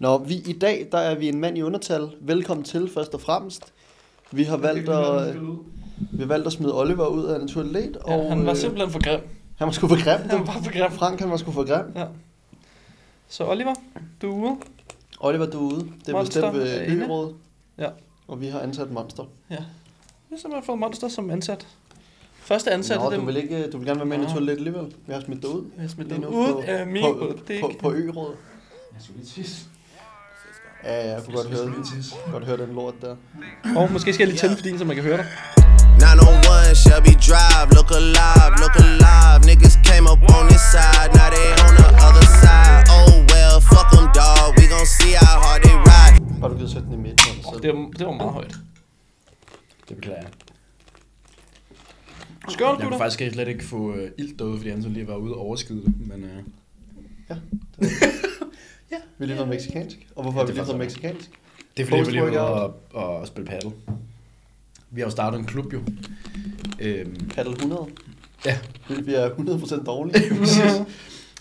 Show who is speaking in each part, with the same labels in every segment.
Speaker 1: Nå, vi, i dag der er vi en mand i undertal. Velkommen til, først og fremmest. Vi har valgt at, vi har valgt at smide Oliver ud af naturligt. øh,
Speaker 2: Ja, han var simpelthen for grim.
Speaker 1: han var sgu for grim.
Speaker 2: Han
Speaker 1: du.
Speaker 2: var for grim.
Speaker 1: Frank, han var sgu for grim.
Speaker 2: Ja. Så Oliver, du er ude.
Speaker 1: Oliver, du er ude. Det er
Speaker 2: Monster
Speaker 1: bestemt ved
Speaker 2: er inde.
Speaker 1: Lyråd.
Speaker 2: Ja.
Speaker 1: Og vi har ansat Monster.
Speaker 2: Vi har simpelthen fået Monster som ansat. Første ansatte,
Speaker 1: Nå,
Speaker 2: det
Speaker 1: du vil, ikke, øh, du vil gerne være med i
Speaker 2: Nå.
Speaker 1: naturligt alligevel. Vi har smidt dig ud.
Speaker 2: Jeg smidt
Speaker 1: Lige
Speaker 2: den
Speaker 1: nu
Speaker 2: ud
Speaker 1: på-
Speaker 2: af min
Speaker 1: på,
Speaker 2: butik.
Speaker 1: på, på Ø-råd.
Speaker 3: Jeg skulle lige tisse.
Speaker 1: Ja, ja, jeg kunne godt høre, godt høre den lort der.
Speaker 2: Og måske skal jeg lige tænde for din, så man kan høre dig.
Speaker 4: 901 Shelby Drive, look alive, look alive. Niggas came up on this side, now they on the other side. Oh well, fuck them, dawg. We gon' see how hard they ride.
Speaker 1: Bare du gider sætte den i midten.
Speaker 2: Oh,
Speaker 1: Så.
Speaker 2: det, var, det var meget højt.
Speaker 3: Det beklager jeg.
Speaker 2: Skål,
Speaker 3: Jeg kunne
Speaker 2: gutter.
Speaker 3: faktisk slet ikke få øh, ild derude, fordi han så lige var ude og overskide det. Men øh,
Speaker 1: Vi er lige været mexikansk. Og hvorfor har vi
Speaker 3: Ja, det er
Speaker 1: lige været
Speaker 3: faktisk-
Speaker 1: mexikansk?
Speaker 3: det er fordi, vi
Speaker 1: Post
Speaker 3: lige var ude
Speaker 1: workout.
Speaker 3: og, og spille paddle. Vi har jo startet en klub jo. Øhm,
Speaker 1: Paddle 100.
Speaker 3: Ja.
Speaker 1: Vi- Vi er 100% dårlige.
Speaker 2: Det var
Speaker 3: det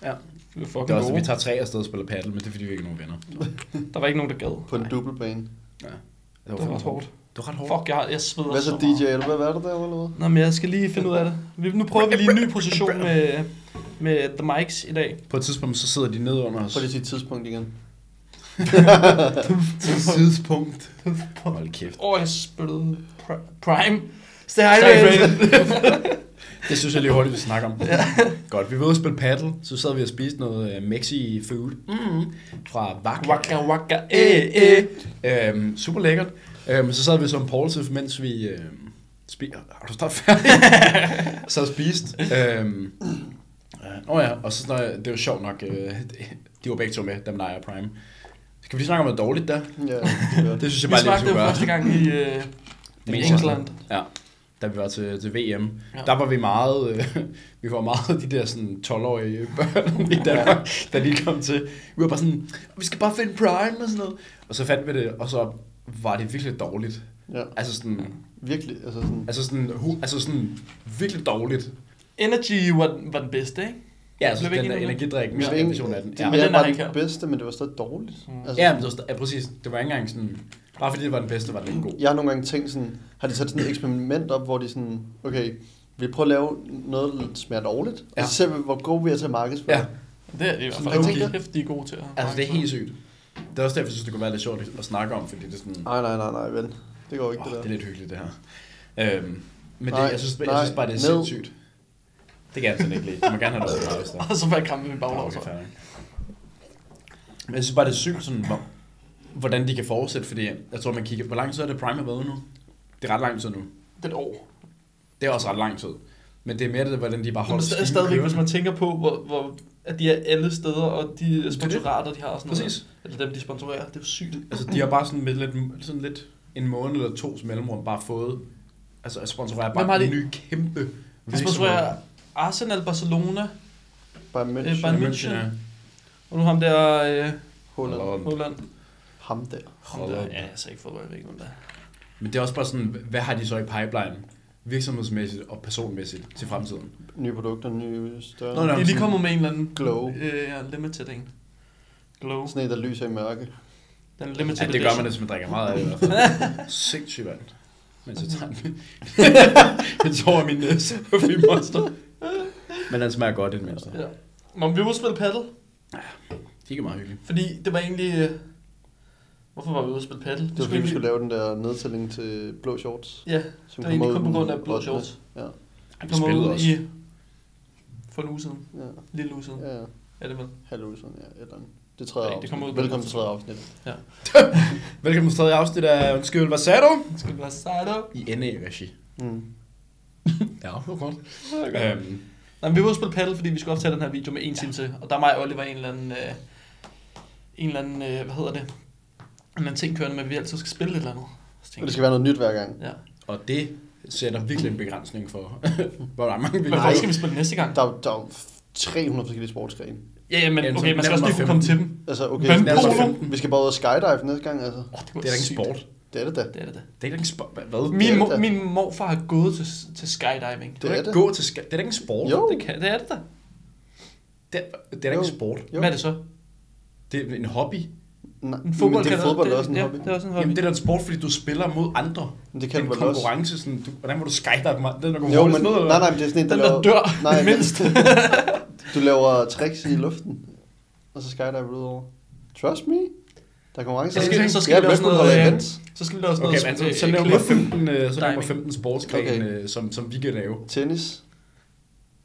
Speaker 3: er
Speaker 2: fucking
Speaker 3: også,
Speaker 2: gode.
Speaker 3: vi tager tre afsted og spiller paddle, men det er fordi, vi ikke er nogen venner.
Speaker 2: Der var ikke nogen, der gad.
Speaker 1: På en dobbeltbane.
Speaker 2: Det var ret hårdt.
Speaker 3: Det var ret hårdt.
Speaker 2: Fuck, jeg, har- jeg sveder
Speaker 1: Hvad så
Speaker 2: så
Speaker 1: DJ
Speaker 2: meget.
Speaker 1: Elba? Hvad er det der overlevet?
Speaker 2: Nå, men jeg skal lige finde ud af det. Vi, nu prøver vi lige en ny position med, med The Mics i dag.
Speaker 3: På et tidspunkt, så sidder de nede under os.
Speaker 1: Prøv lige at sige tidspunkt igen.
Speaker 3: tidspunkt. Hold kæft.
Speaker 2: Åh, oh, jeg spillede pri- Prime.
Speaker 3: Steinway. Det synes jeg lige hurtigt, vi snakker om. ja. Godt, vi var ude at spille paddle, så sad vi og spiste noget øh, mexi food mm, fra Vak.
Speaker 2: Waka waka, eh, eh.
Speaker 3: Øhm, super lækkert. Øhm, så sad vi som Paulsif, mens vi... Øhm, spi- har du snart færdig? så og spiste. Øhm, øh, Nå ja, og så snakker jeg- det var sjovt nok, øh, de var begge to med, dem der er Prime. Skal vi lige snakke om noget dårligt der?
Speaker 1: Ja,
Speaker 3: Det synes jeg
Speaker 2: Vi
Speaker 3: bare
Speaker 2: smagte
Speaker 3: lige, vi skulle
Speaker 2: jo
Speaker 3: gøre.
Speaker 2: første gang i øh,
Speaker 3: Men-
Speaker 2: England.
Speaker 3: Ja, da vi var til, til VM.
Speaker 2: Ja.
Speaker 3: Ja. Der var vi meget, øh, vi var meget de der sådan 12-årige børn i Danmark, ja. der lige kom til. Vi var bare sådan, vi skal bare finde Prime og sådan noget. Og så fandt vi det, og så var det virkelig dårligt.
Speaker 1: ja.
Speaker 3: Altså sådan,
Speaker 1: Virkelig, altså sådan...
Speaker 3: altså sådan, hu, altså sådan virkelig dårligt.
Speaker 2: Energy var, den- var den bedste, ikke?
Speaker 3: Ja, altså
Speaker 2: Blev vi
Speaker 3: den
Speaker 2: ikke
Speaker 3: der
Speaker 2: enige om det?
Speaker 3: energidrik,
Speaker 1: Jeg ved
Speaker 3: version af den.
Speaker 1: det
Speaker 3: Ja,
Speaker 1: mere
Speaker 2: den er
Speaker 1: bare
Speaker 2: ikke
Speaker 1: den
Speaker 2: her.
Speaker 1: bedste, men det var stadig dårligt. Altså,
Speaker 3: ja, men det var, st- ja, præcis. Det var ikke engang sådan, bare fordi det var den bedste, var den ikke god.
Speaker 1: Jeg har nogle gange tænkt sådan, har de sat sådan et eksperiment op, hvor de sådan, okay, vi prøver at lave noget, der smager dårligt, ja.
Speaker 3: Ja.
Speaker 1: og så ser vi, hvor gode vi er til at markedsføre.
Speaker 3: Ja.
Speaker 2: Det er de i hvert
Speaker 1: Sådan
Speaker 2: fald.
Speaker 1: low-key.
Speaker 2: Okay. Kæft, de er gode til at
Speaker 3: Altså det er helt sygt. Det er også derfor, jeg synes, det kunne være lidt sjovt at snakke om, fordi det er sådan,
Speaker 1: Nej, nej, nej, nej, ven. Det går ikke,
Speaker 3: Oh,
Speaker 1: det der.
Speaker 3: det er lidt hyggeligt, det her. Øhm, men
Speaker 1: Nej,
Speaker 3: det, jeg, synes, jeg
Speaker 1: nej,
Speaker 3: synes bare, det er
Speaker 1: ned.
Speaker 3: sindssygt. Det kan jeg sådan ikke lide. Du må gerne have det over hvis der.
Speaker 2: Og så var jeg krampet i baglov,
Speaker 3: Okay,
Speaker 2: så.
Speaker 3: fair nok. Men jeg synes bare, det er sygt, sådan, hvor, hvordan de kan fortsætte, fordi jeg tror, man kigger... Hvor lang tid er det Prime har været ude nu? Det er ret lang tid nu.
Speaker 2: Det er et år.
Speaker 3: Det er også ret lang tid. Men det er mere det, hvordan de bare
Speaker 2: Men
Speaker 3: holder
Speaker 2: st-
Speaker 3: stilen
Speaker 2: stadigvæk,
Speaker 3: kørende.
Speaker 2: hvis man tænker på, hvor, hvor at de er alle steder, og de sponsorater, de har og sådan noget.
Speaker 3: Præcis.
Speaker 2: Eller dem, de sponsorerer. Det er jo sygt.
Speaker 3: Altså, de har bare sådan, med lidt, sådan lidt en måned eller tos mellemrum bare fået... Altså, at sponsorere
Speaker 2: Hvem har
Speaker 3: bare en
Speaker 2: de-
Speaker 3: ny kæmpe
Speaker 2: De sponsorerer Arsenal, Barcelona,
Speaker 1: Bare
Speaker 2: øh, Bayern
Speaker 1: München,
Speaker 2: München,
Speaker 3: München, ja.
Speaker 2: og nu ham der, øh,
Speaker 1: Holland,
Speaker 3: Holland.
Speaker 2: Holland.
Speaker 1: ham der.
Speaker 2: Ham der, ja, jeg har så ikke fodbold, jeg ved ikke, hvem der er.
Speaker 3: Men det er også bare sådan, hvad har de så i pipeline, virksomhedsmæssigt og personmæssigt til fremtiden?
Speaker 1: Nye produkter, nye større.
Speaker 3: Nå, nå.
Speaker 2: De er lige kommet med en eller anden
Speaker 1: Glow.
Speaker 2: Øh, ja, limited en. Glow.
Speaker 1: Sådan en, der lyser i mørke.
Speaker 2: Den limited
Speaker 3: Ja, det gør
Speaker 2: edition.
Speaker 3: man, hvis man drikker meget af det i hvert fald. Sindssygt vand. Men så tager den. den tår af min næse og min monster. Men den smager godt i det mindste.
Speaker 2: Ja. Nå, men vi var ude at spille paddle,
Speaker 3: Ikke meget hyggeligt.
Speaker 2: fordi det var egentlig... Øh, hvorfor var vi ude at spille paddle?
Speaker 1: Det var fordi, vi skulle lave den der nedtælling til blå shorts.
Speaker 2: Ja,
Speaker 1: Som
Speaker 2: det var egentlig
Speaker 1: ud
Speaker 2: kun på
Speaker 1: den
Speaker 2: grund af blå
Speaker 1: ottende.
Speaker 2: shorts.
Speaker 1: Ja.
Speaker 3: Ej,
Speaker 2: Vi
Speaker 3: vi
Speaker 2: kom ud
Speaker 3: spillede også.
Speaker 2: i... For en uge siden.
Speaker 1: Ja,
Speaker 2: Lille uge siden. Ja.
Speaker 1: ja, ja.
Speaker 2: Er det vel?
Speaker 1: Halvusen, ja, et eller andet. Det tredje
Speaker 2: Ja, det kommer ud
Speaker 1: afsnit.
Speaker 2: på
Speaker 1: Velkommen
Speaker 2: et
Speaker 1: til tredje afsnit.
Speaker 3: Velkommen til tredje afsnit af Undskyld, hvad sagde du?
Speaker 2: Skal vi bare starte op?
Speaker 3: I NA-regi.
Speaker 1: Mm.
Speaker 3: Ja, det var godt.
Speaker 2: Okay.
Speaker 3: Øhm,
Speaker 2: Nej, men vi var ude at spille paddle, fordi vi skulle optage den her video med en time til. Og der er mig og Oliver en eller anden... Øh, en eller anden... Øh, hvad hedder det? En eller anden ting kørende med, at vi altid skal spille et eller andet. Så tænkte
Speaker 1: Og det skal være noget nyt hver gang.
Speaker 2: jeg, Ja.
Speaker 3: og det sætter virkelig en begrænsning for, hvor der er mange
Speaker 2: Men
Speaker 3: videoer.
Speaker 2: hvor skal vi spille næste gang?
Speaker 1: Der er, der er jo 300 forskellige sportsgrene.
Speaker 2: Ja, ja, men
Speaker 3: Jamen, så
Speaker 2: okay, man skal
Speaker 3: nævn
Speaker 2: også lige kunne
Speaker 3: mig
Speaker 2: komme til
Speaker 3: femten.
Speaker 2: dem.
Speaker 1: Altså, okay,
Speaker 2: Vandpolo.
Speaker 1: vi skal, vi skal bare ud og skydive næste gang, altså.
Speaker 2: Oh,
Speaker 3: Det er da ikke en sport.
Speaker 1: Det er det da.
Speaker 2: Det er det da.
Speaker 3: Det er da ikke en sport. Hvad? Hvad?
Speaker 2: Min,
Speaker 1: det
Speaker 2: mo-
Speaker 1: da.
Speaker 2: min morfar har gået til, til skydiving.
Speaker 3: Du
Speaker 1: Det
Speaker 3: kan
Speaker 1: er
Speaker 3: ikke
Speaker 1: det.
Speaker 3: gå til ska- Det er da ikke en sport.
Speaker 1: Jo.
Speaker 2: Det, kan, det er det da.
Speaker 3: Det, er- det er da
Speaker 1: Jo.
Speaker 3: ikke en sport.
Speaker 1: Jo.
Speaker 2: Hvad er det så?
Speaker 3: Det er en hobby.
Speaker 1: Nej,
Speaker 2: En fodbold
Speaker 1: men det er fodbold også en
Speaker 2: ja,
Speaker 1: hobby.
Speaker 2: Det er også en hobby.
Speaker 3: Jamen, det er da en sport, fordi du spiller mod andre.
Speaker 1: Men det
Speaker 3: Det er
Speaker 1: kan
Speaker 3: en
Speaker 1: du vel også.
Speaker 3: konkurrence. Sådan, du, hvordan må du skydive mig? Den er
Speaker 1: Jo,
Speaker 3: konkurrence.
Speaker 1: men, nej, nej, men det er sådan en,
Speaker 2: Den, der
Speaker 1: laver-
Speaker 2: dør
Speaker 1: nej, men-
Speaker 2: mindst.
Speaker 1: Du laver tricks i luften, og så skydiver du ud over. Trust me. Der er konkurrence.
Speaker 2: Så skal, så skal
Speaker 1: ja,
Speaker 2: vi lave sådan
Speaker 1: noget.
Speaker 2: noget, øh,
Speaker 1: events.
Speaker 2: så skal vi lave sådan
Speaker 3: Okay,
Speaker 2: noget,
Speaker 3: men så,
Speaker 2: øh,
Speaker 3: så laver man
Speaker 2: cliff.
Speaker 3: 15, øh, så laver man
Speaker 2: Diving.
Speaker 3: 15 sportsgren,
Speaker 1: Okay.
Speaker 3: øh, som, som vi kan lave.
Speaker 1: Tennis,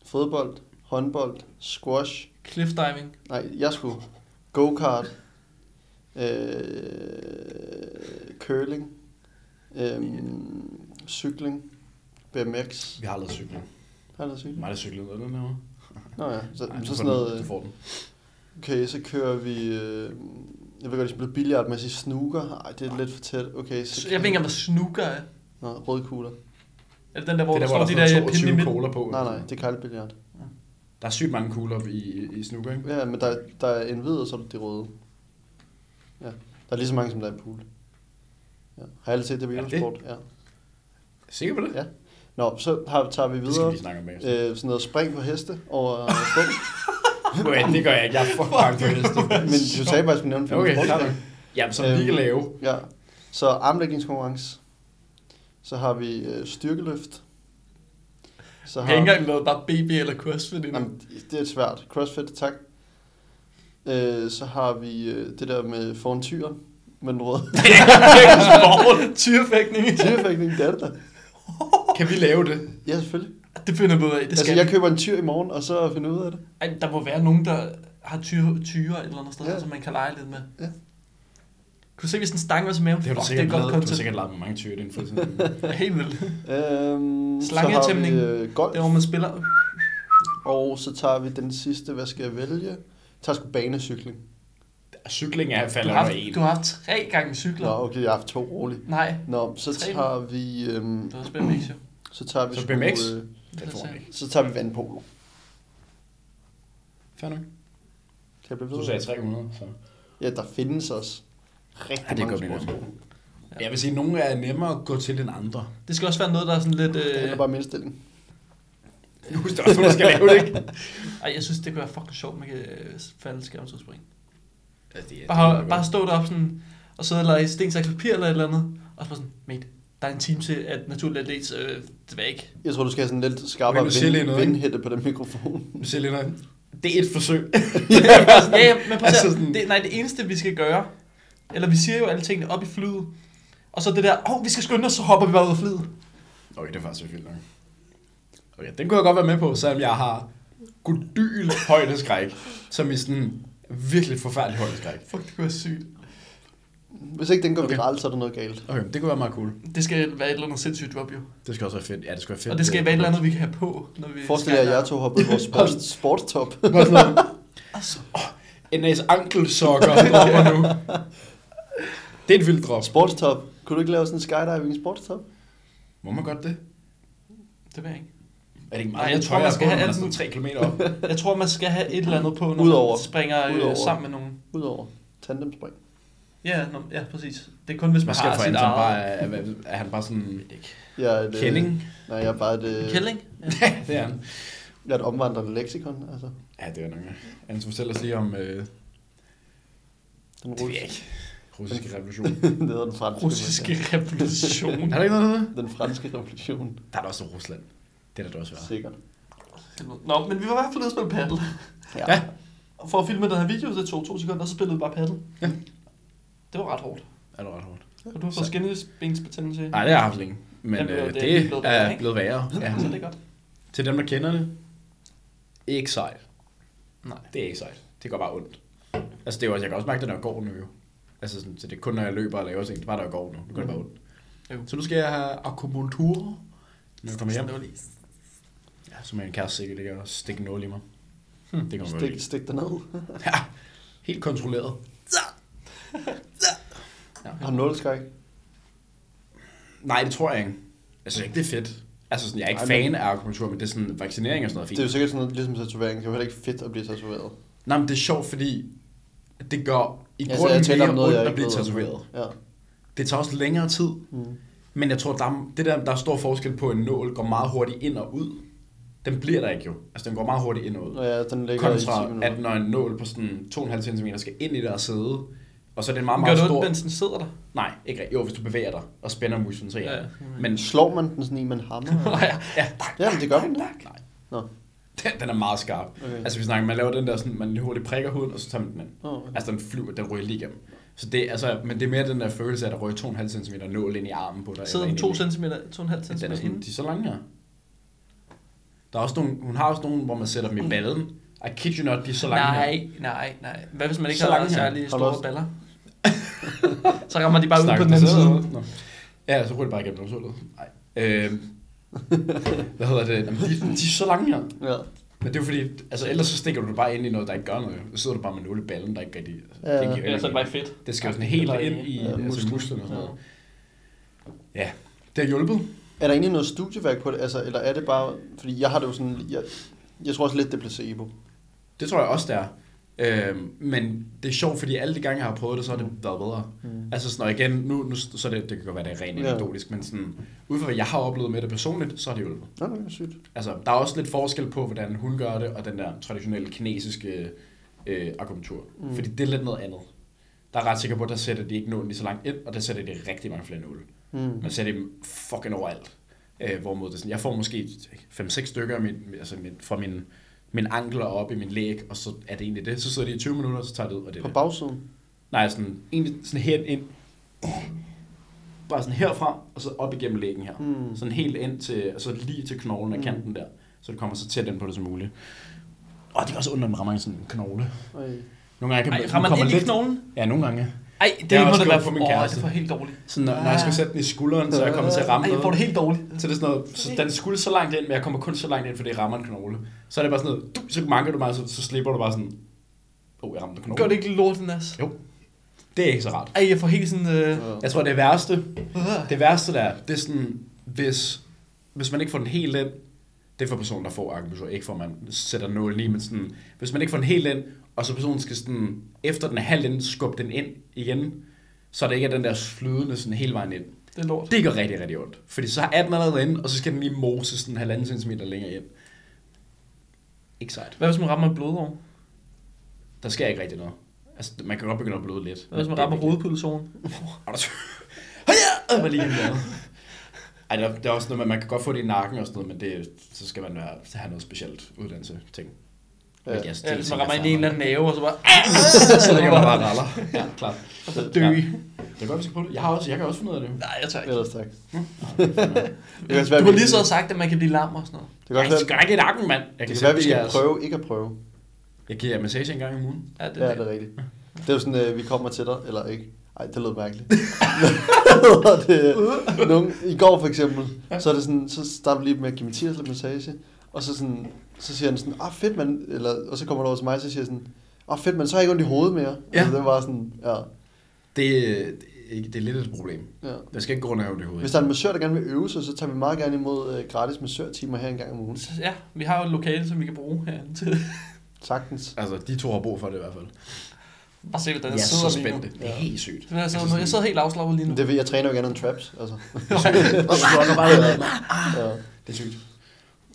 Speaker 1: fodbold, håndbold, squash.
Speaker 2: cliff diving.
Speaker 1: Nej, jeg skulle. Go-kart. Øh, curling. Øh, cykling. BMX.
Speaker 3: Vi har lavet cykling.
Speaker 1: Har du cykling?
Speaker 3: Mig, der cyklede noget den her.
Speaker 1: Nå ja, så,
Speaker 3: Nej,
Speaker 1: Ej,
Speaker 3: du
Speaker 1: så
Speaker 3: får
Speaker 1: sådan noget...
Speaker 3: Den.
Speaker 1: øh,
Speaker 3: Du får den.
Speaker 1: Okay, så kører vi... Øh, jeg ved godt, det spiller billiard, men jeg siger snooker. Ej, det er lidt for tæt. Okay, så...
Speaker 2: Så Jeg ved ikke, om der snooker er.
Speaker 1: Nå, røde kugler.
Speaker 2: Er det den der, hvor
Speaker 3: Det
Speaker 2: der,
Speaker 3: er der, hvor
Speaker 2: står
Speaker 3: der
Speaker 2: de
Speaker 3: er
Speaker 2: der øh,
Speaker 3: sådan
Speaker 2: pinde i
Speaker 3: 22
Speaker 2: midten?
Speaker 3: kugler på.
Speaker 1: Nej, nej, det er kaldt billiard.
Speaker 3: Der er sygt mange kugler op i, i- i snooker, ikke?
Speaker 1: Ja, men der, er- der er en hvid, og så er der de røde. Ja, der er lige så mange, som der er i pool. Ja. Har alle set det på
Speaker 3: Er det?
Speaker 1: julesport? Ja.
Speaker 3: Sikker på det?
Speaker 1: ja. Nå, så har, tager vi
Speaker 3: Det skal vi
Speaker 1: videre.
Speaker 3: lige snakke om bagefter.
Speaker 1: Øh, sådan noget spring på heste over stunden.
Speaker 3: Nej, det gør jeg ikke. Jeg er fucking bange for heste.
Speaker 1: Men du sagde bare, at jeg skulle nævne fem
Speaker 3: Okay, klar.
Speaker 1: sportsgrene.
Speaker 3: Jamen, som
Speaker 1: Øhm,
Speaker 3: vi kan lave.
Speaker 1: Ja. Så armlægningskonkurrence. Så har vi øh, styrkeløft. Så
Speaker 2: Jeg har ikke engang lavet bare BB eller CrossFit endnu.
Speaker 1: Jamen, det er svært. Crossfit, tak. Øh, så har vi øh, det der med foran tyren, med den røde
Speaker 2: Tyrefægtning.
Speaker 1: tyrefægtning, det er det da.
Speaker 3: Kan vi lave det?
Speaker 1: Ja, selvfølgelig.
Speaker 2: Det finder vi ud af. Det
Speaker 1: Altså,
Speaker 2: skal
Speaker 1: jeg
Speaker 2: vi.
Speaker 1: køber en tyr i morgen, og så finder jeg ud af det.
Speaker 2: Ej, der må være nogen, der har tyre, tyre et eller andet sted,
Speaker 1: Ja.
Speaker 2: ja. som man kan lege lidt med.
Speaker 1: Ja.
Speaker 2: Kunne du se, hvis den stang var til maven?
Speaker 3: Det har
Speaker 2: Fuck,
Speaker 3: du
Speaker 2: det er
Speaker 3: sikkert
Speaker 2: godt
Speaker 3: lavet. Du har
Speaker 2: content.
Speaker 3: sikkert lavet med mange tyre i din fritid.
Speaker 2: Helt vildt.
Speaker 1: Øhm, så har vi
Speaker 2: Slangetæmning.
Speaker 1: øh, golf,
Speaker 2: Det er, hvor man spiller.
Speaker 1: og så tager vi den sidste, hvad skal jeg vælge? Jeg tager sgu banecykling.
Speaker 3: Cykling er
Speaker 2: Du
Speaker 3: falder
Speaker 2: har,
Speaker 3: over en.
Speaker 2: haft, du har haft tre gange cykler.
Speaker 1: Nå, okay, jeg har haft to roligt.
Speaker 2: Nej,
Speaker 1: Nå, så
Speaker 2: Tre.
Speaker 1: tager vi... Øhm,
Speaker 2: det var spændende, ikke?
Speaker 1: så tager vi
Speaker 3: Så
Speaker 1: sgu,
Speaker 3: BMX?
Speaker 1: Øh,
Speaker 3: Det tror jeg ikke.
Speaker 1: så tager vi vandpolo.
Speaker 3: Fair nok.
Speaker 1: Kan jeg blive ved?
Speaker 3: Du sagde 300, så...
Speaker 1: Ja, der findes også rigtig
Speaker 3: Ja,
Speaker 1: mange
Speaker 3: det kan godt blive
Speaker 1: sportsgrene.
Speaker 3: Ja. Jeg vil sige, at nogle er nemmere at gå til end andre.
Speaker 2: Det skal også være noget, der er sådan lidt...
Speaker 1: Det handler
Speaker 2: Øh...
Speaker 1: bare om indstilling.
Speaker 3: Nu husker jeg også, du skal lave det, ikke?
Speaker 2: Ej, jeg synes, det kunne være fucking sjovt, man kan øh, falde skærmsudspring.
Speaker 3: Ja, det er,
Speaker 2: Bare, bare stå deroppe sådan, og sidde og lege sten, saks, papir eller et eller andet. Og så bare sådan, mate, der er en time til, at naturlig atlet øh, væk.
Speaker 1: Jeg tror, du skal have sådan lidt skarpere
Speaker 3: Okay, nu siger jeg lige
Speaker 1: vind,
Speaker 3: noget, ikke?
Speaker 1: vindhætte på den mikrofon.
Speaker 3: Nu siger jeg lige noget. Det er et forsøg.
Speaker 2: ja, ja, men prøv altså
Speaker 3: Altså
Speaker 2: sådan...
Speaker 3: sådan-
Speaker 2: det, nej, det eneste, vi skal gøre, eller vi siger jo alle tingene op i flyet, og så det der, åh, oh, vi skal skynde os, så hopper vi bare ud af flyet.
Speaker 3: okay, det er faktisk vildt nok. Okay, den kunne jeg godt være med på, selvom jeg har gudyl højdeskræk, som i sådan virkelig forfærdelig højdeskræk.
Speaker 2: Fuck, det kunne være sygt.
Speaker 1: Hvis ikke den går
Speaker 3: Okay.
Speaker 1: okay. viralt, så er der noget galt.
Speaker 3: Okay, det kunne være meget cool.
Speaker 2: Det skal være et eller andet sindssygt job, jo.
Speaker 3: Det skal også være fedt. Ja, det skal være fedt.
Speaker 2: Og det skal være et eller andet, vi kan have på, når vi
Speaker 1: Forestil jer, at jeg to hoppede i vores sports, sportstop.
Speaker 3: Bare sådan noget. En af ankelsokker dropper nu. Det er et vildt drop.
Speaker 1: sportstop. Kunne du ikke lave sådan en skydiving sportstop?
Speaker 3: Må man godt det?
Speaker 2: Det ved jeg ikke.
Speaker 3: Er det ikke
Speaker 2: Nej,
Speaker 3: meget?
Speaker 2: jeg
Speaker 3: Jeg
Speaker 2: tror,
Speaker 3: tror, jeg
Speaker 2: man skal
Speaker 3: skal
Speaker 2: have
Speaker 3: have
Speaker 2: alt
Speaker 3: sådan 3 km op.
Speaker 2: Jeg tror, man skal have et eller andet på, når
Speaker 1: Udover.
Speaker 2: man springer øh,
Speaker 1: Udover.
Speaker 2: sammen med nogen.
Speaker 1: Udover tandemspring.
Speaker 2: Ja, nå, ja, præcis. Det er kun, hvis man,
Speaker 3: Man
Speaker 2: man
Speaker 3: skal
Speaker 2: har
Speaker 3: for
Speaker 2: sit eget.
Speaker 3: Anton bare,
Speaker 2: Bare...
Speaker 3: er, er han bare sådan...
Speaker 1: Jeg er et, øh,
Speaker 3: Kending?
Speaker 1: Nej, jeg er bare et, øh,
Speaker 2: Kælling? Ja.
Speaker 3: Det er han.
Speaker 1: jeg er et omvandrende leksikon. Altså,
Speaker 3: Ja, det er nok. Anders, fortæl os lige om øh,
Speaker 1: den
Speaker 3: Det ved jeg
Speaker 1: russiske.
Speaker 3: ikke. russiske revolution.
Speaker 1: Det hedder den franske.
Speaker 2: Russiske revolution.
Speaker 3: er der ikke noget, der hedder?
Speaker 1: Den franske revolution.
Speaker 3: Der er der også Rusland. Det er der da også være.
Speaker 1: Sikkert.
Speaker 2: Nå, men vi var i hvert fald ude og spille paddle.
Speaker 1: Ja.
Speaker 3: Ja.
Speaker 2: Og for at filme den her video, det tog to sekunder, og så spillede vi bare paddle.
Speaker 3: Ja.
Speaker 2: Det var ret hårdt.
Speaker 3: Er det ret hårdt?
Speaker 2: Og du har fået
Speaker 3: Så-
Speaker 2: skinnebensbetændelse.
Speaker 3: Nej, det har jeg haft længe. Men
Speaker 2: Jamen, det er-
Speaker 3: øh,
Speaker 2: det
Speaker 3: det,
Speaker 2: er lige blevet værre,
Speaker 3: er
Speaker 2: ikke?
Speaker 3: blevet værre. Ja.
Speaker 2: Så det er godt.
Speaker 3: Til dem, der kender det. Ikke sejt.
Speaker 2: Nej.
Speaker 3: Det er ikke sejt. Det går bare ondt. Altså, det er jo også, jeg kan også mærke det, når jeg går nu jo. Altså, sådan, så det er kun, når jeg løber og laver ting. Det er bare, når jeg går nu. Nu går det bare ondt.
Speaker 2: Jo.
Speaker 3: Så nu skal jeg have akupunktur, når jeg kommer hjem.
Speaker 2: Sådan, det var lige-
Speaker 3: Ja, så må en kæreste sikkert ligge og stikke noget i mig. Det kommer
Speaker 1: Stik,
Speaker 3: Stik.
Speaker 1: stik dig ned.
Speaker 3: Ja, helt kontrolleret.
Speaker 1: Har du nåleskræk?
Speaker 3: Nej, det tror jeg ikke. Altså, Jeg synes ikke, det er fedt. Altså, sådan, jeg er ikke
Speaker 1: Ej,
Speaker 3: fan af akupunktur, men det er sådan, vaccinering og sådan noget er fint.
Speaker 1: Det er jo sikkert sådan noget, ligesom tatovering. Det er jo heller ikke fedt at blive tatoveret.
Speaker 3: Nej, men det er sjovt, fordi det gør i
Speaker 1: Altså,
Speaker 3: grunden
Speaker 1: jeg taler om
Speaker 3: mere
Speaker 1: noget,
Speaker 3: ondt
Speaker 1: jeg
Speaker 3: at
Speaker 1: ikke
Speaker 3: blive
Speaker 1: ved om.
Speaker 3: tatoveret.
Speaker 1: Ja.
Speaker 3: Det tager også længere tid.
Speaker 1: Mm.
Speaker 3: Men jeg tror, der er, det der, der er stor forskel på, at en nål går meget hurtigt ind og ud. Den bliver der ikke jo. Altså, den går meget hurtigt ind og ud.
Speaker 1: Og ja, den ligger i 10
Speaker 3: Kontra,
Speaker 1: minutter.
Speaker 3: at når en nål på sådan 2,5 cm skal ind i der sæde, Og så er det en meget,
Speaker 2: Gør
Speaker 3: meget
Speaker 2: du
Speaker 3: stor...
Speaker 2: ondt, mens den sidder der?
Speaker 3: Nej, ikke rigtigt. Jo, hvis du bevæger dig og spænder musen, så ja.
Speaker 2: Ja, mm. ja.
Speaker 3: ja. Men
Speaker 1: Slår man den sådan i, man hammer? eller?
Speaker 2: Nej,
Speaker 3: ja,
Speaker 1: Jamen, det gør man da.
Speaker 3: nej.
Speaker 1: Nå.
Speaker 3: Den, den er meget skarp.
Speaker 1: Okay.
Speaker 3: Okay. Altså vi snakker, man laver den der sådan, man lige hurtigt prikker huden, og så tager man den ind.
Speaker 1: Åh, okay.
Speaker 3: Altså den flyver, den ryger lige igennem. Så det, altså, men det er mere den der følelse af, at der ryger 2,5 cm nål ind i armen på dig.
Speaker 2: sidder
Speaker 3: eller
Speaker 2: den
Speaker 3: ind i-
Speaker 2: 2 cm, 2,5 cm.
Speaker 3: Den er, de er så lange her. Der er også nogle, hun har også nogle, hvor man sætter dem i ballen. I kid you not, de er så lange her.
Speaker 2: Mm. Nej, nej, nej. Hvad hvis man ikke
Speaker 3: Så
Speaker 2: har
Speaker 3: lange her.
Speaker 2: særlig
Speaker 1: Har du
Speaker 2: store
Speaker 1: også-
Speaker 2: baller? så rammer de bare ud på
Speaker 3: Snakker
Speaker 2: den anden
Speaker 3: det
Speaker 2: side.
Speaker 3: så? Nå. Ja, så ryger det bare igennem sultet. Nej. Øh, hvad hedder det? Jamen, de, de er så lange her.
Speaker 1: Ja.
Speaker 3: Men det er jo fordi, altså ellers så stikker du det bare ind i noget, der ikke gør noget. Så sidder du bare med nul i ballen, der ikke rigtig... Altså,
Speaker 1: Ja.
Speaker 3: det giver
Speaker 2: Ellers
Speaker 3: jo
Speaker 2: er det
Speaker 3: ikke-
Speaker 2: bare fedt.
Speaker 3: Det skal jo sådan helt
Speaker 2: Eller
Speaker 3: ind
Speaker 2: i-
Speaker 3: i
Speaker 1: ja,
Speaker 3: ja, altså,
Speaker 1: musklen.
Speaker 3: musklerne og sådan noget. Ja, det har hjulpet.
Speaker 1: Er der egentlig noget studieværk på det? Altså, eller er det bare... Fordi jeg har det jo sådan... Jeg, jeg tror også lidt, det er placebo.
Speaker 3: Det tror jeg også, det er. Øhm, men det er sjovt, fordi alle de gange, jeg har prøvet det, så har det været bedre.
Speaker 1: Mm.
Speaker 3: Altså sådan, og igen, nu, nu så er det, det kan godt være, det er rent
Speaker 1: Ja.
Speaker 3: anekdotisk, men sådan, ud fra hvad jeg har oplevet med det personligt, så har det hjulpet.
Speaker 1: Nå, det er sygt.
Speaker 3: Altså, der er også lidt forskel på, hvordan hun gør det, og den der traditionelle kinesiske øh, akupunktur.
Speaker 1: Mm.
Speaker 3: Mm. Fordi det er lidt noget andet. Der er jeg ret sikker på, at der sætter de ikke nålen lige så langt ind, og der sætter de rigtig mange flere nåle.
Speaker 1: Mm.
Speaker 3: Man sætter dem fucking overalt. Øh, hvorimod det er sådan, jeg får måske 5-6 stykker af min, altså min, fra min, min ankel og op i min læg, og så er det egentlig det. Så sidder de i 20 minutter, og så tager det ud, og det er
Speaker 1: På
Speaker 3: det.
Speaker 1: bagsiden.
Speaker 3: Nej, sådan, egentlig sådan hen ind. Bare sådan herfra, og så op igennem lægen her.
Speaker 1: Mm.
Speaker 3: Mm. Sådan helt ind til, og så lige til knoglen
Speaker 1: Mm.
Speaker 3: af kanten der. Så det kommer så tæt ind på det som muligt. Og det er også under, at man rammer i sådan en knogle.
Speaker 1: Ej.
Speaker 3: Nogle gange kan
Speaker 2: Ej,
Speaker 3: man,
Speaker 2: rammer den
Speaker 3: kommer
Speaker 2: ind i knoglen?
Speaker 3: Ja, nogle gange.
Speaker 2: Ej, det
Speaker 3: Jeg har
Speaker 2: må
Speaker 3: også
Speaker 2: da
Speaker 3: gjort
Speaker 2: være
Speaker 3: på min
Speaker 2: Åh,
Speaker 3: kæreste.
Speaker 2: det var helt dårligt.
Speaker 3: Sådan, når, når jeg skulle sætte den i skulderen, så er jeg kommet til at ramme
Speaker 2: Ej, jeg
Speaker 3: noget.
Speaker 2: får det helt dårligt.
Speaker 3: Så det er sådan noget, så den skulle så langt ind, men jeg kommer kun så langt ind, fordi jeg rammer en knogle. Så er det bare sådan noget, du, så manker du mig, så, så slipper du bare sådan, åh, oh, jeg ramte en knogle.
Speaker 2: Gør det ikke lorten, altså?
Speaker 3: Jo. Det er ikke så rart.
Speaker 2: Ej, jeg får helt sådan... Øh,
Speaker 3: Jeg tror, det værste,
Speaker 2: øh,
Speaker 3: det værste der, er, det er sådan, hvis, hvis man ikke får den helt ind, det er for personen, der får akupunktur, ikke for at man sætter nålen i, men sådan, hvis man ikke får den helt ind, og så personen skal sådan, efter den er halvt ind, skubbe den ind igen, så det ikke er den der flydende sådan hele vejen ind.
Speaker 2: det er lort.
Speaker 3: Det gør rigtig, rigtig ondt. Fordi så er den allerede inde, og så skal den lige mose sådan halvanden centimeter længere ind. Ikke sejt.
Speaker 2: Hvad hvis man rammer et blodår?
Speaker 3: Der sker ikke rigtig noget. Altså, man kan godt begynde at bløde lidt.
Speaker 2: Hvad hvis man
Speaker 3: Det er
Speaker 2: rammer
Speaker 3: vigtigt.
Speaker 2: hovedpulsoren?
Speaker 3: Er du t- Høja! Det var lige en måde. Ej, der, der er også noget, med, man kan godt få det i nakken og sådan noget, men det, så skal man være, have noget specielt uddannelse ting.
Speaker 1: Ja.
Speaker 3: Hvilket jeg
Speaker 2: Ja,
Speaker 3: stille
Speaker 2: hvis man
Speaker 3: tænker,
Speaker 2: rammer ind i
Speaker 3: jeg
Speaker 2: en eller anden nave, og så bare...
Speaker 3: fremmer. Så ligger man bare og raller. Ja, klart. Og så
Speaker 2: dø.
Speaker 3: Det er godt, vi skal på det. Jeg, har også, jeg kan også finde ud af det.
Speaker 2: Nej, jeg tør ikke.
Speaker 1: Ellers tak. Det kan også være,
Speaker 2: Du har
Speaker 1: vi-
Speaker 2: lige så sagt, at man kan blive lam og sådan noget.
Speaker 1: Det kan også
Speaker 3: Ej,
Speaker 1: være,
Speaker 3: skal da ikke i nakken, mand. Jeg
Speaker 1: det kan
Speaker 3: selv
Speaker 1: være, vi
Speaker 3: give
Speaker 1: skal
Speaker 3: jeres-
Speaker 1: prøve ikke at prøve.
Speaker 3: Jeg giver jer massage en gang om ugen.
Speaker 2: Ja,
Speaker 1: Ja, det
Speaker 2: det.
Speaker 1: er rigtigt. Det er jo sådan, øh, vi kommer til dig, eller ikke. Ej, det lød mærkeligt. det, nogen, I går for eksempel, så er det sådan, så starter vi lige med at give Mathias lidt massage, og så, sådan, så siger han sådan, ah fedt mand, eller, og så kommer du over til mig, så siger jeg sådan, ah fedt mand, så har jeg ikke ondt i hovedet mere.
Speaker 3: Ja.
Speaker 1: Altså, det var sådan, ja,
Speaker 3: Det, det, er ikke- det er lidt et problem.
Speaker 1: ja.
Speaker 3: Jeg skal ikke gå rundt og have det i hovedet.
Speaker 1: Hvis der er en massør, der gerne vil øve sig, så tager vi meget gerne imod øh, gratis massørtimer her en gang om ugen.
Speaker 2: Så, Ja, vi har jo et lokale, som vi kan bruge herinde til.
Speaker 1: Sagtens.
Speaker 3: Altså, de to har brug for det i hvert fald.
Speaker 2: Bare se, hvordan
Speaker 3: Jeg
Speaker 2: jeg
Speaker 3: er
Speaker 2: sidder
Speaker 3: så
Speaker 2: lige nu.
Speaker 3: spændt. Det er
Speaker 1: Ja.
Speaker 3: helt sygt.
Speaker 2: Det er Altså, sådan, jeg sidder helt afslappet lige nu.
Speaker 1: Men det, ved- jeg træner jo gerne en traps, altså. ja.
Speaker 3: Det er sygt.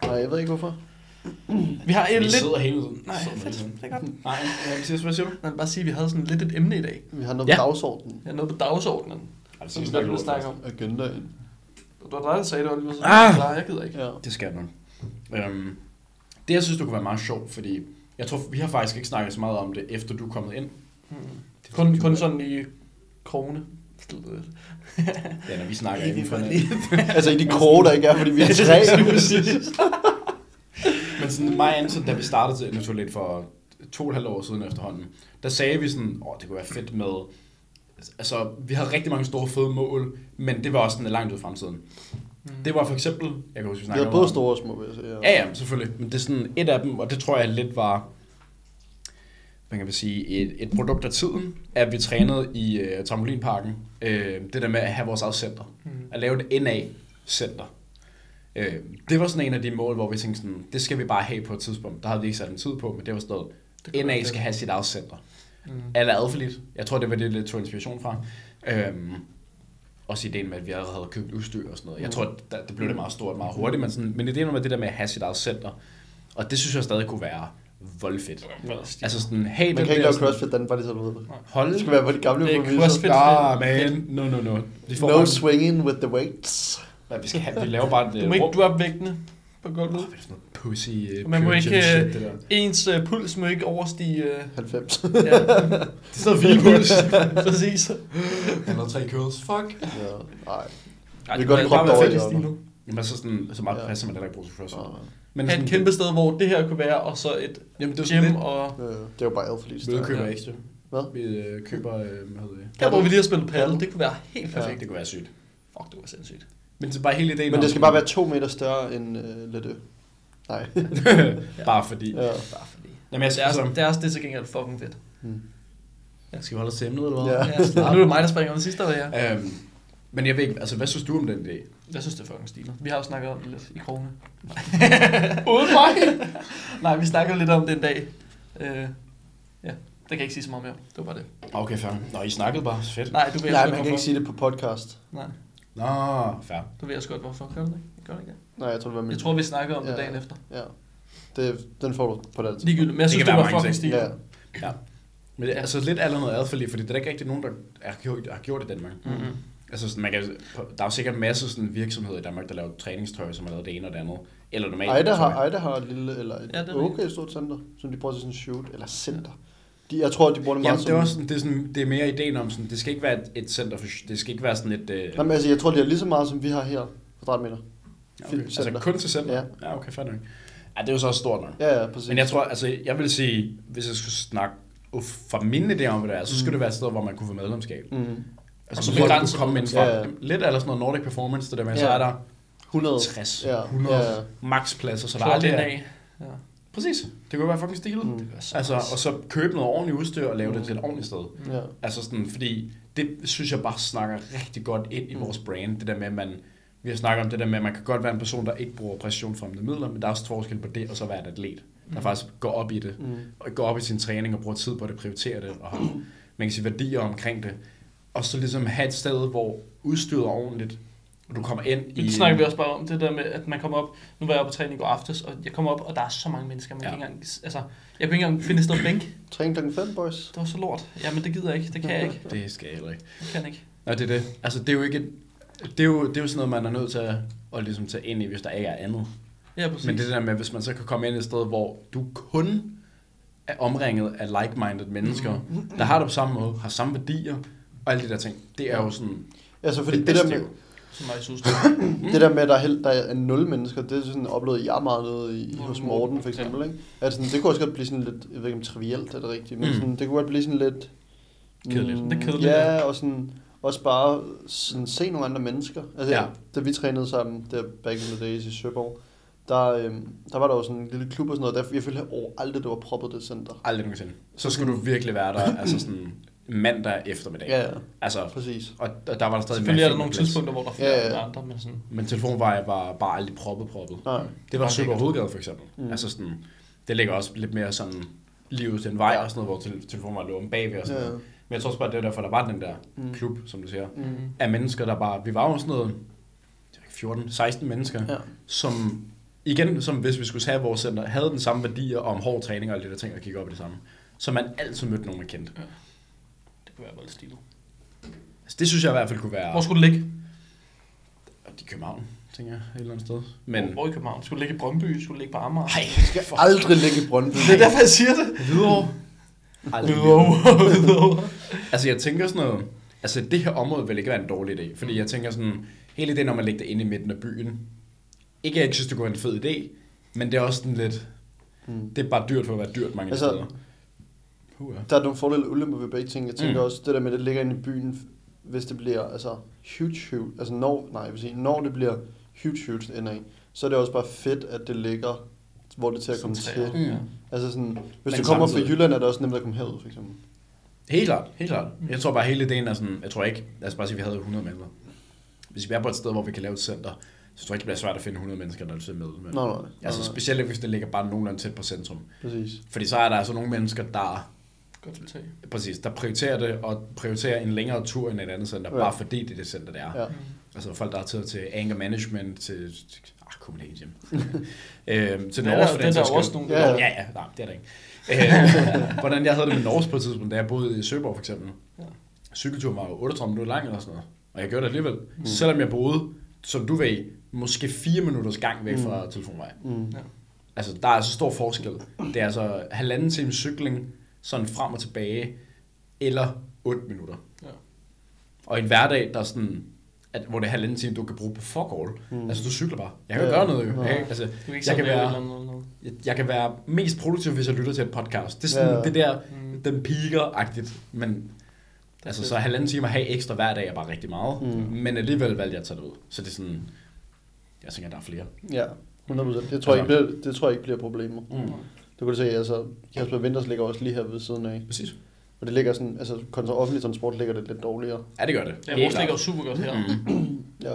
Speaker 1: Nej, jeg ved ikke hvorfor.
Speaker 2: Vi har et
Speaker 3: Vi
Speaker 2: lidt...
Speaker 3: sidder hele tiden.
Speaker 2: Nej,
Speaker 3: Sidder
Speaker 2: fedt.
Speaker 3: hele tiden.
Speaker 2: Det er godt.
Speaker 3: Nej, Mathias, hvad siger du?
Speaker 2: Jeg vil bare sige, at vi havde sådan lidt et emne i dag.
Speaker 1: Vi har noget på
Speaker 3: Ja.
Speaker 1: dagsordenen.
Speaker 2: Jeg er noget på dagsordenen, som vi
Speaker 3: Altså,
Speaker 2: godt ville snakke om.
Speaker 1: Agendaen.
Speaker 2: Det var dig, der sagde det, Oliver. Så
Speaker 3: Ah!
Speaker 2: klar, jeg gider ikke.
Speaker 1: Ja.
Speaker 3: Det skal du. Øhm, det, jeg synes, det kunne være meget sjovt, fordi jeg tror, vi har faktisk ikke snakket så meget om det, efter du er kommet ind. Det er
Speaker 2: Kun,
Speaker 3: fordi,
Speaker 2: kun
Speaker 3: du-
Speaker 2: sådan i krone.
Speaker 3: Ja, når vi snakker
Speaker 2: Ikke
Speaker 3: inden for
Speaker 2: bare
Speaker 3: hinanden.
Speaker 1: Altså i de kroge, der ikke er, fordi vi er tre.
Speaker 3: Lige præcis. Men sådan mig og Anton, da vi startede til Naturligt for to og et halvt år siden efterhånden, der sagde vi sådan, åh, det kunne være fedt med... Altså, vi havde rigtig mange store fede mål, men det var også sådan langt ud i fremtiden. Det var for eksempel... Jeg kan huske, vi
Speaker 1: Vi
Speaker 3: snakkede
Speaker 1: har både
Speaker 3: om-
Speaker 1: store og små, vil jeg sige. Ja.
Speaker 3: Ja, ja, selvfølgelig. Men det er sådan et af dem, og det tror jeg lidt var, man kan vel sige, et, et produkt af tiden, at vi trænede i øh, trampolinparken. Øh, det der med at have vores eget center. Mm. At lave et NA-center. Øh, det var sådan en af de mål, hvor vi tænkte sådan, det skal vi bare have på et tidspunkt. Der havde vi ikke sat en tid på, men det var sådan noget,
Speaker 2: kunne
Speaker 3: NA
Speaker 2: være fedt.
Speaker 3: skal have sit eget center. Mm. Eller adfærdigt. Jeg tror, det var det, det tog inspiration fra. Øh, også ideen med, at vi allerede havde købt udstyr og sådan
Speaker 1: Mm.
Speaker 3: noget. Jeg tror, at der, det blev det meget stort meget hurtigt, men, sådan, men ideen om at det der med at have sit eget center, og det synes jeg stadig kunne være voldfedt.
Speaker 2: Ja.
Speaker 3: Altså sådan, hey,
Speaker 1: Man kan ikke lave crossfit, den bare lige sådan ved det.
Speaker 3: Hold
Speaker 1: Det skal være på de gamle
Speaker 2: Det er
Speaker 1: kompromiser.
Speaker 2: crossfit.
Speaker 3: Ah, man. No, no, no. Vi får
Speaker 1: No
Speaker 3: bare-
Speaker 1: swinging with the weights.
Speaker 3: Nej, vi, skal have, vi laver bare et
Speaker 2: Du må ikke droppe vægtene på gulvet.
Speaker 3: Åh, hvad er det for noget pussy uh,
Speaker 2: Man må ikke,
Speaker 3: shit,
Speaker 2: øh,
Speaker 3: det der. Det
Speaker 2: Ens øh, puls må ikke overstige... Øh,
Speaker 1: 90.
Speaker 2: ja,
Speaker 3: er sådan noget hvilepuls.
Speaker 2: præcis.
Speaker 3: Eller tre curls. Fuck.
Speaker 1: ja, nej.
Speaker 3: Ej,
Speaker 1: Vi kan godt proppe
Speaker 3: må bare være
Speaker 1: dig over i
Speaker 3: fedt i
Speaker 1: hjørnet.
Speaker 3: nu. Jamen så, sådan, så meget
Speaker 1: Ja.
Speaker 3: passer man heller ikke bruge til CrossFit.
Speaker 1: Og,
Speaker 3: Men
Speaker 2: Have et kæmpe sted, hvor det her kunne være, og så et
Speaker 3: Jamen det er sådan
Speaker 2: gym
Speaker 3: lidt...
Speaker 2: og...
Speaker 1: øh, det er jo bare alt for lige
Speaker 3: Vi køber
Speaker 2: Ja.
Speaker 3: ekstra.
Speaker 1: Hvad?
Speaker 3: Vi øh, køber, øh, hvad hedder det?
Speaker 2: Der, hvor vi lige har spillet paddle, det kunne være helt
Speaker 3: Ja.
Speaker 2: perfekt.
Speaker 3: Det kunne være sygt.
Speaker 2: Fuck, det var sindssygt.
Speaker 3: Men det er bare hele ideen
Speaker 1: Men
Speaker 3: om-
Speaker 1: det skal bare være to meter større end øh, Letø. Nej.
Speaker 3: bare fordi.
Speaker 1: ja.
Speaker 2: Bare fordi.
Speaker 3: Jamen jeg skal
Speaker 2: Deres,
Speaker 3: altså...
Speaker 2: deres det er til gengæld fucking fedt.
Speaker 3: Skal vi holde os til emnet, eller hvad?
Speaker 1: Ja.
Speaker 2: Ja, altså, nu er det mig, der springer den sidste, eller ja.
Speaker 3: Øhm, men jeg ved ikke, altså hvad synes du om den idé?
Speaker 2: Jeg synes, det er fucking stilet. Vi har jo snakket om det lidt i krone.
Speaker 3: Uden mig?
Speaker 2: Nej, vi snakkede lidt om det en dag. Øh, ja, det kan jeg ikke sige så meget mere. om. Det var bare det.
Speaker 3: Okay, fair. Nå, I snakkede bare. Fedt.
Speaker 2: Nej, du ved
Speaker 1: Nej, man
Speaker 2: også godt,
Speaker 1: kan ikke
Speaker 2: hvorfor.
Speaker 1: sige det på podcast.
Speaker 2: Nej,
Speaker 3: Nå, fair.
Speaker 2: du ved også godt, hvorfor. Gør du det ikke? Gør du ikke det?
Speaker 1: Nej, jeg tror, det var min.
Speaker 2: Jeg tror, vi snakkede om det
Speaker 1: Ja.
Speaker 2: dagen efter.
Speaker 1: Ja. Det, den får du på det. tidspunkt.
Speaker 2: Ligegyldigt, men jeg
Speaker 3: Det
Speaker 2: synes,
Speaker 3: kan
Speaker 2: det,
Speaker 3: være
Speaker 2: var
Speaker 3: mange
Speaker 2: fucking
Speaker 3: ting.
Speaker 2: stilet.
Speaker 1: Ja.
Speaker 3: Ja. Men det er altså lidt allerede noget adfærd, lige, fordi det er der ikke rigtig nogen, der har gjort, har gjort i Danmark.
Speaker 2: Mm-hmm.
Speaker 3: Altså, sådan, man kan, der er jo sikkert en masse sådan, virksomheder i Danmark, der laver træningstøj, som har lavet det ene og det andet. Eller normalt.
Speaker 1: Ejda har,
Speaker 3: tøj.
Speaker 1: Ejda har et lille, eller et
Speaker 2: Ja,
Speaker 1: ja,
Speaker 2: det er
Speaker 1: okay stort center, som de bruger til sådan en shoot, eller center. De, jeg tror, de bruger det meget
Speaker 3: Jamen, det er, også
Speaker 1: som...
Speaker 3: sådan, det, er sådan, det er mere ideen om, sådan, det skal ikke være et, et center, for, det skal ikke være sådan et... Øh,
Speaker 1: Jamen, altså, jeg tror, de har lige så meget, som vi har her, kvadratmeter.
Speaker 3: okay. Altså
Speaker 1: filmcenter.
Speaker 3: kun til center?
Speaker 1: Ja.
Speaker 3: ja okay, fair nok. Ja, det er jo så også stort nok.
Speaker 1: Ja, ja, præcis.
Speaker 3: Men jeg tror, altså, jeg vil sige, hvis jeg skulle snakke uf, fra min idé om, hvad det er, så skulle det være et sted, hvor man kunne få medlemskab.
Speaker 1: Mm.
Speaker 3: Altså,
Speaker 2: Og
Speaker 3: så
Speaker 2: så
Speaker 3: folk
Speaker 2: begrænse
Speaker 3: kunne komme ind fra.
Speaker 1: Ja, ja.
Speaker 3: Jamen, Lidt eller sådan noget Nordic Performance, det der med,
Speaker 1: Ja.
Speaker 3: så er der
Speaker 1: 100.
Speaker 3: 60,
Speaker 1: Ja,
Speaker 3: 100
Speaker 1: ja.
Speaker 3: max pladser, så der
Speaker 2: Klar,
Speaker 3: aldrig
Speaker 2: den
Speaker 3: er...
Speaker 2: af. Ja.
Speaker 3: Præcis, det kunne være fucking stilet.
Speaker 1: Mm.
Speaker 3: Mm. Altså, og så købe noget ordentligt udstyr og lave det til et ordentligt sted.
Speaker 1: Ja.
Speaker 3: Altså sådan, fordi det synes jeg bare snakker rigtig godt ind i
Speaker 2: Mm.
Speaker 3: vores brand, det der med, at man, vi har snakket om det der med, at man kan godt være en person, der ikke bruger præstationsfremmende midler, men der er også forskel på det, og så være et atlet,
Speaker 2: Mm.
Speaker 3: der faktisk går op i det,
Speaker 1: Mm.
Speaker 3: og går op i sin træning og bruger tid på det, prioriterer det, og har, man kan sige, værdier omkring det, og så ligesom have et sted, hvor udstyret er ordentligt, og du kommer ind i...
Speaker 2: Det snakker vi også bare om, det der med, at man kommer op, nu var jeg på træning i går aftes, og jeg kommer op, og der er så mange mennesker, man ja.
Speaker 3: Ja.
Speaker 2: kan ikke engang, altså, jeg kunne ikke engang finde et sted at bænke.
Speaker 1: Træning klokken 5, boys.
Speaker 2: Det var så lort. Jamen, det gider jeg ikke, det kan jeg ikke,
Speaker 3: Det skal jeg heller ikke.
Speaker 2: det kan jeg ikke.
Speaker 3: Nå, det er det. Altså, det er jo ikke... et- Det er jo, det er jo sådan noget, man er nødt til at, at ligesom tage ind i, hvis der ikke er andet.
Speaker 2: Ja, præcis.
Speaker 3: Men det der med, hvis man så kan komme ind et sted, hvor du kun er omringet af like-minded mennesker,
Speaker 1: Mm-hmm.
Speaker 3: der har det på samme måde, har samme værdier, og alle de der ting, det er jo sådan...
Speaker 1: Altså, fordi det,
Speaker 3: bedste,
Speaker 1: der med,
Speaker 3: jo.
Speaker 2: Som mig synes.
Speaker 1: Mm. Det der med, at der er, hel, der er nul mennesker, det er sådan oplevet jeg meget noget i,
Speaker 2: Hos
Speaker 1: hos
Speaker 2: Morten.
Speaker 1: Morten for eksempel. Ikke? Altså, sådan, det kunne også godt blive sådan lidt, jeg ved ikke om trivielt er det rigtigt, men
Speaker 3: Mm.
Speaker 1: sådan, det kunne godt blive sådan lidt... mm,
Speaker 3: Kedeligt.
Speaker 2: Det er kedeligt,
Speaker 1: Ja, og sådan, også bare sådan, se nogle andre mennesker. Altså,
Speaker 3: Ja.
Speaker 1: ja. da vi trænede sammen, der back in the days i Søborg, der, øhm, der var der jo sådan en lille klub og sådan noget, der jeg følte over aldrig, det var proppet det center.
Speaker 3: Aldrig nogensinde. Så skulle du virkelig være der, altså sådan mandag eftermiddag.
Speaker 1: Ja, ja,
Speaker 3: Altså,
Speaker 1: præcis.
Speaker 3: og og der var der stadig
Speaker 2: Selvfølgelig er der
Speaker 3: masser af
Speaker 2: nogle
Speaker 3: plads.
Speaker 2: tidspunkter, hvor der er
Speaker 1: Ja,
Speaker 2: flere
Speaker 1: ja.
Speaker 2: end andre, men sådan...
Speaker 3: Men telefonveje var bare aldrig proppet, proppet.
Speaker 1: Nej.
Speaker 3: Det var
Speaker 2: Bare
Speaker 3: Søborg
Speaker 2: lækkert.
Speaker 3: Hovedgade for eksempel. Mm. Altså sådan, det ligger også lidt mere sådan livet til en vej og sådan noget, hvor tele- telefonen var lånt bagved og sådan
Speaker 1: Ja.
Speaker 3: noget. Men jeg tror også bare, det var derfor, der var den der mm. klub, som du siger, mm. af mennesker, der bare, vi var jo sådan noget, jeg ved ikke, 14-16 mennesker,
Speaker 1: Ja.
Speaker 3: som igen, som hvis vi skulle tage vores center, havde den samme værdier om hård træning og alle de der ting, og gik op i det samme. Så man altid mødte nogen, man kendte.
Speaker 2: Det kunne være voldt stilet.
Speaker 3: Altså, det synes jeg i hvert fald kunne være,
Speaker 2: Hvor skulle det ligge?
Speaker 3: i København, tænker jeg, et eller andet sted. Men,
Speaker 2: Hvor, hvor i København? Skulle det ligge i Brøndby? Skulle det ligge på Amager?
Speaker 3: nej,
Speaker 1: Jeg skal aldrig ligge i Brøndby.
Speaker 2: Det er derfor, jeg siger det.
Speaker 3: Hvidovre. Aldrig.
Speaker 2: Hvidovre.
Speaker 3: Altså, jeg tænker sådan noget... Altså, det her område vil ikke være en dårlig idé. Fordi jeg tænker sådan... Hele ideen om at lægge det inde i midten af byen. Ikke, at jeg ikke synes, det kunne være en fed idé. Men det er også sådan lidt... Mm. Det er bare dyrt for at være dyrt mange altså,
Speaker 1: Altså-
Speaker 3: steder. Puh, ja.
Speaker 1: Der er nogle fordele og ulemper ved begge ting. Jeg tænker mm. også, det der med, at det ligger inde i byen, hvis det bliver altså, huge, huge, altså når, nej, jeg vil sige, når det bliver huge, huge NA, så er det også bare fedt, at det ligger, hvor det er til at komme
Speaker 2: Centreret.
Speaker 1: til.
Speaker 3: Mm.
Speaker 1: Altså sådan, hvis du
Speaker 3: Men
Speaker 1: kommer
Speaker 3: samtidig-
Speaker 1: fra Jylland, er det også nemt at komme herud, for eksempel.
Speaker 3: Helt klart, helt klart. Jeg tror bare, hele ideen er sådan... Jeg tror ikke... Lad os bare sige, at vi havde 100 mennesker. Hvis vi er på et sted, hvor vi kan lave et center, så tror jeg ikke, det bliver svært at finde 100 mennesker, der vil sidde med. Men,
Speaker 1: Nå, nej, nej.
Speaker 3: altså specielt ikke, hvis det ligger bare nogenlunde tæt på centrum.
Speaker 1: Præcis.
Speaker 3: Fordi så er der altså nogle mennesker, der
Speaker 2: Godt vil tage.
Speaker 3: Præcis, der prioriterer det, og prioriterer en længere tur end et andet center, ja.
Speaker 1: Ja.
Speaker 3: bare fordi det er det center, det er.
Speaker 1: Ja.
Speaker 3: Altså folk, der har taget til anger management, til... til ah, Copenhagen Gym. øhm, til
Speaker 2: Den er der-
Speaker 3: Norge, for
Speaker 2: den er der
Speaker 3: sags skyld.
Speaker 2: også nogle-
Speaker 3: Ja, ja, ja, nej, det er der ikke. Øh, hvordan jeg havde det med Norge på et tidspunkt, da jeg boede i Søborg for eksempel.
Speaker 2: Ja.
Speaker 3: Cykelturen var jo 38 minutter lang eller sådan noget. Og jeg gjorde det alligevel. Mm. Selvom jeg boede, som du ved, måske 4 minutters gang væk fra telefonvej.
Speaker 1: Mm.
Speaker 2: Ja.
Speaker 3: Altså, der er så stor forskel. Det er altså halvanden time cykling, sådan frem og tilbage, eller 8 minutter.
Speaker 2: Ja.
Speaker 3: Og en hverdag, der er sådan, at, hvor det er halvanden time, du kan bruge på fuck all. Mm. Altså, du cykler bare. Jeg kan jo
Speaker 1: Ja,
Speaker 3: gøre noget jo.
Speaker 1: ja.
Speaker 3: Jeg, kan- altså,
Speaker 2: Du kan ikke sidde
Speaker 3: jeg, kan
Speaker 2: og lave et
Speaker 3: være,
Speaker 2: eller andet. eller noget.
Speaker 3: jeg, jeg kan være mest produktiv, hvis jeg lytter til et podcast. Det er sådan
Speaker 1: Ja.
Speaker 3: det der,
Speaker 2: Mm.
Speaker 3: den piker-agtigt. Men altså,
Speaker 2: fedt.
Speaker 3: så halvanden time at have ekstra hver dag er bare rigtig meget. Mm.
Speaker 1: Mm.
Speaker 3: Men alligevel valgte jeg at tage det ud. Så det er sådan, jeg tænker, der er flere.
Speaker 1: Ja, 100%. Det tror, jeg ikke bliver, det tror jeg ikke bliver problemer.
Speaker 3: Altså- Mm.
Speaker 1: Du kan du se, altså Kasper Winters ligger også lige her ved siden af.
Speaker 3: Præcis.
Speaker 1: Og det ligger sådan, altså kontra offentlig transport ligger det lidt dårligere.
Speaker 3: Ja, det gør det.
Speaker 2: Ja,
Speaker 3: Helt
Speaker 2: vores ligger jo
Speaker 3: klart.
Speaker 2: super godt her.
Speaker 1: Ja,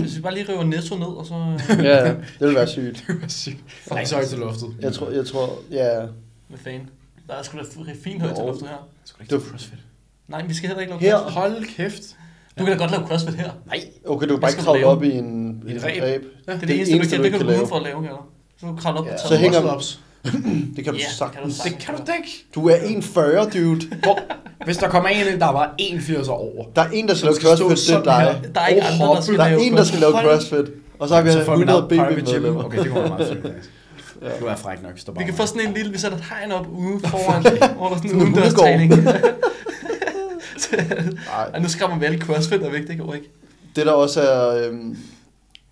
Speaker 2: Hvis vi bare lige river Netto ned, og så... øh,
Speaker 1: ja ja, det vil være sygt.
Speaker 3: Der er ikke så højt til loftet.
Speaker 1: Jeg tror, jeg tror, ja,
Speaker 2: Hvad fanden? Der er sgu da f- fint højt til
Speaker 1: Jo.
Speaker 2: loftet her.
Speaker 3: Det skulle da ikke
Speaker 1: Det-
Speaker 3: til CrossFit.
Speaker 2: Nej, vi skal heller ikke lave
Speaker 1: Her.
Speaker 2: crossfit.
Speaker 3: Hold kæft.
Speaker 2: Du kan da godt lave crossfit her.
Speaker 3: Nej.
Speaker 1: okay, du kan bare
Speaker 2: Hvad
Speaker 1: ikke
Speaker 2: skal
Speaker 1: kravle
Speaker 2: du lave?
Speaker 1: op i en,
Speaker 3: I et
Speaker 1: en ræb.
Speaker 3: ræb. Ja,
Speaker 2: Det er
Speaker 1: Det
Speaker 2: det eneste,
Speaker 1: eneste,
Speaker 2: du kan.
Speaker 1: du
Speaker 2: Det kan
Speaker 1: ikke
Speaker 2: du
Speaker 1: kan
Speaker 2: gå
Speaker 1: lave.
Speaker 2: ud for at lave her. Så kan du kravle op
Speaker 1: Ja.
Speaker 2: på
Speaker 1: Så
Speaker 2: taget.
Speaker 1: hænger-
Speaker 3: Muscle-ups.
Speaker 1: Det kan du
Speaker 2: Ja,
Speaker 1: sagtens.
Speaker 2: kan du
Speaker 3: Det
Speaker 2: sagtens.
Speaker 3: kan du da ikke.
Speaker 1: Du er 1,40, dude.
Speaker 3: Hvor, hvis der kommer en ind, der var 81 år over.
Speaker 1: Der er en, der skal
Speaker 3: Som
Speaker 1: lave
Speaker 3: skal stå
Speaker 1: crossfit, det er
Speaker 3: sådan
Speaker 1: dig.
Speaker 3: her.
Speaker 2: Der er ikke
Speaker 3: Åh,
Speaker 2: andre, der
Speaker 3: hoppe.
Speaker 2: skal
Speaker 1: Der er
Speaker 2: lave
Speaker 1: en, der skal lave
Speaker 2: Hold-
Speaker 1: crossfit. Og så har vi altså
Speaker 3: Så får vi
Speaker 1: 100
Speaker 3: lavet private gym.
Speaker 1: BB-medlemmer.
Speaker 3: Okay, det kunne være meget fedt, faktisk. Du er fræk nok, hvis der bare
Speaker 2: Vi kan
Speaker 3: er
Speaker 2: få
Speaker 3: mig.
Speaker 2: sådan en lille, vi sætter et hegn op ude foran, hvor der er sådan en
Speaker 1: en
Speaker 2: udendørstræning. Så-
Speaker 1: Nej,
Speaker 2: Ej, nu skræmmer vi alle crossfit væk, det går ikke.
Speaker 1: Det der også er, øhm,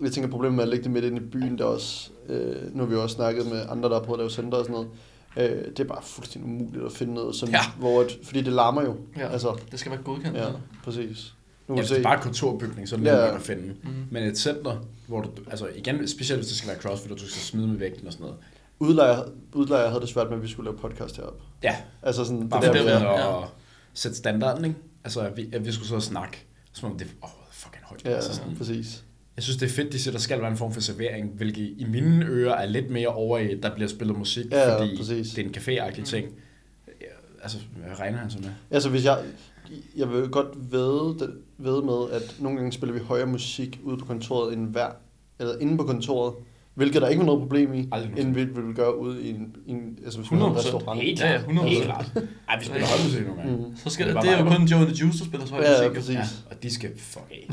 Speaker 1: jeg tænker problemet med at lægge det midt inde i byen, der også, øh, nu har vi jo også snakket med andre, der har prøvet at lave center og sådan noget, øh, det er bare fuldstændig umuligt at finde noget, som,
Speaker 3: Ja.
Speaker 1: ja. hvor et, fordi det larmer jo.
Speaker 2: Ja.
Speaker 1: Altså,
Speaker 2: Det skal være godkendt.
Speaker 1: ja,
Speaker 2: eller?
Speaker 1: præcis. Nu
Speaker 3: Ja,
Speaker 1: kan
Speaker 3: hvis
Speaker 1: ja, se.
Speaker 3: det er bare en kontorbygning, så er det
Speaker 1: Ja.
Speaker 3: nemt nok at finde.
Speaker 2: Mm.
Speaker 3: Men et center, hvor du, altså igen, specielt hvis det skal være crossfit, og du skal smide med vægten og sådan noget.
Speaker 1: Udlejer, udlejer havde det svært med, at vi skulle lave podcast heroppe.
Speaker 3: Ja,
Speaker 1: Altså sådan,
Speaker 3: bare
Speaker 1: det
Speaker 3: for
Speaker 1: der,
Speaker 2: det,
Speaker 1: vi
Speaker 3: det
Speaker 1: er.
Speaker 3: at sætte standarden, ikke? Altså, at vi, at vi skulle så snakke, som om det åh, oh, fucking højt.
Speaker 1: Ja,
Speaker 3: altså, sådan,
Speaker 1: præcis.
Speaker 3: Jeg synes, det er fedt, de siger, der skal være en form for servering, hvilket i mine ører er lidt mere over i, at der bliver spillet musik,
Speaker 1: Ja, ja,
Speaker 3: fordi
Speaker 1: præcis.
Speaker 3: det er en café-agtig ting. Ja, Altså, hvad regner han så med?
Speaker 1: Altså hvis jeg, jeg vil godt ved, ved med, at nogle gange spiller vi højere musik ude på kontoret end hver, eller inde på kontoret, hvilket der ikke var noget problem i,
Speaker 3: Aldrig nogensinde.
Speaker 1: end vi ville gøre ude i en, i en altså hvis vi havde en
Speaker 2: 100%.
Speaker 1: restaurant.
Speaker 2: Helt klart. Ja, 100%.
Speaker 3: Helt klart. Ej, vi spiller højmusik nogle gange.
Speaker 1: Mm.
Speaker 2: Så skal,
Speaker 3: Det
Speaker 2: det,
Speaker 3: var
Speaker 2: det er jo
Speaker 3: bare-
Speaker 2: kun Joe and the Juice, der spiller så højt
Speaker 1: Ja,
Speaker 2: musik.
Speaker 1: ja,
Speaker 2: jo.
Speaker 1: præcis.
Speaker 3: Ja, og de skal fuck af.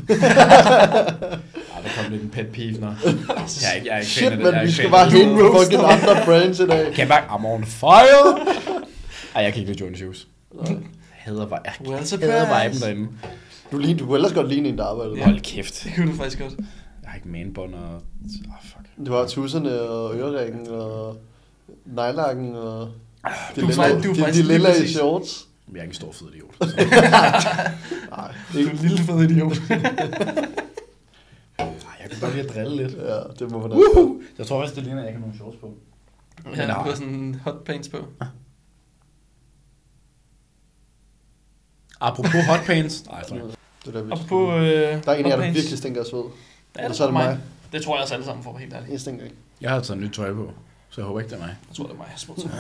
Speaker 3: Ej, der kom lidt en pet peeve, når... Jeg er ikke, jeg er ikke fan af
Speaker 1: Shit,
Speaker 3: det. Jeg er
Speaker 1: men vi
Speaker 3: ikke
Speaker 1: skal
Speaker 3: fan af
Speaker 1: bare
Speaker 3: det.
Speaker 1: hive nogle fucking andre brands i dag.
Speaker 3: Kan jeg bare... I'm on fire! Ej, jeg kan ikke lide Jonas Hughes. Jeg hader, vi- jeg
Speaker 2: Well,
Speaker 3: hader viben
Speaker 2: surprise.
Speaker 3: derinde.
Speaker 1: Du, ligner, du kunne ellers godt ligne en, der arbejder.
Speaker 2: Ja.
Speaker 1: Ja.
Speaker 3: Hold kæft.
Speaker 2: Det kunne du faktisk godt.
Speaker 3: Jeg har ikke manbånd og... Ah, fuck.
Speaker 1: Du har tusserne og øreringen og nejlakken og de,
Speaker 2: er
Speaker 1: lilla,
Speaker 2: faktisk- du er
Speaker 1: de, de
Speaker 2: faktisk lige
Speaker 1: lilla i
Speaker 2: præcis-
Speaker 1: shorts.
Speaker 3: Men jeg er ikke en stor fed idiot.
Speaker 1: Nej,
Speaker 2: Du er
Speaker 1: ikke.
Speaker 2: en lille fed idiot.
Speaker 3: Ej, jeg kan godt lide at drille lidt.
Speaker 1: Ja, det må man altså- da.
Speaker 3: Jeg tror faktisk, det ligner, at jeg ikke har nogen shorts på.
Speaker 2: Ja,
Speaker 3: nej.
Speaker 2: du har sådan en hot pants på.
Speaker 3: Apropos hotpants. Nej, sorry.
Speaker 1: Det er der, vi
Speaker 2: Og på
Speaker 1: Der
Speaker 2: øh,
Speaker 1: er en af jer, der
Speaker 2: hotpants.
Speaker 1: virkelig stinker af sved.
Speaker 2: Ja,
Speaker 1: Eller
Speaker 2: det
Speaker 1: så er det mig.
Speaker 2: Det tror jeg også alle sammen får helt ærligt.
Speaker 1: Jeg stinker ikke.
Speaker 3: Jeg har taget nyt tøj på, så jeg håber ikke, det er mig.
Speaker 2: Jeg tror, det er mig, jeg spurgte til.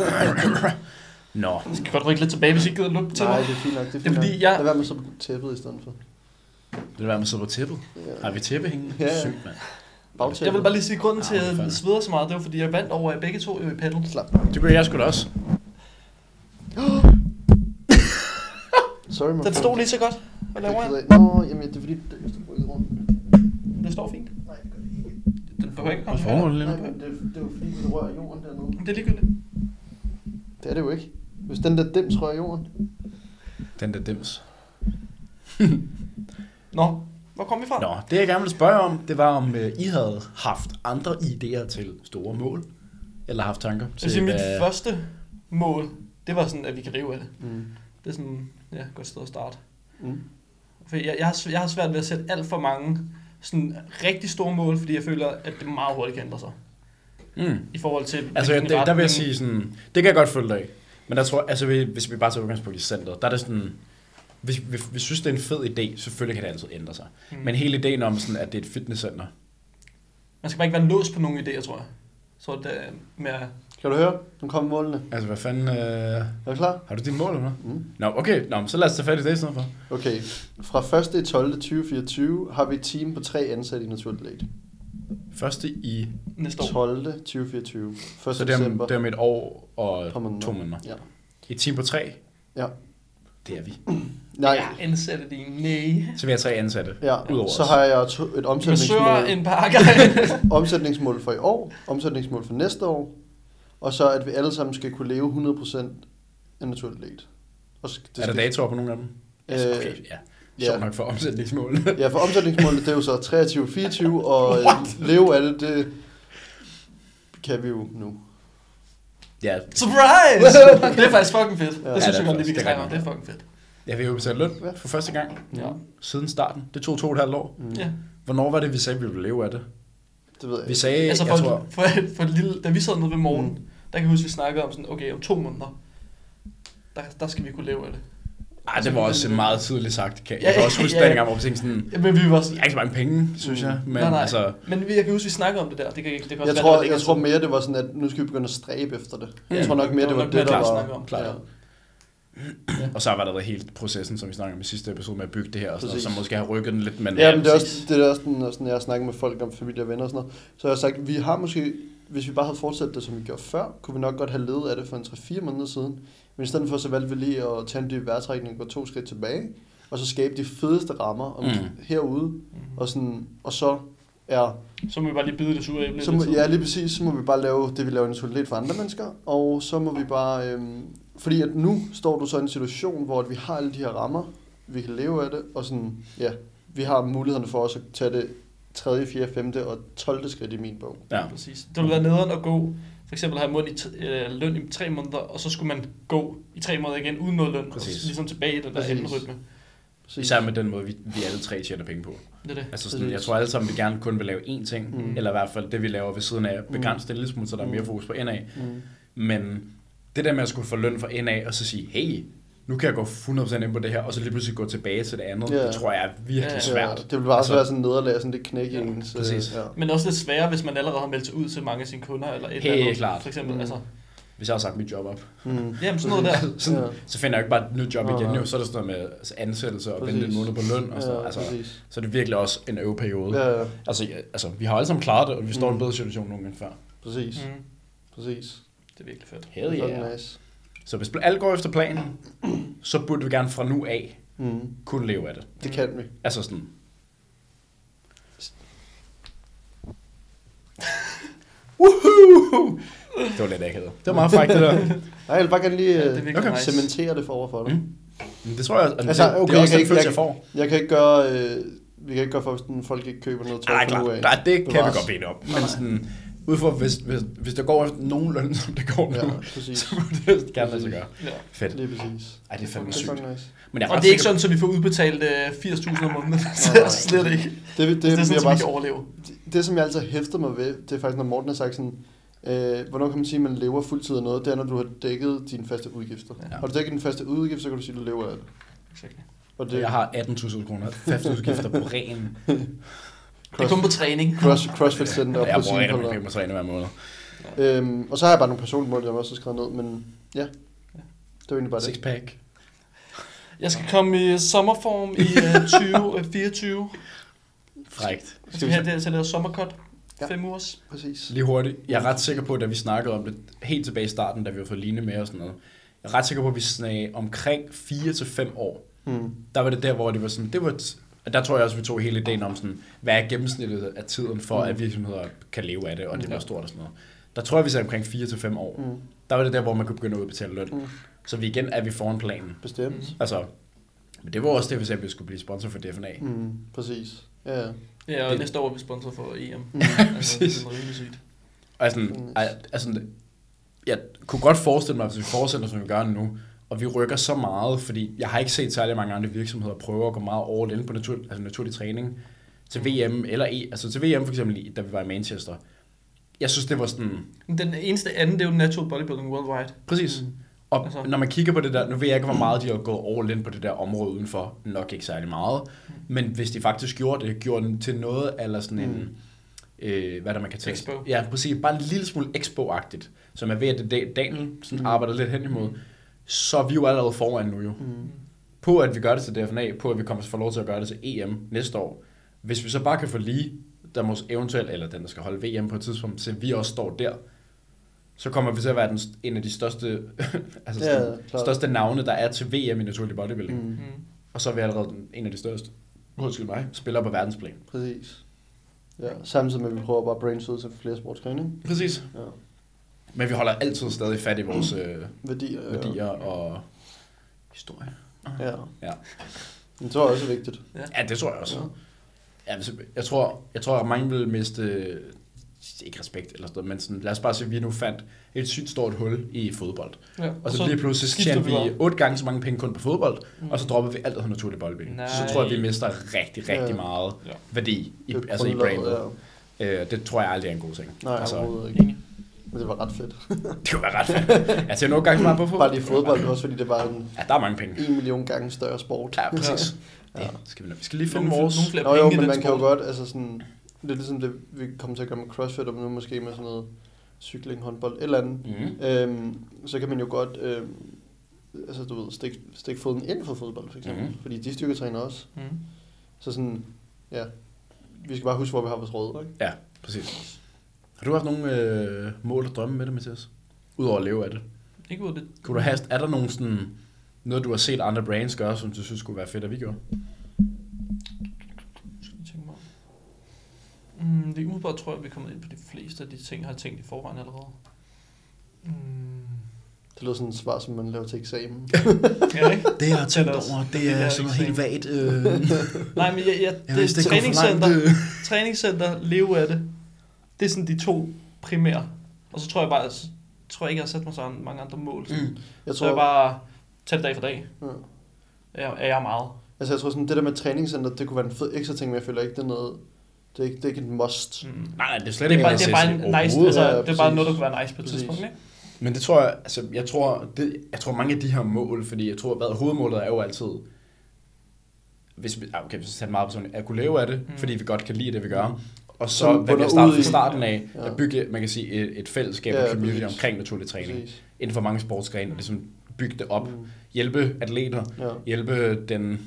Speaker 3: Nå.
Speaker 2: Jeg skal godt rykke lidt tilbage, hvis I ikke gider lukke til
Speaker 1: Nej,
Speaker 2: mig.
Speaker 1: det er fint nok. Det er,
Speaker 2: Det er
Speaker 1: fint
Speaker 2: fordi,
Speaker 1: nok.
Speaker 2: jeg-
Speaker 1: Lad være med så tæppet i stedet for.
Speaker 3: Det er være, man sidder på tæppet. Har vi tæppe hængende?
Speaker 1: Ja, ja.
Speaker 3: Sygt, mand.
Speaker 1: Bagtæppet.
Speaker 2: Jeg vil bare lige sige, at grunden
Speaker 3: Ah,
Speaker 2: til, at
Speaker 3: fandme.
Speaker 2: jeg sveder så meget, det var, fordi jeg vandt over jer begge to jo i paddle.
Speaker 1: Slap.
Speaker 3: Det gør jeg sgu da også.
Speaker 1: Sorry, man.
Speaker 2: Den stod lige så godt. Hvad laver jeg?
Speaker 1: Nå, jamen, det er fordi, det er rykket rundt.
Speaker 2: Det står fint.
Speaker 1: Nej, det gør det ikke.
Speaker 2: Den behøver ikke komme
Speaker 3: Hvad
Speaker 2: fra.
Speaker 3: foregår der lige
Speaker 1: Nej,
Speaker 3: nu?
Speaker 1: men det, det var fordi, det rører jorden dernede.
Speaker 2: Det er ligegyldigt.
Speaker 1: Det er det jo ikke. Hvis den der dims rører jorden.
Speaker 3: Den der dims.
Speaker 2: Nå, hvor kom vi fra?
Speaker 3: Nå, det jeg gerne ville spørge om, det var om øh, I havde haft andre idéer til store mål? Eller haft tanker til... øh,
Speaker 2: Altså mit
Speaker 3: hvad-
Speaker 2: første mål, det var sådan, at vi kan leve af det.
Speaker 1: Mm.
Speaker 2: Det er sådan, ja, et godt sted at starte.
Speaker 1: Mm.
Speaker 2: For jeg, jeg, har, sv- jeg har svært ved at sætte alt for mange sådan rigtig store mål, fordi jeg føler, at det meget hurtigt kan ændre sig.
Speaker 3: Mm.
Speaker 2: I forhold til...
Speaker 3: Altså, jeg,
Speaker 2: hvilken
Speaker 3: der vil
Speaker 2: retning-
Speaker 3: jeg sige sådan... Det kan jeg godt følge dig af. Men der tror jeg- altså vi- hvis vi bare tager udgangspunkt i centret, der er det sådan... Vi, vi, vi synes, det er en fed idé. Selvfølgelig kan det altid ændre sig. Mm. Men hele ideen om, sådan, at det er et fitnesscenter,
Speaker 2: Man skal bare ikke være låst på nogen idéer, tror jeg. Så det øh, er mere...
Speaker 1: Kan du høre? Nu kommer målene.
Speaker 3: Altså, hvad fanden... Øh,
Speaker 1: Er du klar?
Speaker 3: har du dit mål eller hvad?
Speaker 1: Mm.
Speaker 3: Nå, okay. Nå, men så lad os tage fat i det i stedet for.
Speaker 1: Okay. Fra 1. 12. 2024 har vi et team på tre ansatte i Naturligt
Speaker 3: Første i...
Speaker 2: Næste år.
Speaker 1: 12. 2024. 1.
Speaker 3: Så det er,
Speaker 1: december.
Speaker 3: om- det er om et år og
Speaker 1: par måneder.
Speaker 3: to måneder.
Speaker 1: Ja.
Speaker 3: Et team på tre.
Speaker 1: ja.
Speaker 3: Det er vi.
Speaker 1: Nej.
Speaker 2: Jeg ansatte din næge.
Speaker 3: Så vi har tre ansatte.
Speaker 1: Ja.
Speaker 3: Udover
Speaker 1: Så
Speaker 3: os.
Speaker 1: har jeg to- et
Speaker 2: Jeg søger
Speaker 1: omsætningsmål.
Speaker 2: en pakke.
Speaker 1: omsætningsmål for i år, omsætningsmål for næste år, og så at vi alle sammen skal kunne leve 100% af naturligt let. Og så-
Speaker 3: er der datoer på nogle af dem? Øh, altså, okay, ja.
Speaker 1: ja.
Speaker 3: Sjovt nok for omsætningsmål.
Speaker 1: Ja, for omsætningsmålet, det er jo så 23, 24, og øh,
Speaker 2: What?
Speaker 1: leve af det, det kan vi jo nu.
Speaker 3: ja.
Speaker 2: Surprise! det er faktisk fucking fedt.
Speaker 1: Ja,
Speaker 2: Det synes
Speaker 3: det
Speaker 2: jeg
Speaker 3: er
Speaker 2: godt, lige, vi kan
Speaker 3: faktisk- det er
Speaker 2: snakke om. Det er
Speaker 3: rigtig Mm.
Speaker 2: fucking fedt.
Speaker 3: Ja, vi har jo betalt løn for første gang
Speaker 2: Ja.
Speaker 3: siden starten. Det tog to og et halvt år.
Speaker 1: Mm.
Speaker 2: ja.
Speaker 3: Hvornår var det, vi sagde, vi ville leve af det?
Speaker 1: Det ved jeg
Speaker 3: Vi
Speaker 1: ikke.
Speaker 3: sagde,
Speaker 2: Altså for,
Speaker 3: jeg tror...
Speaker 2: for, for lille, da vi sad nede ved morgen, mm. der kan jeg huske, vi snakkede om sådan, okay, om to måneder, der, der skal vi kunne leve af det.
Speaker 3: Ej, det var også meget tidligt sagt. Kan-
Speaker 2: Ja,
Speaker 3: Jeg kan også huske
Speaker 2: ja, ja.
Speaker 3: dengang, hvor vi tænkte sådan...
Speaker 2: Ja, Men vi var sådan,
Speaker 3: Jeg har ikke så mange penge, synes jeg. Men
Speaker 2: nej, nej.
Speaker 3: altså...
Speaker 2: Men vi- jeg kan huske, vi snakkede om det der. Det kan, det kan også
Speaker 1: Jeg
Speaker 2: være,
Speaker 1: tror,
Speaker 2: det
Speaker 1: jeg tror mere, det var sådan, at nu skal vi begynde at stræbe efter det.
Speaker 3: Ja,
Speaker 1: Jeg tror nok mere, det var det, der
Speaker 2: klart snakke
Speaker 1: var...
Speaker 2: om, klart.
Speaker 1: Ja.
Speaker 3: Og så var der hele processen, som vi snakkede om i sidste episode med at bygge det her, og sådan noget,
Speaker 1: Præcis.
Speaker 3: som måske har rykket den lidt. Men,
Speaker 1: Ja, men det er også,
Speaker 2: præcis.
Speaker 1: det er også sådan, når sådan, jeg har snakket med folk om familie og venner og sådan noget. Så jeg har sagt, vi har måske, hvis vi bare havde fortsat det, som vi gjorde før, kunne vi nok godt have levet af det for en 3-4 måneder siden. Men i stedet for, så valgte vi lige at tage en dyb vejrtrækning og gå to skridt tilbage, og så skabe de fedeste rammer om,
Speaker 3: Mm.
Speaker 1: mm. herude. Og, sådan, og så er,
Speaker 2: Så må vi bare lige bide det sure æble.
Speaker 1: så må, ja lige præcis, så må vi bare lave det, vi laver naturligt for andre mennesker, og så må vi bare, øhm, fordi at nu står du så i en situation, hvor at vi har alle de her rammer, vi kan leve af det, og sådan, ja, vi har mulighederne for også at tage det tredje, fjerde, femte og 12. skridt i min bog.
Speaker 3: Ja.
Speaker 2: Præcis. Det ville være nederen at gå, for eksempel have mund i t- øh, løn i tre måneder, og så skulle man gå i tre måneder igen uden noget løn,
Speaker 3: Præcis.
Speaker 2: og så ligesom tilbage i den der
Speaker 1: Præcis.
Speaker 2: anden rytme.
Speaker 1: Præcis.
Speaker 3: Især med den måde, vi, vi alle tre tjener penge på.
Speaker 2: Det er det.
Speaker 3: Altså sådan, jeg tror alle sammen, vi gerne kun vil lave én ting, mm.
Speaker 1: Mm.
Speaker 3: eller i hvert fald det, vi laver ved siden af, begrænse det en lille smule, så der er mere fokus på NA.
Speaker 1: Mm.
Speaker 3: Men det der med at skulle få løn fra NA, og så sige, hey, nu kan jeg gå 100% ind på det her, og så lige pludselig gå tilbage til det andet,
Speaker 1: Ja.
Speaker 3: det tror jeg er virkelig
Speaker 2: Ja, ja.
Speaker 3: svært.
Speaker 1: Ja, det vil bare også
Speaker 3: Altså-
Speaker 1: være sådan en nederlag, sådan det knæk i ens... øh,
Speaker 3: præcis.
Speaker 1: Ja.
Speaker 2: Men også lidt sværere, hvis man allerede har meldt sig ud til mange af sine kunder, eller et
Speaker 3: Helt
Speaker 2: eller andet,
Speaker 3: klart.
Speaker 2: for eksempel.
Speaker 1: Mm.
Speaker 2: Altså,
Speaker 3: Hvis jeg har sagt mit job op,
Speaker 1: Mm.
Speaker 2: jamen sådan noget der.
Speaker 3: sådan,
Speaker 1: Ja.
Speaker 3: så finder jeg ikke bare et nyt job
Speaker 1: Nej,
Speaker 3: igen,
Speaker 1: nej.
Speaker 3: jo. så er der sådan noget med altså, ansættelse og
Speaker 1: Præcis.
Speaker 3: vente en måned på løn, og sådan,
Speaker 1: Ja,
Speaker 3: ja, altså,
Speaker 1: præcis.
Speaker 3: så er det virkelig også en øveperiode.
Speaker 1: Ja, ja,
Speaker 3: Altså, ja, altså, vi har alle sammen klaret det, og vi står i en
Speaker 1: Mm.
Speaker 3: bedre situation nu end før.
Speaker 1: præcis,
Speaker 2: Mm.
Speaker 1: præcis.
Speaker 2: Det er virkelig fedt.
Speaker 1: Det
Speaker 3: Hell
Speaker 1: er
Speaker 3: yeah.
Speaker 1: fucking nice.
Speaker 3: Så hvis alt går efter planen, så burde vi gerne fra nu af
Speaker 1: Mm.
Speaker 3: kunne leve af det.
Speaker 1: Det kan vi.
Speaker 3: Altså sådan. Woohoo! Det var lidt akavet. Det var meget frækt, det der.
Speaker 1: Nej, jeg vil bare gerne lige
Speaker 2: Ja, det er
Speaker 1: øh,
Speaker 2: virkelig nice.
Speaker 1: cementere det for over for dig.
Speaker 3: Mm. Men det tror jeg, altså,
Speaker 1: Altså,
Speaker 3: det,
Speaker 1: okay,
Speaker 3: det er
Speaker 1: jeg
Speaker 3: også
Speaker 1: kan
Speaker 3: den
Speaker 1: ikke-
Speaker 3: følelse, jeg
Speaker 1: jeg-
Speaker 3: får.
Speaker 1: Jeg kan ikke gøre, øh, vi kan ikke gøre for, hvis den folk ikke køber noget tøj
Speaker 3: Nej,
Speaker 1: fra nu
Speaker 3: klart.
Speaker 1: af.
Speaker 3: Nej, det kan vi
Speaker 1: Bevares.
Speaker 3: godt blive enige om. Men sådan, ud fra, hvis, hvis, hvis det går efter nogen løn, som det går nu,
Speaker 1: Ja, præcis.
Speaker 3: så må det gerne lade sig gøre.
Speaker 2: Ja.
Speaker 3: Fedt.
Speaker 1: Lige præcis.
Speaker 3: Ej, det er fandme
Speaker 1: Det er
Speaker 3: sygt.
Speaker 1: fucking nice.
Speaker 3: Men jeg
Speaker 2: Og
Speaker 3: ret
Speaker 2: det er ikke
Speaker 3: sikker-
Speaker 2: sådan, at vi får udbetalt øh, 80.000 om måneden. Det er slet ikke.
Speaker 1: Det, det, det,
Speaker 2: Det
Speaker 3: Altså,
Speaker 2: er
Speaker 1: vi
Speaker 2: sådan,
Speaker 1: har
Speaker 2: at vi
Speaker 1: bare,
Speaker 2: kan overleve.
Speaker 1: det, det, som jeg altid har hæftet mig ved, det er faktisk, når Morten har sagt sådan, øh, hvornår kan man sige, at man lever fuldtid af noget, det er, når du har dækket dine faste udgifter.
Speaker 2: Ja.
Speaker 1: Ja. Har du dækket dine faste udgifter, så kan du sige, at du lever af det.
Speaker 2: Exakt.
Speaker 1: Og det
Speaker 3: Jeg har 18.000 kroner faste udgifter på ren.
Speaker 2: Det er kun på træning.
Speaker 1: cross, CrossFit Center
Speaker 3: Jeg
Speaker 1: på
Speaker 3: bruger
Speaker 1: sine
Speaker 3: rigtig mange
Speaker 1: kolder.
Speaker 3: penge på at træne hver måned.
Speaker 1: Øhm, og så har jeg bare nogle personlige mål, jeg også har skrevet ned, men ja, det var egentlig bare det.
Speaker 3: Sixpack.
Speaker 2: Jeg skal komme i sommerform i øh, 2024.
Speaker 3: Frækt.
Speaker 2: Jeg skal have det, så jeg laver sommercut.
Speaker 1: Ja.
Speaker 2: Fem ugers.
Speaker 1: Præcis.
Speaker 3: Lige hurtigt. Jeg er ret sikker på, da vi snakkede om det helt tilbage i starten, da vi var for Line med og sådan noget. Jeg er ret sikker på, at vi snakkede omkring 4-5 år.
Speaker 1: Hmm.
Speaker 3: Der var det der, hvor det var sådan, det var et- og der tror jeg også, vi tog hele ideen om sådan, hvad er gennemsnittet af tiden for, at virksomheder kan leve af det, og det var stort og sådan noget. Der tror jeg, vi sagde omkring 4-5 år.
Speaker 1: Mm.
Speaker 3: Der var det der, hvor man kunne begynde at udbetale løn.
Speaker 1: Mm.
Speaker 3: Så vi igen er vi foran planen.
Speaker 1: Bestemt.
Speaker 3: Altså, men det var også det, vi sagde, at vi skulle blive sponsor for DFNA.
Speaker 1: Mm, præcis. Ja, ja.
Speaker 2: Ja, og
Speaker 3: Det-
Speaker 2: det... næste år er vi sponsor for EM. Mm.
Speaker 3: præcis.
Speaker 2: Det er rimelig sygt.
Speaker 3: Og sådan,
Speaker 1: Fitness.
Speaker 3: al- altså, jeg kunne godt forestille mig, hvis vi fortsætter, som vi gør nu, og vi rykker så meget, fordi jeg har ikke set særlig mange andre virksomheder prøve at gå meget all in på natur, altså naturlig træning til VM eller E. Altså til VM for eksempel, i- da vi var i Manchester. Jeg synes, det var sådan...
Speaker 2: Men Den eneste anden, det er jo Natural Bodybuilding Worldwide.
Speaker 3: Præcis. Og
Speaker 2: Altså-
Speaker 3: når man kigger på det der, nu ved jeg ikke, hvor meget de har gået all in på det der område udenfor, nok ikke særlig meget, men hvis de faktisk gjorde det, gjorde den til noget, eller sådan en, øh, hvad der man kan tage.
Speaker 2: Expo.
Speaker 3: Ja, præcis. Bare en lille smule expo-agtigt, som er ved at det da- Daniel sådan mm. arbejder lidt hen imod. Så er vi jo allerede foran nu jo. Mm. På at vi gør det til DFNA, på at vi kommer til at få lov til at gøre det til EM næste år. Hvis vi så bare kan få lige, der måske eventuelt, eller den der skal holde VM på et tidspunkt, så vi også står der, så kommer vi til at være den, st- en af de største, altså
Speaker 1: Ja,
Speaker 3: sådan,
Speaker 1: klart.
Speaker 3: største navne, der er til VM i naturlig bodybuilding. Mm.
Speaker 1: Mm,
Speaker 2: Mm.
Speaker 3: Og så er vi allerede den- en af de største, undskyld mig, spillere på verdensplan.
Speaker 1: præcis. Ja, samtidig med, at vi prøver bare at brains ud til flere sportsgrene. ikke?
Speaker 3: Præcis.
Speaker 1: Ja.
Speaker 3: Men vi holder altid stadig fat i vores øh,
Speaker 1: Værdier. ja.
Speaker 3: værdier og historie.
Speaker 1: Ja.
Speaker 3: Ja.
Speaker 1: Det tror jeg også er vigtigt.
Speaker 3: ja, det tror jeg også. Ja, hvis- jeg, tror, jeg tror, at mange vil miste, øh, ikke respekt eller sådan noget, men sådan, lad os bare sige, at vi nu fandt et sygt stort hul i fodbold.
Speaker 2: Ja,
Speaker 3: Og så, lige pludselig så tjente vi
Speaker 2: bare.
Speaker 3: otte gange så mange penge kun på fodbold, mm. og så droppede vi alt, der hedder naturlig boldbinding. Så, så tror jeg, at vi
Speaker 2: Nej.
Speaker 3: mister rigtig, rigtig
Speaker 1: Ja.
Speaker 3: meget
Speaker 2: Ja.
Speaker 3: værdi i,
Speaker 1: Det er
Speaker 3: altså i
Speaker 1: grundlaget,
Speaker 3: brandet.
Speaker 1: ja.
Speaker 3: Øh, det tror jeg aldrig er en god ting.
Speaker 1: Nej, altså,
Speaker 3: altså,
Speaker 1: overhovedet ikke.
Speaker 2: Enig.
Speaker 1: Men det var ret fedt.
Speaker 3: det kunne være ret fedt. Altså, jeg nogle gange så meget på fodbold.
Speaker 1: Bare lige fodbold, også fordi det var en
Speaker 3: Ja, der er mange penge.
Speaker 1: en million gange større sport.
Speaker 3: Ja, præcis.
Speaker 1: Ja.
Speaker 3: Det skal vi, vi skal lige finde
Speaker 2: Nogle,
Speaker 3: vores...
Speaker 2: nogle flere
Speaker 1: Nå
Speaker 2: penge
Speaker 1: jo,
Speaker 2: i
Speaker 1: men
Speaker 2: den
Speaker 1: man kan jo
Speaker 2: sport.
Speaker 1: godt, altså sådan, det er ligesom det, vi kommer til at gøre med CrossFit, og nu måske med sådan noget cykling, håndbold, et eller andet.
Speaker 3: Mhm.
Speaker 1: Øhm, så kan man jo godt, øhm, altså du ved, stikke stik foden ind for fodbold, for eksempel.
Speaker 3: Mhm.
Speaker 1: Fordi de styrketræner også.
Speaker 2: Mm.
Speaker 1: Så sådan, ja, vi skal bare huske, hvor vi har vores råd, ikke?
Speaker 3: Ja, præcis. Har du haft nogle øh, mål og drømme med det, Mathias? Udover at leve af det.
Speaker 2: Ikke ud af det.
Speaker 3: Kunne du have, er der nogen sådan, noget, du har set andre brands gøre, som du synes skulle være fedt, at vi gjorde?
Speaker 2: Skal jeg tænke mig om. Mm, lige umiddelbart tror jeg, at vi er kommet ind på de fleste af de ting, jeg har tænkt i forvejen allerede. Mm.
Speaker 1: Det lyder sådan et svar, som man laver til eksamen.
Speaker 2: Ja, ikke?
Speaker 3: Det, jeg har
Speaker 2: tænkt Ellers- over, det er det er sådan noget helt
Speaker 3: vagt. Øh,
Speaker 2: Nej, men jeg, jeg, jeg det er træningscenter, træningscenter, leve af det. Det er sådan de to primære. Og så tror jeg bare, at tror jeg ikke, jeg har sat mig så mange andre mål. Mm.
Speaker 1: Jeg
Speaker 2: Jeg tror, så jeg
Speaker 1: tror,
Speaker 2: bare tager det dag for dag.
Speaker 1: Ja.
Speaker 2: Er, er jeg meget. Mm.
Speaker 1: altså jeg tror sådan, det der med træningscenter, det kunne være en fed ekstra ting, men jeg føler ikke, det er noget, det er ikke, det er ikke en must.
Speaker 2: Mm.
Speaker 3: Nej, nej, det er slet
Speaker 2: Det
Speaker 3: ikke
Speaker 2: er bare, det er bare
Speaker 3: en
Speaker 2: en nice, altså,
Speaker 1: Ja,
Speaker 2: det er bare
Speaker 1: præcis.
Speaker 2: noget, der kunne være nice på et
Speaker 1: Præcis.
Speaker 2: tidspunkt, ikke?
Speaker 3: Men det tror jeg, altså, jeg tror, det, jeg tror mange af de her mål, fordi jeg tror, hvad hovedmålet er jo altid, hvis vi, ah, okay, hvis vi tager det meget personligt, at kunne leve af det, mm.
Speaker 2: Mm.
Speaker 3: fordi vi godt kan lide det, vi gør. Og så,
Speaker 1: Som
Speaker 3: hvad
Speaker 1: bunder
Speaker 3: vi har startet
Speaker 1: ud i-
Speaker 3: fra starten af,
Speaker 1: Ja.
Speaker 3: ja. at bygge, man kan sige, et, et fællesskab
Speaker 1: Ja,
Speaker 3: og community
Speaker 1: præcis.
Speaker 3: omkring naturlig træning, præcis.
Speaker 1: Præcis.
Speaker 3: inden for mange sportsgrene, og ligesom bygge det op.
Speaker 1: Mm.
Speaker 3: Mm. Hjælpe atleter,
Speaker 1: Ja.
Speaker 3: hjælpe den
Speaker 1: vil-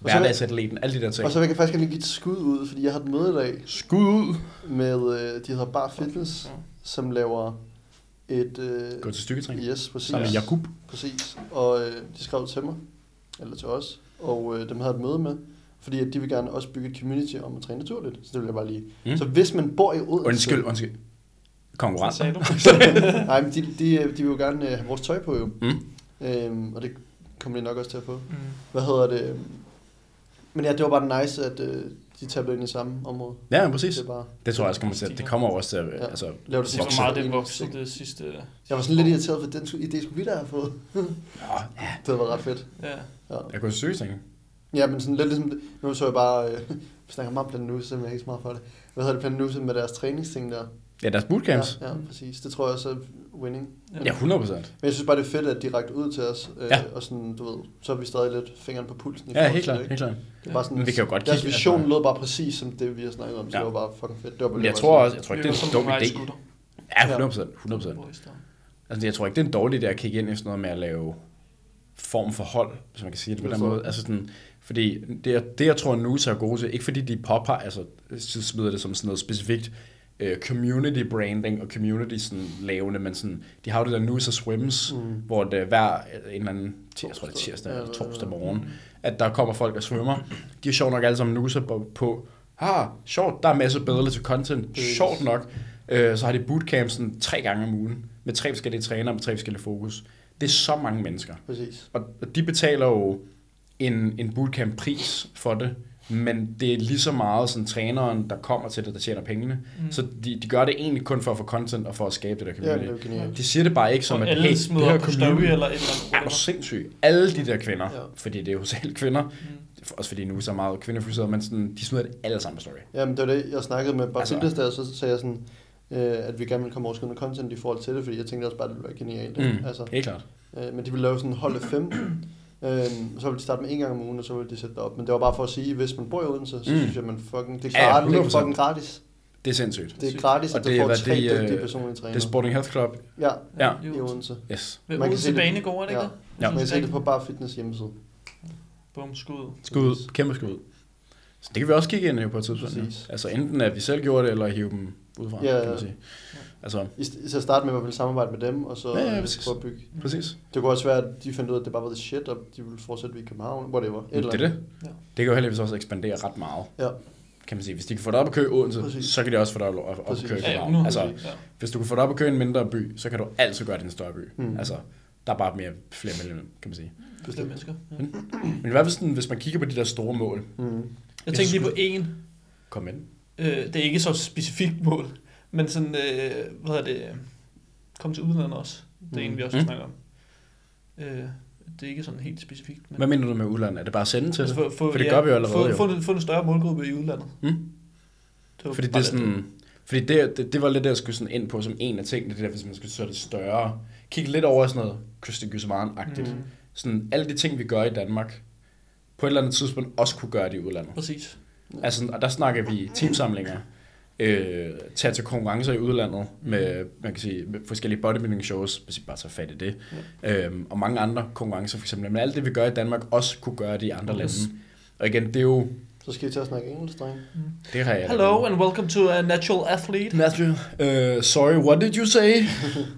Speaker 3: hverdagsatleten, alle de der ting.
Speaker 1: Og så vil jeg faktisk gerne give et skud ud, fordi jeg har et møde i dag
Speaker 3: Skud ud,
Speaker 1: med, øh, de hedder Bar Fitness,
Speaker 3: Mm.
Speaker 2: Ja.
Speaker 1: som laver et... Øh,
Speaker 3: gå til stykketræning,
Speaker 1: yes, præcis.
Speaker 3: sammen med Jakub.
Speaker 1: Præcis. Og øh, de skrev til mig, eller til os, og øh, dem havde jeg et møde med, fordi at de vil gerne også bygge et community om at træne naturligt. Så det vil jeg bare lige... Mm.
Speaker 3: Mm.
Speaker 1: Så hvis man bor i Odense...
Speaker 3: Undskyld, undskyld.
Speaker 2: Hvad
Speaker 3: Konkurrenter.
Speaker 2: sagde du?
Speaker 1: Nej, men de, de, øh, de vil jo gerne øh, have vores tøj på jo.
Speaker 3: Mm.
Speaker 1: Øhm, og det kommer de nok også til at få.
Speaker 2: Mm.
Speaker 1: Hvad hedder det? Men ja, det var bare nice, at øh, de tablede ind i samme område.
Speaker 3: Ja, præcis.
Speaker 1: Det er bare...
Speaker 3: Det tror jeg også kommer til, at det kommer også til at,
Speaker 1: Ja.
Speaker 3: ja. altså,
Speaker 1: Lav det
Speaker 2: Det
Speaker 1: til
Speaker 2: er
Speaker 1: en
Speaker 2: for meget,
Speaker 1: ting.
Speaker 2: den voksede det sidste...
Speaker 1: Jeg var sådan lidt irriteret for, at den skulle- idé skulle vi da have fået.
Speaker 3: ja,
Speaker 1: Det havde været ret fedt.
Speaker 2: Ja.
Speaker 1: Ja,
Speaker 3: jeg kunne søge ting.
Speaker 1: ja men sådan lidt ligesom, det- nu så jeg bare, øh, vi snakker meget om Planetuse, men jeg er ikke så meget for det. Hvad hedder det, Planetuse med deres træningsting der?
Speaker 3: Ja, deres bootcamps.
Speaker 1: Ja, ja, præcis. Det tror jeg også er winning.
Speaker 3: Ja, 100 procent.
Speaker 1: Men jeg synes bare, det er fedt, at de rakte ud til os. Øh,
Speaker 3: Ja.
Speaker 1: Og sådan, du ved, så er vi stadig lidt fingeren på pulsen. i
Speaker 3: Ja,
Speaker 1: forhold til
Speaker 3: helt klart,
Speaker 1: det,
Speaker 3: helt
Speaker 1: ikke?
Speaker 3: klart.
Speaker 1: Det er bare sådan,
Speaker 3: Men vi kan jo godt
Speaker 1: deres
Speaker 3: kigge-
Speaker 1: vision
Speaker 3: altså-
Speaker 1: lød bare præcis som det, vi har snakket om, så
Speaker 3: Ja.
Speaker 1: det var bare fucking fedt. Det var
Speaker 3: Men jeg tror også, jeg tror ikke,
Speaker 2: Vi
Speaker 3: det
Speaker 2: var
Speaker 3: er en
Speaker 2: som
Speaker 3: dum
Speaker 2: Marius
Speaker 3: idé.
Speaker 2: gutter.
Speaker 3: Ja, 100 procent, 100 procent.
Speaker 2: Boys, der-
Speaker 3: Altså, jeg tror ikke, det er en dårlig idé at kigge ind i sådan noget med at lave form for hold, hvis man kan sige det på den
Speaker 1: Hvorfor?
Speaker 3: måde. Altså sådan, fordi det, jeg- det, jeg tror, Nusa er gode til, ikke fordi de popper, altså så smider det som sådan noget specifikt øh, community branding og community sådan lavende, men sådan, de har jo det der Nusa Swims, mm. hvor det er hver øh, en eller anden, tir- jeg tror det er tirsdag eller torsdag morgen, at der kommer folk og svømmer. De er sjovt nok alle sammen Nusa på, på ah, sjovt, der er masser af bedre til content, sjovt nok. Øh, så har de bootcamp sådan tre gange om ugen, med tre forskellige trænere, med tre forskellige fokus. Det er så mange mennesker.
Speaker 1: Præcis.
Speaker 3: Og og de betaler jo en, en bootcamp-pris for det, men det er lige så meget sådan træneren, der kommer til det, der tjener pengene. Mm. Så de, de gør det egentlig kun for at få content og for at skabe det der
Speaker 1: Ja, det er jo
Speaker 3: community.
Speaker 1: genialt.
Speaker 3: de siger det bare ikke
Speaker 2: Som
Speaker 3: som, at
Speaker 2: alle
Speaker 3: hey, det
Speaker 2: smider
Speaker 3: her
Speaker 2: på story
Speaker 3: community
Speaker 2: eller et eller andet.
Speaker 3: er jo sindssygt. Alle de der kvinder,
Speaker 1: Ja.
Speaker 3: ja. fordi det er jo selv kvinder, mm. også fordi nu er så meget kvindefokuseret, men sådan, de smider det alle sammen på story.
Speaker 1: Jamen, det var det, jeg snakkede med bare altså,
Speaker 3: Altså-
Speaker 1: fitness der, så sagde jeg sådan, øh, at vi gerne ville komme overskridende content i forhold til det, fordi jeg tænkte også bare, at det ville være genialt. ikke?
Speaker 3: Mm.
Speaker 1: Altså,
Speaker 3: Helt klart.
Speaker 1: øh, men de ville lave sådan hold af fem, øhm, så ville de starte med en gang om ugen, og så ville de sætte det op. Men det var bare for at sige, hvis man bor i Odense, så mm.
Speaker 3: Mm.
Speaker 1: synes jeg, man fucking, det er
Speaker 3: Ja,
Speaker 1: klart, ja, det er
Speaker 3: 100%.
Speaker 1: fucking gratis.
Speaker 3: Det er sindssygt.
Speaker 1: Det er gratis, at
Speaker 3: Og
Speaker 1: du
Speaker 3: det er,
Speaker 1: får
Speaker 3: hvad
Speaker 1: tre
Speaker 3: det, øh,
Speaker 1: dygtige personlige
Speaker 3: Det er
Speaker 1: træner.
Speaker 3: Sporting Health Club.
Speaker 1: Ja,
Speaker 3: Ja,
Speaker 1: i Odense.
Speaker 3: yes.
Speaker 2: Ved
Speaker 1: Man kan
Speaker 2: Odense
Speaker 1: se det-
Speaker 2: Banegård, er det
Speaker 1: ja.
Speaker 2: ikke
Speaker 3: Ja.
Speaker 1: Man kan se det på bare fitness hjemmeside.
Speaker 2: Bum, skud.
Speaker 3: Skud, kæmpe skud. Så det kan vi også kigge ind i på et tidspunkt. Ja.
Speaker 1: Præcis.
Speaker 3: Altså enten at vi selv gjorde det, eller hive dem udefra,
Speaker 1: Ja,
Speaker 3: kan
Speaker 1: ja.
Speaker 3: man sige. Altså,
Speaker 1: I st- til at starte med, hvor vi ville samarbejde med dem, og så
Speaker 3: Ja, ja,
Speaker 1: øh,
Speaker 3: præcis.
Speaker 1: prøve at bygge.
Speaker 3: præcis.
Speaker 1: Det kunne også være, at de fandt ud af, at det bare var the shit, og de ville fortsætte i København, whatever. Et
Speaker 3: Det er det.
Speaker 2: Ja.
Speaker 3: Det kan jo heldigvis også ekspandere ret meget,
Speaker 1: Ja,
Speaker 3: kan man sige. Hvis de kan få dig op at køre i Odense,
Speaker 1: Præcis.
Speaker 3: så kan de også få dig op op at
Speaker 1: Præcis.
Speaker 3: køre i
Speaker 1: Ja,
Speaker 2: Ja,
Speaker 3: København.
Speaker 2: nu
Speaker 3: altså,
Speaker 2: ja.
Speaker 3: hvis du kan få dig op at køre i en mindre by, så kan du altid gøre det i en større by.
Speaker 1: Mm.
Speaker 3: Altså, der er bare mere flere medlemmer, kan man sige.
Speaker 2: Flere
Speaker 1: bestemt.
Speaker 2: mennesker. Ja.
Speaker 3: Men i hvert fald sådan, hvis man kigger på de der store mål,
Speaker 1: Mm.
Speaker 2: Jeg tænkte lige på en.
Speaker 3: kom ind.
Speaker 2: Øh, det er ikke så specifikt mål, men sådan, øh, hvad hedder det, øh, kom til udlandet også. Det er en, vi også
Speaker 3: Mm.
Speaker 2: snakker om. Øh, det er ikke sådan helt specifikt. Men
Speaker 3: Hvad mener du med udlandet? Er det bare at sende til det?
Speaker 2: Altså,
Speaker 3: For,
Speaker 2: få- få-
Speaker 3: det
Speaker 2: ja,
Speaker 3: gør vi jo allerede.
Speaker 2: Få,
Speaker 3: jo.
Speaker 2: få, en, få en større målgruppe i udlandet.
Speaker 3: Mm.
Speaker 2: var
Speaker 3: Fordi det
Speaker 2: bare
Speaker 3: er sådan... Fordi det, det, det var lidt det, jeg skulle sådan ind på som en af tingene, det der, hvis man skulle så det større. Kigge lidt over i sådan noget Christian Gussemann-agtigt. Mm. Sådan alle de ting, vi gør i Danmark, på et eller andet tidspunkt også kunne gøre det i udlandet.
Speaker 2: Præcis.
Speaker 3: Altså, sådan- og der snakker vi teamsamlinger, øh, tage til konkurrencer i udlandet med, man kan sige, med forskellige bodybuilding shows, hvis vi bare tager fat i det, øhm, og mange andre konkurrencer for eksempel. Men alt det, vi gør i Danmark, også kunne gøre det i andre lande. Og igen, det er jo,
Speaker 1: Så skal I til at snakke engelsk, dreng.
Speaker 3: det har jeg...
Speaker 2: Hello and welcome to a natural athlete.
Speaker 3: Matthew, uh, sorry, what did you say?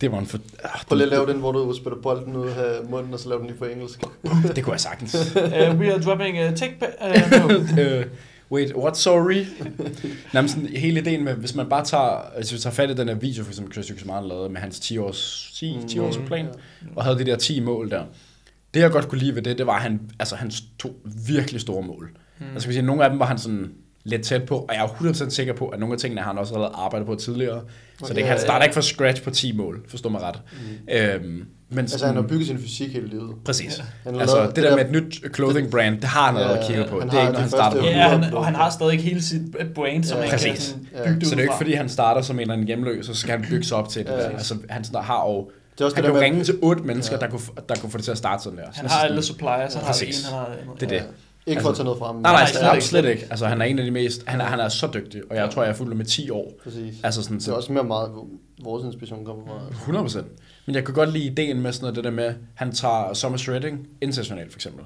Speaker 3: det var en for... Ah,
Speaker 1: Prøv lige at lave den, hvor du spiller bolden ud af munden, og så laver den lige på engelsk.
Speaker 3: det, det kunne jeg sagtens.
Speaker 2: uh, we are dropping a tech... pa- Uh, no.
Speaker 3: Øh, wait, what, sorry? Jamen sådan, hele ideen med, hvis man bare tager, altså, hvis vi tager fat i den her video, for eksempel Christian Kusmaren lavede med hans 10 års, 10, 10 års plan, og havde de der 10 mål der. Det jeg godt kunne lide ved det, det var han, altså, hans to virkelig store mål. Mm. Altså, kan man sige, nogle af dem var han sådan lidt tæt på, og jeg er 100% sikker på, at nogle af tingene har han også allerede arbejdet på tidligere. Så det,
Speaker 1: ja,
Speaker 3: kan- han
Speaker 1: ja,
Speaker 3: starter ikke fra scratch på 10 mål, forstår mig ret. Mm. Øhm, men
Speaker 1: Altså, han har bygget sin fysik hele livet.
Speaker 3: Præcis.
Speaker 1: Han har
Speaker 3: Altså,
Speaker 1: lavet-
Speaker 3: det,
Speaker 1: det
Speaker 3: der
Speaker 1: der-
Speaker 3: med et nyt clothing brand, det har han allerede
Speaker 1: Ja,
Speaker 3: kigget på.
Speaker 1: han
Speaker 3: det er
Speaker 1: har
Speaker 3: ikke noget,
Speaker 1: de
Speaker 3: han starter
Speaker 1: første-
Speaker 3: på.
Speaker 2: Ja, han, og han har stadig hele sit brain, som
Speaker 1: Ja.
Speaker 2: ja, han kan
Speaker 3: Præcis.
Speaker 2: sådan bygge
Speaker 1: Ja.
Speaker 2: det ud
Speaker 3: Så det er jo ikke,
Speaker 2: fra.
Speaker 3: fordi han starter som en eller anden hjemløs, og så skal han bygge sig op til det. Ja. Altså, han sådan, har jo...
Speaker 1: Det er også
Speaker 3: han
Speaker 1: det
Speaker 3: kan
Speaker 1: der med-
Speaker 3: jo ringe til otte mennesker, ja. der, kunne, f- der kunne få det til at starte sådan der.
Speaker 2: Han har alle suppliers, han har det
Speaker 3: Præcis.
Speaker 2: ene, han har det andet.
Speaker 3: Det er det.
Speaker 1: Ikke for at tage noget frem.
Speaker 3: Altså- Nej, nej,
Speaker 2: Nej,
Speaker 3: slet,
Speaker 2: slet
Speaker 3: ikke.
Speaker 2: ikke.
Speaker 3: slet ikke. Altså, han er en af de mest... Han er, han er så dygtig, og jeg tror, jeg har fulgt ham med 10 år.
Speaker 1: Præcis.
Speaker 3: Altså sådan,
Speaker 1: Det er
Speaker 3: så
Speaker 1: også mere meget, hvor vores inspiration kommer fra.
Speaker 3: 100 procent. Men jeg kunne godt lide ideen med sådan noget, det der med, han tager Thomas Redding internationalt, for eksempel.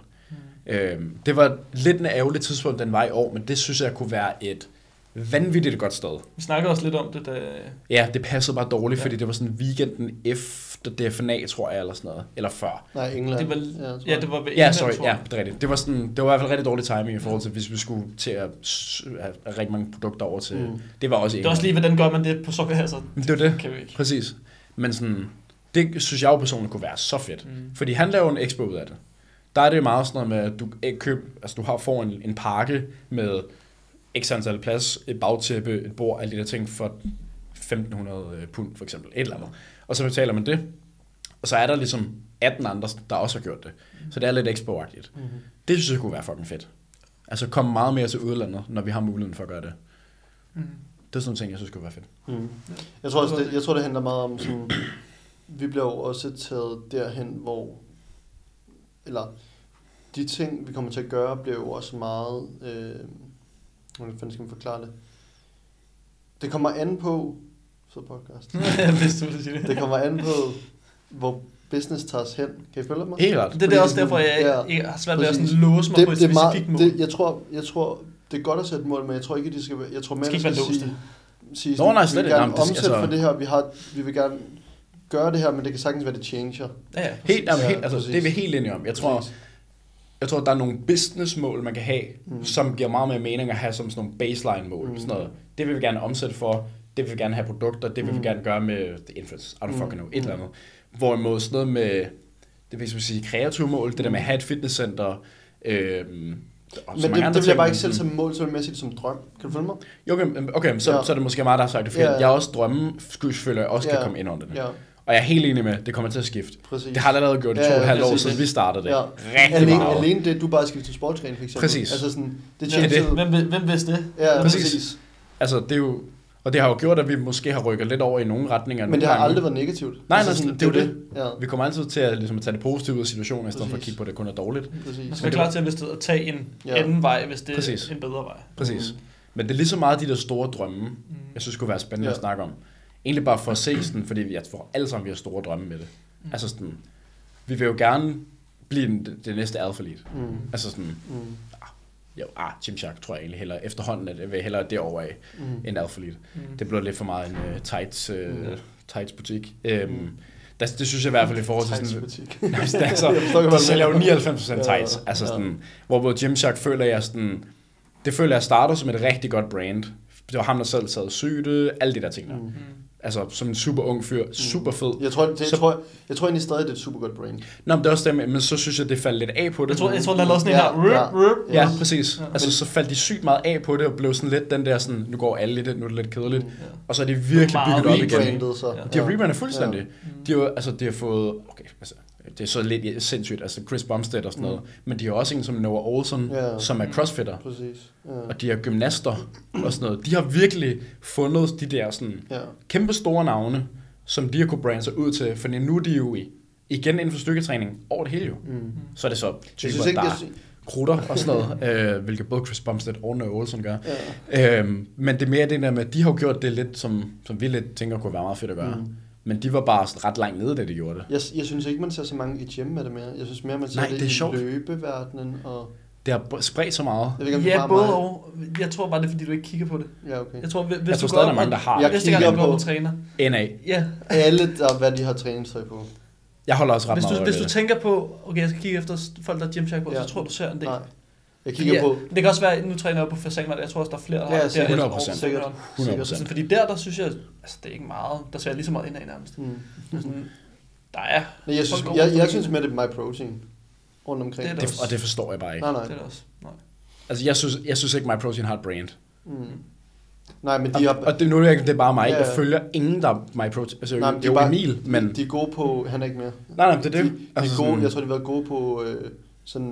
Speaker 3: Mm. Øhm, det var lidt en ærgerlig tidspunkt, den var i år, men det synes jeg kunne være et vanvittigt godt sted.
Speaker 2: Vi snakkede også lidt om det, da
Speaker 3: Ja, det passede bare dårligt, ja. fordi det var sådan weekenden efter DFNA, tror jeg, eller sådan noget. Eller før.
Speaker 1: Nej, England.
Speaker 2: det var,
Speaker 1: jeg tror.
Speaker 2: ja, det var ved
Speaker 3: Ja,
Speaker 2: England,
Speaker 3: sorry.
Speaker 2: tror
Speaker 3: Ja,
Speaker 2: jeg.
Speaker 3: det er rigtigt. Det var, sådan, det var i hvert fald rigtig dårlig timing i forhold til, hvis vi skulle til at s- have rigtig mange produkter over til. Mm. Det var også
Speaker 2: Det er også lige, hvordan gør man det på så altså,
Speaker 3: Men det var det.
Speaker 2: kan vi ikke.
Speaker 3: Præcis. Men sådan, det synes jeg jo personligt kunne være så fedt. Mm. Fordi han laver en expo ud af det. Der er det jo meget sådan noget med, at du, ikke køb, altså du har, får en, en pakke med x antal plads, et bagtæppe, et bord, alle de der ting for 1500 pund for eksempel, et eller andet. Og så betaler man det, og så er der ligesom 18 andre, der også har gjort det. Så det er lidt expo -agtigt. Mm. Det synes jeg kunne være fucking fedt. Altså komme meget mere til udlandet, når vi har muligheden for at gøre det. Mm. Det er sådan nogle ting, jeg synes kunne være fedt.
Speaker 1: Mm. Jeg tror, også, det, jeg tror, det handler meget om sådan, vi bliver jo også taget derhen, hvor, eller de ting, vi kommer til at gøre, bliver jo også meget, øh, hvordan fanden skal man forklare det? Det kommer an på, så podcast,
Speaker 2: Hvis du vil sige det.
Speaker 1: det kommer an på, hvor business tager os hen. Kan I følge mig?
Speaker 3: Helt ret.
Speaker 2: Det er det også
Speaker 1: Fordi
Speaker 2: derfor, jeg,
Speaker 1: sådan-
Speaker 2: jeg, jeg har svært ved at sådan
Speaker 1: Præcis.
Speaker 2: låse mig på et
Speaker 1: er meget-
Speaker 2: specifikt mål.
Speaker 1: Det, jeg, tror, jeg tror, det er godt at sætte mål, men jeg tror ikke, at de skal være... Jeg tror,
Speaker 2: Skal
Speaker 1: man
Speaker 2: ikke
Speaker 1: skal
Speaker 2: være låste.
Speaker 1: sige, sige
Speaker 3: Nå,
Speaker 1: sådan,
Speaker 3: nej,
Speaker 1: vi
Speaker 3: slet
Speaker 1: vil
Speaker 3: ikke.
Speaker 1: gerne
Speaker 3: Jamen, det skal-
Speaker 1: omsætte altså... for
Speaker 3: altså-
Speaker 1: det her, vi, har, vi vil gerne gøre det her, men det kan sagtens være, det changer.
Speaker 2: Ja, ja.
Speaker 3: Helt, jamen,
Speaker 1: Ja,
Speaker 3: helt, altså,
Speaker 1: præcis.
Speaker 3: det er vi helt enige om. Jeg tror,
Speaker 1: Præcis.
Speaker 3: jeg tror, der er nogle businessmål, man kan have, mm. som giver meget mere mening at have som sådan nogle baseline-mål. Mm. Sådan noget. Det vil vi gerne omsætte for, det vil vi gerne have produkter, det vil mm. vi gerne gøre med the influence, I
Speaker 1: Mm.
Speaker 3: don't fucking know, et eller andet. Hvorimod sådan noget med, det vil jeg sige, kreative mål, det der med at have et fitnesscenter, øh,
Speaker 1: Men det, det vil jeg bare ikke selv som mål, så vil jeg mere sige det som drøm. Kan du følge mig?
Speaker 3: Jo, okay, okay så, ja.
Speaker 1: Ja.
Speaker 3: så er det måske mig, der har sagt det, fordi ja.
Speaker 1: Ja.
Speaker 3: jeg er også drømme, føler jeg også ja. kan
Speaker 1: Ja.
Speaker 3: komme ind under det.
Speaker 1: Ja.
Speaker 3: Og jeg er helt enig med, at det kommer til at skifte.
Speaker 1: Præcis.
Speaker 3: Det har det allerede gjort i
Speaker 1: Ja,
Speaker 3: to og et
Speaker 1: ja,
Speaker 3: halvt år,
Speaker 1: præcis.
Speaker 3: siden vi startede det.
Speaker 1: Ja.
Speaker 3: Rigtig
Speaker 1: Alene,
Speaker 3: meget.
Speaker 1: alene det, du bare skifter til sportsgren, for eksempel.
Speaker 3: Præcis.
Speaker 1: Altså sådan, det
Speaker 2: Ja,
Speaker 1: changer.
Speaker 3: det er
Speaker 2: Hvem, ved- hvem vidste det?
Speaker 1: Ja,
Speaker 3: Præcis.
Speaker 1: præcis.
Speaker 3: Altså, det er jo, og det har jo gjort, at vi måske har rykket lidt over i nogle retninger.
Speaker 1: Men
Speaker 3: nogle
Speaker 1: det har
Speaker 3: gange.
Speaker 1: aldrig været negativt.
Speaker 3: Nej, nej,
Speaker 1: altså
Speaker 3: sådan, det er jo det.
Speaker 1: Ja,
Speaker 3: Vi kommer altid til at, ligesom, at tage det positive ud af situationen, i stedet for at
Speaker 1: Præcis. Mm.
Speaker 3: kigge på, at det kun er dårligt.
Speaker 1: præcis.
Speaker 2: Man skal være klar til at, hvis det, at tage en
Speaker 1: Ja.
Speaker 2: anden vej, hvis det
Speaker 3: Præcis.
Speaker 2: er en bedre vej.
Speaker 3: Præcis. Mm. Men det er lige så meget de der store drømme, mm. jeg synes kunne være spændende ja. at snakke om. Egentlig bare for at se sådan, fordi jeg tror alle sammen, vi har store drømme med det. Mm. Altså sådan, vi vil jo gerne blive den, det næste athlete. Mm. Altså sådan, mm. ah, jo, ah, Tim Shark tror jeg egentlig hellere. Efterhånden at jeg vil hellere derovre af mm. end athlete. Mm. Det blev lidt for meget en uh, tights, uh, mm. tights butik. Um, mm. Der, det synes jeg i hvert fald i forhold til sådan... Nej, men altså, de sælger jo 99% tights. Altså sådan, hvor hvor Gymshark føler jeg sådan... Det føler jeg starter som et rigtig godt brand. Det var ham, der selv sad syge, alle de der ting der. Mm. Altså som en super ung fyr, super fed.
Speaker 1: Jeg tror, det, jeg, så, tror, jeg, jeg tror egentlig stadig, det er et super godt brand.
Speaker 3: Nå, men det er også det, men så synes jeg, det faldt lidt af på det.
Speaker 2: Jeg tror, jeg tror der lavede sådan en her... Rup, rup.
Speaker 3: Ja, præcis. Altså så faldt de sygt meget af på det, og blev sådan lidt den der sådan, nu går alle i det, nu er det lidt kedeligt. Og så Mm. er de virkelig bygget op igen.
Speaker 1: Så.
Speaker 3: De har rebrandet fuldstændig. De har, altså, de har fået... Okay, altså, det er så lidt sindssygt, altså Chris Bumstead og sådan noget, mm. men de har også en som Noah Olsen, yeah. som er crossfitter,
Speaker 1: Præcis.
Speaker 3: Yeah. og de er gymnaster og sådan noget. De har virkelig fundet de der sådan
Speaker 1: Yeah.
Speaker 3: kæmpe store navne, som de har kunne brande sig ud til, for nu er de jo i, igen inden for styrketræning over det hele jo. Mm. Så er det så typer,
Speaker 1: synes ikke,
Speaker 3: der
Speaker 1: jeg sy-
Speaker 3: krutter og sådan noget, øh, hvilket både Chris Bumstead og Noah Olsen gør. Yeah. Øhm, men det er mere det der med, at de har jo gjort det lidt, som, som vi lidt tænker kunne være meget fedt at gøre. Mm. Men de var bare sådan ret langt nede, da de gjorde det.
Speaker 1: Jeg, jeg synes ikke, man ser så mange i gym med det mere. Jeg synes mere, man ser
Speaker 3: Nej,
Speaker 1: det,
Speaker 3: det er
Speaker 1: i
Speaker 3: sjovt.
Speaker 1: løbeverdenen. Og,
Speaker 3: Det har b- spredt så meget.
Speaker 1: jeg ved ikke, om det
Speaker 2: Ja,
Speaker 1: er bare
Speaker 2: både
Speaker 1: mig.
Speaker 2: og. Jeg tror bare, det er, fordi du ikke kigger på det.
Speaker 1: Ja, okay.
Speaker 2: Jeg tror, hvis
Speaker 3: Jeg
Speaker 2: hvis
Speaker 3: tror
Speaker 2: du
Speaker 3: stadig,
Speaker 2: går
Speaker 3: der er mange, der har.
Speaker 1: Jeg
Speaker 2: Jeg Næste gang,
Speaker 1: kigger
Speaker 2: du går
Speaker 1: på-
Speaker 2: og træner.
Speaker 3: NA.
Speaker 2: Ja,
Speaker 1: Alle, der, hvad de har træningstøj på.
Speaker 3: Jeg holder også ret
Speaker 2: hvis
Speaker 3: meget
Speaker 2: du,
Speaker 3: øje
Speaker 2: hvis
Speaker 3: med
Speaker 2: du
Speaker 3: det.
Speaker 2: tænker på, okay, jeg skal kigge efter s- folk, der er gymshack på,
Speaker 1: Ja.
Speaker 2: så tror du ser en del.
Speaker 1: Nej. Jeg kigger
Speaker 2: Ja,
Speaker 1: på...
Speaker 2: Det kan også være, nu træner jeg på Fasang, og jeg tror også, der er flere, der har
Speaker 1: Ja,
Speaker 2: det
Speaker 1: sikkert.
Speaker 2: der
Speaker 3: 100%.
Speaker 1: Sikkert.
Speaker 2: Sådan,
Speaker 3: 100%.
Speaker 2: Fordi der, der synes jeg, altså det er ikke meget, der ser jeg lige så meget indad nærmest.
Speaker 1: Mm.
Speaker 2: Sådan, der er,
Speaker 1: Nej, jeg synes,
Speaker 2: Folk går
Speaker 1: jeg,
Speaker 2: rundt
Speaker 1: jeg
Speaker 2: og
Speaker 1: synes
Speaker 2: kigger.
Speaker 1: mere, det er my protein rundt omkring.
Speaker 2: Det er
Speaker 3: Det, og det forstår jeg bare ikke.
Speaker 1: Nej,
Speaker 2: det er
Speaker 1: nej.
Speaker 2: det også. Nej.
Speaker 3: Altså, jeg synes, jeg synes ikke, MyProtein har et brand.
Speaker 1: Mm. Nej, men de har...
Speaker 3: Og, og det, nu er det, ikke- det er bare mig.
Speaker 1: Ja, ja.
Speaker 3: Jeg følger ingen, der er MyProtein. Altså,
Speaker 1: nej,
Speaker 3: nej,
Speaker 1: men
Speaker 3: det
Speaker 1: de
Speaker 3: er jo
Speaker 1: bare-
Speaker 3: Emil, men...
Speaker 1: De er gode på... Han er ikke mere.
Speaker 3: nej, nej, men det er
Speaker 1: De,
Speaker 3: det. Altså,
Speaker 1: de er gode,
Speaker 3: sådan-
Speaker 1: jeg tror, de har været gode på øh, sådan,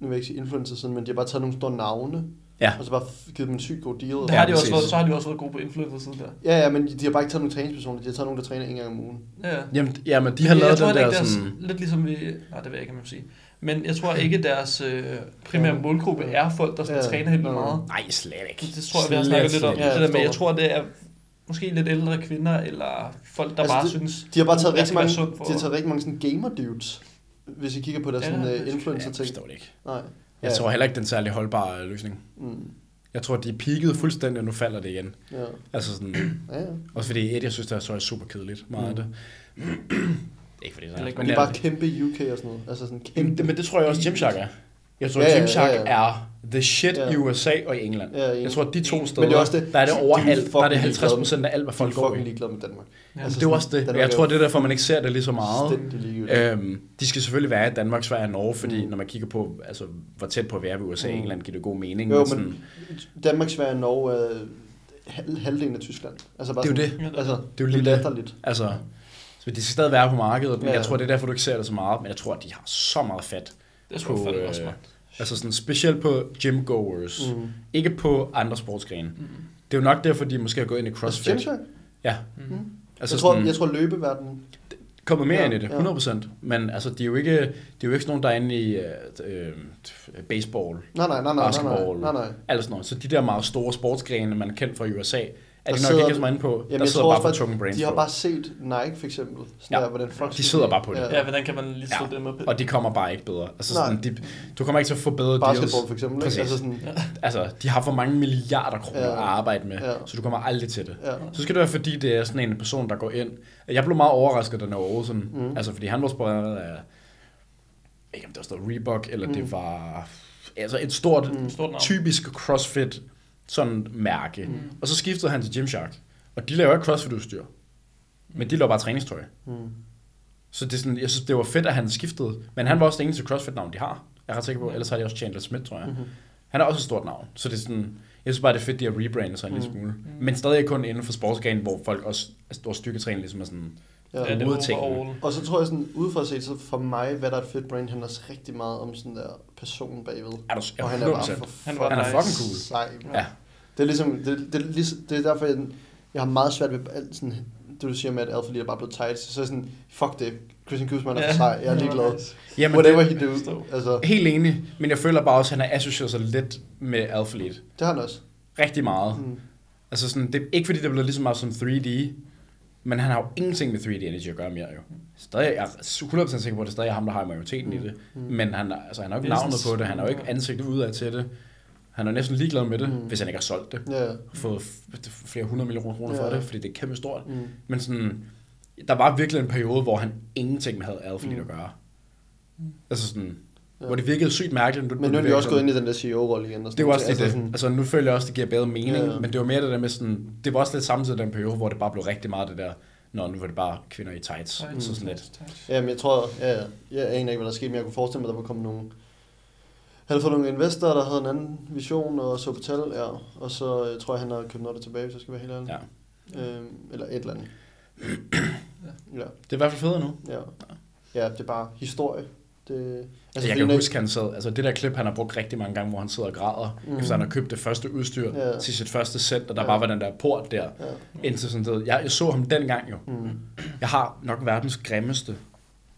Speaker 1: nu vil jeg ikke sige influencer, sådan, men de har bare taget nogle store navne,
Speaker 3: Ja.
Speaker 1: og så bare f- givet dem en sygt god deal.
Speaker 2: Det har de også
Speaker 3: præcis.
Speaker 2: været, så har de også været gode på influencer siden der.
Speaker 1: Ja, ja, men de har bare ikke taget nogle træningspersoner, de har taget nogen, der træner en gang om ugen.
Speaker 2: Ja, ja.
Speaker 3: Jamen, ja, men de har lavet
Speaker 2: jeg tror
Speaker 3: den
Speaker 2: heller
Speaker 3: der
Speaker 2: ikke, deres,
Speaker 3: sådan...
Speaker 2: lidt ligesom vi, nej det ved jeg ikke, om jeg må sige, men jeg tror ikke, deres øh, primære
Speaker 1: Ja.
Speaker 2: målgruppe er folk, der sådan
Speaker 1: Ja.
Speaker 2: træner helt
Speaker 1: Nå.
Speaker 2: vildt meget.
Speaker 3: Nej, slet ikke.
Speaker 2: Det tror jeg, vi har snakket lidt om.
Speaker 1: slet ikke.
Speaker 2: det der med, jeg tror, det er måske lidt ældre kvinder, eller folk, der
Speaker 1: Altså,
Speaker 2: altså, bare
Speaker 1: det-
Speaker 2: det, synes...
Speaker 1: De har bare taget
Speaker 2: Jeg
Speaker 1: rigtig
Speaker 2: skal
Speaker 1: mange,
Speaker 2: være sund for-
Speaker 1: de har taget rigtig mange sådan gamer dudes, hvis I kigger på deres
Speaker 2: Ja,
Speaker 1: sådan,
Speaker 2: det er
Speaker 1: uh,
Speaker 2: sgu-
Speaker 3: Ja,
Speaker 1: influencer
Speaker 3: jeg
Speaker 1: ting.
Speaker 3: forstår det ikke.
Speaker 1: Nej.
Speaker 3: Jeg
Speaker 1: Ja.
Speaker 3: tror heller ikke, den særlig holdbare løsning.
Speaker 1: Mm.
Speaker 3: Jeg tror, de er peaked fuldstændig, og nu falder det igen.
Speaker 1: Ja.
Speaker 3: Altså sådan...
Speaker 1: Ja, ja.
Speaker 3: Også fordi et, jeg synes, der er så super kedeligt. Meget af det. ikke fordi det
Speaker 2: Heller
Speaker 3: er...
Speaker 2: ikke
Speaker 1: Men
Speaker 3: Men,
Speaker 1: de Mm.
Speaker 3: det
Speaker 1: er
Speaker 3: er
Speaker 1: bare kæmpe i UK og sådan noget. Altså sådan
Speaker 3: Jamen,
Speaker 1: kæmpe.
Speaker 3: det, men det tror jeg også, Gymshark er. Jeg tror,
Speaker 1: Ja, ja,
Speaker 3: ja,
Speaker 1: ja,
Speaker 3: Gymshark ja,
Speaker 1: ja.
Speaker 3: ja. er the shit
Speaker 1: Ja.
Speaker 3: ja. i USA og i England.
Speaker 1: Ja, enig.
Speaker 3: jeg tror, de to steder,
Speaker 1: Men det er også det.
Speaker 3: der er det
Speaker 1: De- de er
Speaker 3: overalt. der er det
Speaker 1: fucking
Speaker 3: 50 procent af alt, hvad folk
Speaker 1: de er
Speaker 3: går i.
Speaker 1: fucking ligeglade med Danmark.
Speaker 2: Ja.
Speaker 3: Altså, det er jo også det. Og Jeg tror, det er derfor, man ikke ser det lige så meget.
Speaker 1: Stændig ligegyldigt.
Speaker 3: Øhm, de skal selvfølgelig være i Danmark, Sverige og Norge, fordi mm. når man kigger på, altså, hvor tæt på vi er ved USA og England, giver det god mening.
Speaker 1: Mm. Jo,
Speaker 3: men
Speaker 1: men
Speaker 3: sådan,
Speaker 1: Danmark, Sverige og Norge er hal- halvdelen af Tyskland. Altså bare
Speaker 3: Det er jo
Speaker 1: sådan,
Speaker 2: det.
Speaker 1: Altså,
Speaker 3: er jo lige det.
Speaker 1: latterligt.
Speaker 3: Altså, så de skal stadig være på markedet, men
Speaker 1: Ja.
Speaker 3: ja. jeg tror, det er derfor, du ikke ser det så meget. Men jeg tror, at de har så meget fat.
Speaker 2: Det tror jeg
Speaker 3: på,
Speaker 2: fandme også,
Speaker 3: øh,
Speaker 2: mand.
Speaker 3: Altså sådan specielt på gymgoers.
Speaker 1: Mm.
Speaker 3: Mm. Ikke på andre sportsgrene. Mm. Det er jo nok derfor, de måske har gået ind i
Speaker 1: Altså,
Speaker 3: CrossFit.
Speaker 1: Gymshark?
Speaker 3: Ja.
Speaker 2: Mm.
Speaker 1: Altså,
Speaker 3: Altså
Speaker 1: jeg, tror,
Speaker 3: sådan,
Speaker 1: jeg tror løbeverdenen.
Speaker 3: kommet mere
Speaker 1: Ja,
Speaker 3: ja, ind i det,
Speaker 1: ja.
Speaker 3: 100%. Men altså, de er jo ikke, de er jo ikke sådan nogen, der er inde i øh, øh, baseball,
Speaker 1: Nej, nej, nej, nej, nej, nej,
Speaker 3: basketball,
Speaker 1: nej, nej.
Speaker 3: alt sådan noget. Så de der meget store sportsgrene, man er kendt fra i USA, er
Speaker 1: Der
Speaker 3: de nok
Speaker 1: sidder-
Speaker 3: ikke så meget inde på.
Speaker 1: Jamen,
Speaker 3: der
Speaker 1: jeg
Speaker 3: sidder
Speaker 1: tror
Speaker 3: bare
Speaker 1: også,
Speaker 3: for
Speaker 1: at
Speaker 3: tunge brains
Speaker 1: De har
Speaker 3: på.
Speaker 1: bare set Nike, for eksempel. Sådan
Speaker 3: Ja.
Speaker 1: der, hvordan folk
Speaker 3: De sidder bare på det.
Speaker 2: Ja, hvordan kan man lige slå
Speaker 3: Ja.
Speaker 2: ja. det med på?
Speaker 3: Og de kommer bare ikke bedre. Altså,
Speaker 1: Nej.
Speaker 3: sådan, de, du kommer ikke til at få bedre
Speaker 1: Basketball, for
Speaker 3: deals.
Speaker 1: eksempel.
Speaker 3: Præcis.
Speaker 1: Ikke? Altså sådan, ja.
Speaker 3: Altså, de har for mange milliarder kroner
Speaker 1: Ja.
Speaker 3: ja. at arbejde med,
Speaker 1: Ja.
Speaker 3: ja. så du kommer aldrig til det.
Speaker 1: Ja.
Speaker 3: Så skal det være, fordi det er sådan en person, der går ind. Jeg blev meget overrasket, da Noah Olsen, mm. altså fordi han var sponsoreret af, jeg ved ikke om det var sådan noget Reebok, eller mm. det var altså et stort, mm.
Speaker 2: Stort navn.
Speaker 3: typisk CrossFit sådan mærke. Mm. Og så skiftede han til Gymshark, og de laver ikke CrossFit-udstyr, men de laver bare træningstøj. Mm. Så det er sådan, jeg synes, det var fedt, at han skiftede, men han var også den eneste CrossFit-navn, de har. Jeg er ret sikker på, ellers har de også Chandler Smith, tror jeg.
Speaker 1: Mhm.
Speaker 3: Mm-hmm. Han er også et stort navn, så det er sådan, jeg synes bare, det er fedt, de har rebrandet sig en mm. lille smule. Men stadig kun inden for sportsgrenen, hvor folk også, altså, hvor styrketræning ligesom er sådan,
Speaker 1: Ja.
Speaker 2: ja, det
Speaker 3: hovedet
Speaker 2: er
Speaker 3: ting.
Speaker 2: overall.
Speaker 1: Og så tror jeg sådan, udefra set, så for mig, hvad der er et fedt brand, handler også rigtig meget om sådan der personen bagved.
Speaker 3: er du
Speaker 1: Og
Speaker 3: er
Speaker 1: han er
Speaker 3: 100%.
Speaker 1: bare for
Speaker 2: Han var
Speaker 3: Han er
Speaker 2: nice.
Speaker 3: fucking cool.
Speaker 1: sej. mand.
Speaker 3: Ja.
Speaker 1: Det er ligesom, det, det, er lige- det er derfor, jeg, jeg har meget svært ved alt sådan, det du siger med, at Alpha Lee er bare blevet tight. Så er jeg sådan, fuck det, Christian Guzman er for
Speaker 2: Ja.
Speaker 1: sej, jeg er ligeglad.
Speaker 3: Jamen,
Speaker 1: Whatever
Speaker 3: det,
Speaker 1: he do,
Speaker 2: Forstå.
Speaker 1: altså,
Speaker 3: helt enig, men jeg føler bare også, at han har associeret sig lidt med athlete.
Speaker 1: det har han også.
Speaker 3: rigtig meget. Mm. Altså sådan, det er ikke fordi, det bliver lige så meget som 3D, men han har jo ingenting med 3D Energy at gøre mere jo. Stadig, jeg er 100% sikker på, at det er stadig ham, der har majoriteten mm. i det. Mm. Men han, er- altså, han har jo ikke
Speaker 2: Det er
Speaker 3: navnet
Speaker 2: sådan-
Speaker 3: på det, han har jo ikke ansigtet udad til det. Han er jo næsten ligeglad med det, mm. hvis han ikke har solgt det.
Speaker 1: Ja.
Speaker 3: Og fået f- flere hundrede millioner kroner for
Speaker 1: Ja.
Speaker 3: det, fordi det er kæmpe stort. Mm. Men sådan, der var virkelig en periode, hvor han ingenting havde Alpha mm. at gøre. Altså sådan, ja. hvor det virkede sygt mærkeligt.
Speaker 1: Men nu er de også gået ind i den der CEO-rolle igen. Og
Speaker 3: Det
Speaker 1: sådan
Speaker 3: var
Speaker 1: noget.
Speaker 3: også det. Altså, altså, nu føler jeg også, det giver bedre mening,
Speaker 1: Ja, ja.
Speaker 3: men det var mere det der med sådan, det var også lidt samtidig den periode, hvor det bare blev rigtig meget det der, når nu var det bare kvinder i tights, mm. så sådan lidt.
Speaker 1: Jamen, jeg tror, ja, ja. jeg aner ikke, hvad der skete, men jeg kunne forestille mig, at der var kommet nogle... Han havde fået nogle investorer, der havde en anden vision, og så på tal, ja. Og så øh, tror jeg, han har købt noget af det tilbage, hvis jeg skal være helt ærlig.
Speaker 3: Ja.
Speaker 1: Øhm, eller et eller andet. ja.
Speaker 3: Det er i hvert fald federe nu.
Speaker 1: Ja. ja, det er bare historie. Det,
Speaker 3: Altså, jeg
Speaker 1: fordi
Speaker 3: kan
Speaker 1: når-
Speaker 3: huske, han sad, altså det der klip, han har brugt rigtig mange gange, hvor han sidder og græder, mm. efter han har købt det første udstyr
Speaker 1: Ja.
Speaker 3: til sit første sæt, og der bare var den der port der,
Speaker 1: Ja.
Speaker 3: indtil sådan noget. Jeg, jeg så ham dengang jo. Mm. Jeg har nok verdens grimmeste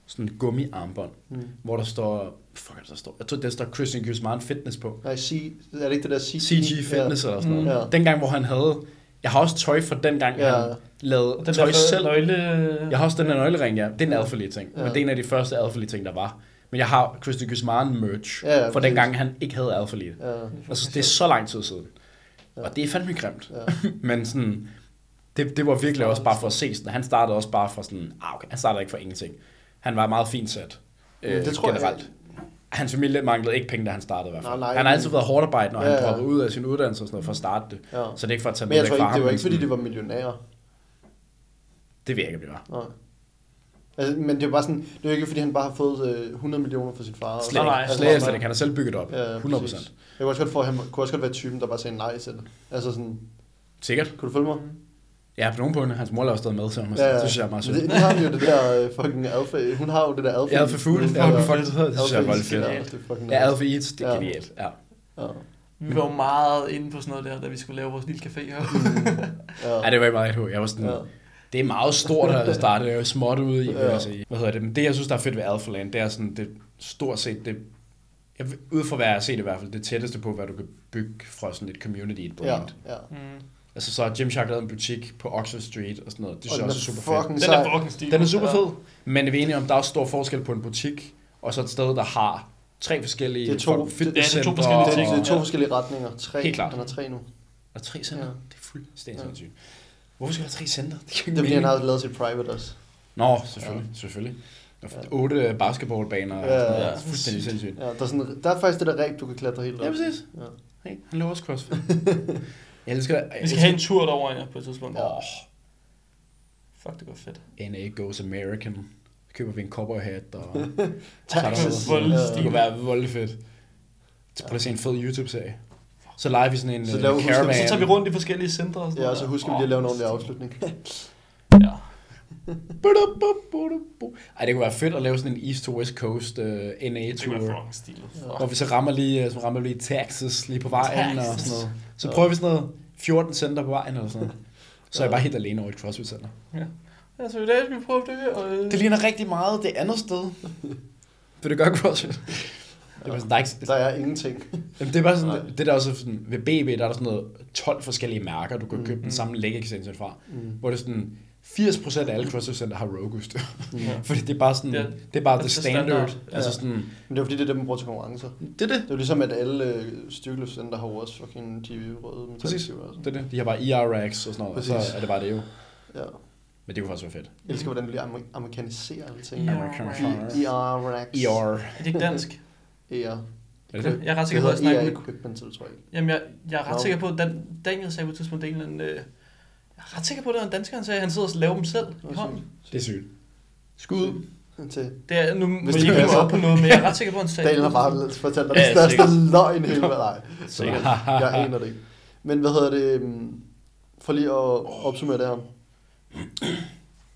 Speaker 3: sådan gummiarmbånd, mm. hvor der står, fuck er det, der står, jeg tror, der står Christian Guzman Fitness på.
Speaker 1: Nej, C, er det ikke det der CG?
Speaker 3: CG Fitness ja. eller sådan noget.
Speaker 1: Ja.
Speaker 3: Ja. Dengang, hvor han havde... Jeg har også tøj fra dengang, ja.
Speaker 1: Ja.
Speaker 3: han lavede
Speaker 2: Den
Speaker 3: tøj
Speaker 2: der selv.
Speaker 3: selv.
Speaker 2: nøgle...
Speaker 3: Jeg har også den her nøglering, ja. Det er en adfærdig ting. Ja.
Speaker 1: Ja.
Speaker 3: Men det er en af de første adfærdige ting, der var. Men jeg har Christy Guzman merch
Speaker 1: Ja, ja,
Speaker 3: ja, fra
Speaker 1: præcis.
Speaker 3: dengang, han ikke havde adfærdigt. Ja.
Speaker 1: Ja.
Speaker 3: Altså, det er så lang tid siden. Ja. Og det er fandme grimt. Ja.
Speaker 1: Ja.
Speaker 3: Men sådan... Det, det var virkelig også bare for at se sådan. Han startede også bare fra sådan... Ah, okay, han startede ikke fra ingenting. Han var meget fint sat. Øh, det tror generelt. Jeg, hans familie manglede ikke penge, da han startede i hvert fald.
Speaker 1: Nej, nej.
Speaker 3: han har altid været hårdt arbejde, når ja,
Speaker 1: Ja,
Speaker 3: han
Speaker 1: ja.
Speaker 3: droppede ud af sin uddannelse og sådan noget for at starte det.
Speaker 1: Ja.
Speaker 3: Så det er ikke for at tage
Speaker 1: Men jeg
Speaker 3: noget
Speaker 1: tror
Speaker 3: væk fra
Speaker 1: ikke,
Speaker 3: ham.
Speaker 1: det var
Speaker 3: men
Speaker 1: ikke, fordi
Speaker 3: sådan,
Speaker 1: de var millionærer.
Speaker 3: Det virker det var.
Speaker 1: Nej. Altså, men det er bare sådan, det er jo ikke, fordi han bare har fået øh, 100 millioner fra sin far.
Speaker 3: Slet
Speaker 2: Nej, nej,
Speaker 3: ikke. Slet
Speaker 2: altså,
Speaker 3: ikke, slet ikke. Han har selv bygget det op.
Speaker 1: Ja,
Speaker 3: 100
Speaker 1: præcis. Jeg kunne også godt, få, at han kunne også godt være typen, der bare sagde nej til det. Altså sådan,
Speaker 3: Sikkert.
Speaker 1: kunne du følge mig?
Speaker 3: Ja, på nogle punkter. Hans mor laver stadig med til ham. og
Speaker 1: Ja,
Speaker 3: sådan.
Speaker 1: ja.
Speaker 3: Mm. Det synes jeg er meget sødt.
Speaker 1: Men det- Altså, Nu har vi jo det der øh, fucking adfærd. Hun har jo det der adfærd.
Speaker 3: Jeg havde for fugle.
Speaker 1: Hun
Speaker 3: Ja,
Speaker 1: får-
Speaker 3: hvad fuck det hedder. Det synes jeg er
Speaker 1: Adfærd-
Speaker 3: meget fedt.
Speaker 1: Ja, det er fucking nice.
Speaker 3: Ja, Alpha Eats, det er
Speaker 1: Ja.
Speaker 3: genialt. Ja.
Speaker 1: Ja.
Speaker 2: Vi var jo meget inde på sådan noget der, da vi skulle lave vores lille café her.
Speaker 1: Mm. Ja.
Speaker 3: Ja, det var ikke meget hårdt. Jeg var sådan,
Speaker 1: Ja.
Speaker 3: det er meget stort at starte det er jo småt ude i, ja.
Speaker 1: Ja.
Speaker 3: jeg sige. Hvad hedder det? Men det, jeg synes, der er fedt ved Alphaland, det er sådan, det er stort set, det, jeg, ved- ud fra hvad jeg har set i hvert fald, det tætteste på, hvad du kan bygge fra sådan et community, et brand.
Speaker 1: Ja,
Speaker 3: Ja.
Speaker 1: ja.
Speaker 3: Altså så har Gymshark lavet en butik på Oxford Street og sådan noget. Det synes
Speaker 1: den
Speaker 3: jeg
Speaker 1: er
Speaker 3: også er super fedt.
Speaker 1: fucking
Speaker 2: Den er
Speaker 1: sej.
Speaker 2: fucking stil.
Speaker 3: Den er super fed, men er vi enige om, der er også stor forskel på en butik, og så et sted, der har tre forskellige
Speaker 1: Det er to-
Speaker 3: fucking
Speaker 1: det- ja, det
Speaker 2: er to
Speaker 3: fitnesscentre
Speaker 2: forskellige
Speaker 1: Det,
Speaker 2: ting.
Speaker 1: det er to
Speaker 2: Ja.
Speaker 1: forskellige retninger. Tre.
Speaker 3: Helt klart.
Speaker 1: Han har tre nu.
Speaker 3: Og, og tre center. Ja.
Speaker 1: Ja.
Speaker 3: Det er fuldstændig sindssygt. Hvorfor skal der være tre center? Det kan
Speaker 1: Det
Speaker 3: ikke
Speaker 1: er fordi, han
Speaker 3: mening.
Speaker 1: har lavet sit private også.
Speaker 3: Nå, selvfølgelig, ja. selvfølgelig. Der er otte basketballbaner og
Speaker 1: Ja,
Speaker 3: sådan noget.
Speaker 1: ja.
Speaker 3: Det er fuldstændig sindssygt.
Speaker 1: Ja, der er, sådan, der er faktisk det der ræb, du kan klatre helt op.
Speaker 3: Ja, præcis.
Speaker 1: Ja.
Speaker 3: Hey, han laver også crossfit. jeg elsker...
Speaker 2: Vi skal have en tur derover ja, på et tidspunkt.
Speaker 3: Åh,
Speaker 2: Fuck, det går fedt.
Speaker 3: NA goes American. Så køber vi en cowboy hat og...
Speaker 1: Tak.
Speaker 3: tager
Speaker 2: Texas
Speaker 3: derud.
Speaker 2: voldstil.
Speaker 3: Det kunne være voldelig fedt. Så prøv at se en fed YouTube-serie. Så leger vi sådan en
Speaker 1: Så
Speaker 3: øh,
Speaker 1: laver-
Speaker 3: caravan.
Speaker 2: Så tager vi rundt i forskellige centre og sådan
Speaker 1: Ja, og
Speaker 2: noget
Speaker 1: så
Speaker 2: der.
Speaker 1: husker vi
Speaker 2: Åh,
Speaker 1: lige at lave en ordentlig afslutning.
Speaker 2: Ja.
Speaker 3: Budububudubu. Ej, det kunne være fedt at lave sådan en East to West Coast uh,
Speaker 2: Det kunne være
Speaker 3: NA-tour.
Speaker 2: fucking stilet.
Speaker 3: Hvor vi så rammer lige, øh, så rammer vi lige Texas lige på vejen og
Speaker 2: Texas.
Speaker 3: sådan noget. Så prøver vi sådan noget 14 center på vejen eller sådan noget. Så er jeg bare helt alene over i et CrossFit Center.
Speaker 2: Ja, så i dag skal vi prøve det her. Og, øh,
Speaker 3: Det ligner rigtig meget det andet sted. Vil du gøre CrossFit? Det var sådan, der er ikke,
Speaker 1: Der er ingenting.
Speaker 3: Jamen, det er bare sådan,
Speaker 1: Nej.
Speaker 3: det der også er sådan, ved BB, der er der sådan noget 12 forskellige mærker, du kan købe
Speaker 2: Mm-hmm.
Speaker 3: den samme leg extension fra, hvor det er sådan, 80% af alle CrossFit Center har Rogue udstyr. Fordi det er bare sådan,
Speaker 2: Det
Speaker 3: det,
Speaker 2: er-
Speaker 3: det er bare
Speaker 2: det
Speaker 3: det
Speaker 2: er
Speaker 3: standard. standard.
Speaker 2: standard.
Speaker 3: Altså sådan,
Speaker 1: Men det er fordi, det er det, man bruger til konkurrencer.
Speaker 3: det er
Speaker 1: Det er jo ligesom, at alle øh, styrkeløftcenter har jo også fucking de røde
Speaker 3: Præcis.
Speaker 1: metalskiver. og sådan.
Speaker 3: Det er det. De har bare ER racks og sådan noget, og så
Speaker 1: Præcis.
Speaker 3: er det bare det jo.
Speaker 1: Ja.
Speaker 3: Men det kunne faktisk være fedt.
Speaker 1: Jeg elsker, hvordan du lige amer- amerikaniserer alle ting.
Speaker 3: E
Speaker 2: Ja.
Speaker 1: ER racks.
Speaker 3: ER.
Speaker 2: Er det ikke dansk?
Speaker 1: ER.
Speaker 3: E Er det det?
Speaker 2: Jeg er ret
Speaker 1: E Det
Speaker 2: sikker på,
Speaker 1: hedder
Speaker 2: at jeg
Speaker 1: ER
Speaker 2: snakker med...
Speaker 1: equipment, så det tror jeg ikke.
Speaker 2: Jamen, jeg, jeg er ret
Speaker 1: Nå.
Speaker 2: sikker på, at Dan, Daniel sagde på et tidspunkt, at det er en eller anden, øh, jeg er ret sikker på, at det var en dansker, han sagde, at han sidder og laver dem selv i
Speaker 1: Nå,
Speaker 2: hånden.
Speaker 3: Det er sygt. Skud.
Speaker 1: Til
Speaker 2: Det er, nu må
Speaker 1: Hvis
Speaker 2: jeg
Speaker 1: det
Speaker 2: ikke hive
Speaker 1: passer.
Speaker 2: op på noget, men jeg er ret sikker på, at han sagde...
Speaker 1: Daniel har bare fortalt dig
Speaker 2: Ja,
Speaker 1: den største
Speaker 2: sikkert.
Speaker 1: løgn i hele verden.
Speaker 2: Sikkert.
Speaker 1: Jeg aner det ikke. Men hvad hedder det? øhm, For lige at opsummere det her.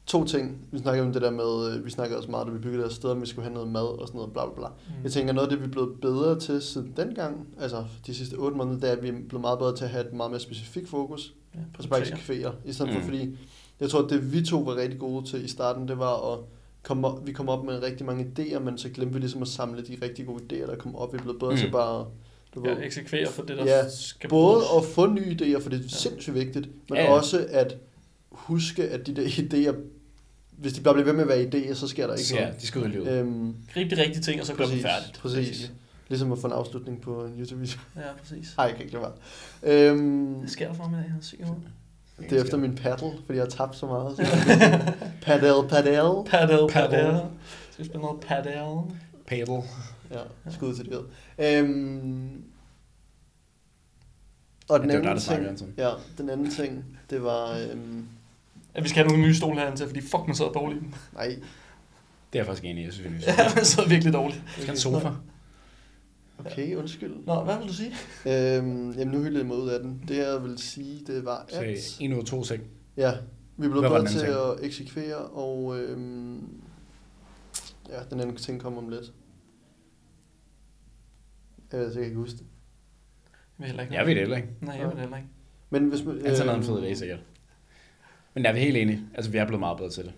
Speaker 1: To ting. Vi snakkede om det der med, øh, vi snakkede også meget, da vi byggede det her sted, om vi skulle have noget mad og sådan noget, bla bla bla. Mm. Jeg tænker, noget af det, vi er blevet bedre til siden dengang, altså de sidste otte måneder, det er, at vi er blevet meget bedre til at have et meget mere specifikt fokus
Speaker 2: Ja,
Speaker 1: på spejlskaféer, i stedet for,
Speaker 3: Mm.
Speaker 1: fordi jeg tror, at det vi to var rigtig gode til i starten, det var at komme op, vi kom op med rigtig mange idéer, men så glemte vi ligesom at samle de rigtig gode idéer, der kom op. Vi blev bedre
Speaker 3: Mm.
Speaker 1: mm. til bare at Du
Speaker 2: Ja, eksekvere for det, der
Speaker 1: Ja,
Speaker 2: skal
Speaker 1: Både
Speaker 2: bruges.
Speaker 1: at få nye idéer, for det er sindssygt vigtigt, men
Speaker 2: Ja,
Speaker 1: ja,
Speaker 2: ja.
Speaker 1: ja. også at huske, at de der idéer, hvis de bare bliver ved med at være idéer, så sker der ikke
Speaker 3: Ja, de skal ud i livet.
Speaker 1: noget. Øhm,
Speaker 2: Gribe de rigtige ting, og så gøre dem
Speaker 1: præcis,
Speaker 2: færdigt.
Speaker 1: præcis. Ligesom at få en afslutning på en YouTube-video.
Speaker 2: Ja, præcis.
Speaker 1: Nej, jeg kan ikke lade være. Øhm,
Speaker 2: Det sker for mig, jeg har syg over.
Speaker 1: det er efter min paddle, fordi jeg har tabt så meget. Så paddle, paddle.
Speaker 2: Padel,
Speaker 3: Padel.
Speaker 2: padel. Skal vi spille noget padel?
Speaker 3: Paddle.
Speaker 1: Ja, skud til dyret. Øhm, og den
Speaker 3: det var dig,
Speaker 1: anden
Speaker 3: der snakkede,
Speaker 1: ting,
Speaker 3: Anton.
Speaker 1: ja, den anden ting, det var, øhm,
Speaker 2: Ja, vi skal have nogle nye stole herinde til, fordi fuck, man sidder dårligt.
Speaker 1: nej,
Speaker 3: Det er jeg faktisk enig i, jeg synes, vi
Speaker 2: Ja, man sidder virkelig dårligt.
Speaker 3: Skal en sofa?
Speaker 1: okay, undskyld.
Speaker 2: Nå, hvad vil du sige?
Speaker 1: Øhm, jamen, nu hyldede jeg mig ud af den. Det jeg vil sige, det var,
Speaker 3: Så
Speaker 1: at...
Speaker 3: en ud af to seng.
Speaker 1: Ja, vi blev
Speaker 3: Hvad var
Speaker 1: bedre
Speaker 3: den
Speaker 1: til
Speaker 3: anden
Speaker 1: at eksekvere, og... Øhm, ja, den anden ting kommer om lidt. Jeg ved, så jeg kan ikke huske det.
Speaker 2: Jeg vil heller ikke.
Speaker 3: Jeg ved det heller ikke.
Speaker 2: Nej, jeg vil heller ikke.
Speaker 1: Men hvis man... øhm,
Speaker 3: Anton havde en fed dag, sikkert. Men jeg er vi helt enige. Altså, vi er blevet meget bedre til det.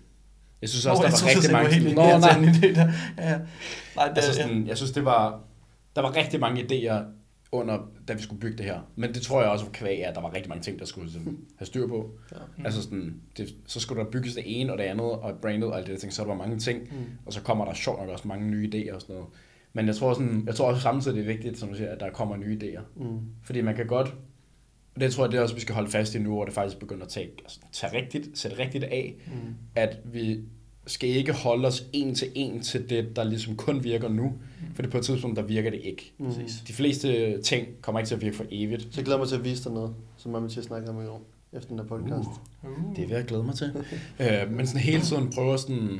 Speaker 3: Jeg synes
Speaker 2: Så
Speaker 3: også, der var rigtig mange...
Speaker 2: Helt
Speaker 3: Nå, nej.
Speaker 2: En idé der. Ja. Nej, det,
Speaker 3: Altså
Speaker 2: er ja.
Speaker 3: sådan, jeg synes, det var... Der var rigtig mange idéer under, da vi skulle bygge det her. Men det tror jeg også kan være, at der var rigtig mange ting, der skulle sådan, have styr på.
Speaker 1: Ja.
Speaker 3: Altså sådan, det, så skulle der bygges det ene og det andet, og brandet og alt det der ting, så der var mange ting.
Speaker 1: Mm.
Speaker 3: Og så kommer der sjovt nok også mange nye idéer og sådan noget. Men jeg tror, sådan, jeg tror også samtidig, det er vigtigt, som du siger, at der kommer nye idéer.
Speaker 1: Mm.
Speaker 3: Fordi man kan godt, og det tror jeg, det er også, vi skal holde fast i nu, hvor det faktisk begynder at tage, altså, tage rigtigt, sætte rigtigt af,
Speaker 1: Mm.
Speaker 3: at vi skal ikke holde os en til en til det, der ligesom kun virker nu, for det på et tidspunkt, der virker det ikke.
Speaker 1: Mm.
Speaker 2: Præcis.
Speaker 3: De fleste ting kommer ikke til at virke for evigt.
Speaker 1: Så jeg glæder mig til at vise dig noget, som mig og Mathias snakkede om i går, efter den der podcast.
Speaker 3: Uh.
Speaker 2: Uh.
Speaker 3: Det vil jeg glæde mig til. øh, men sådan hele tiden prøver sådan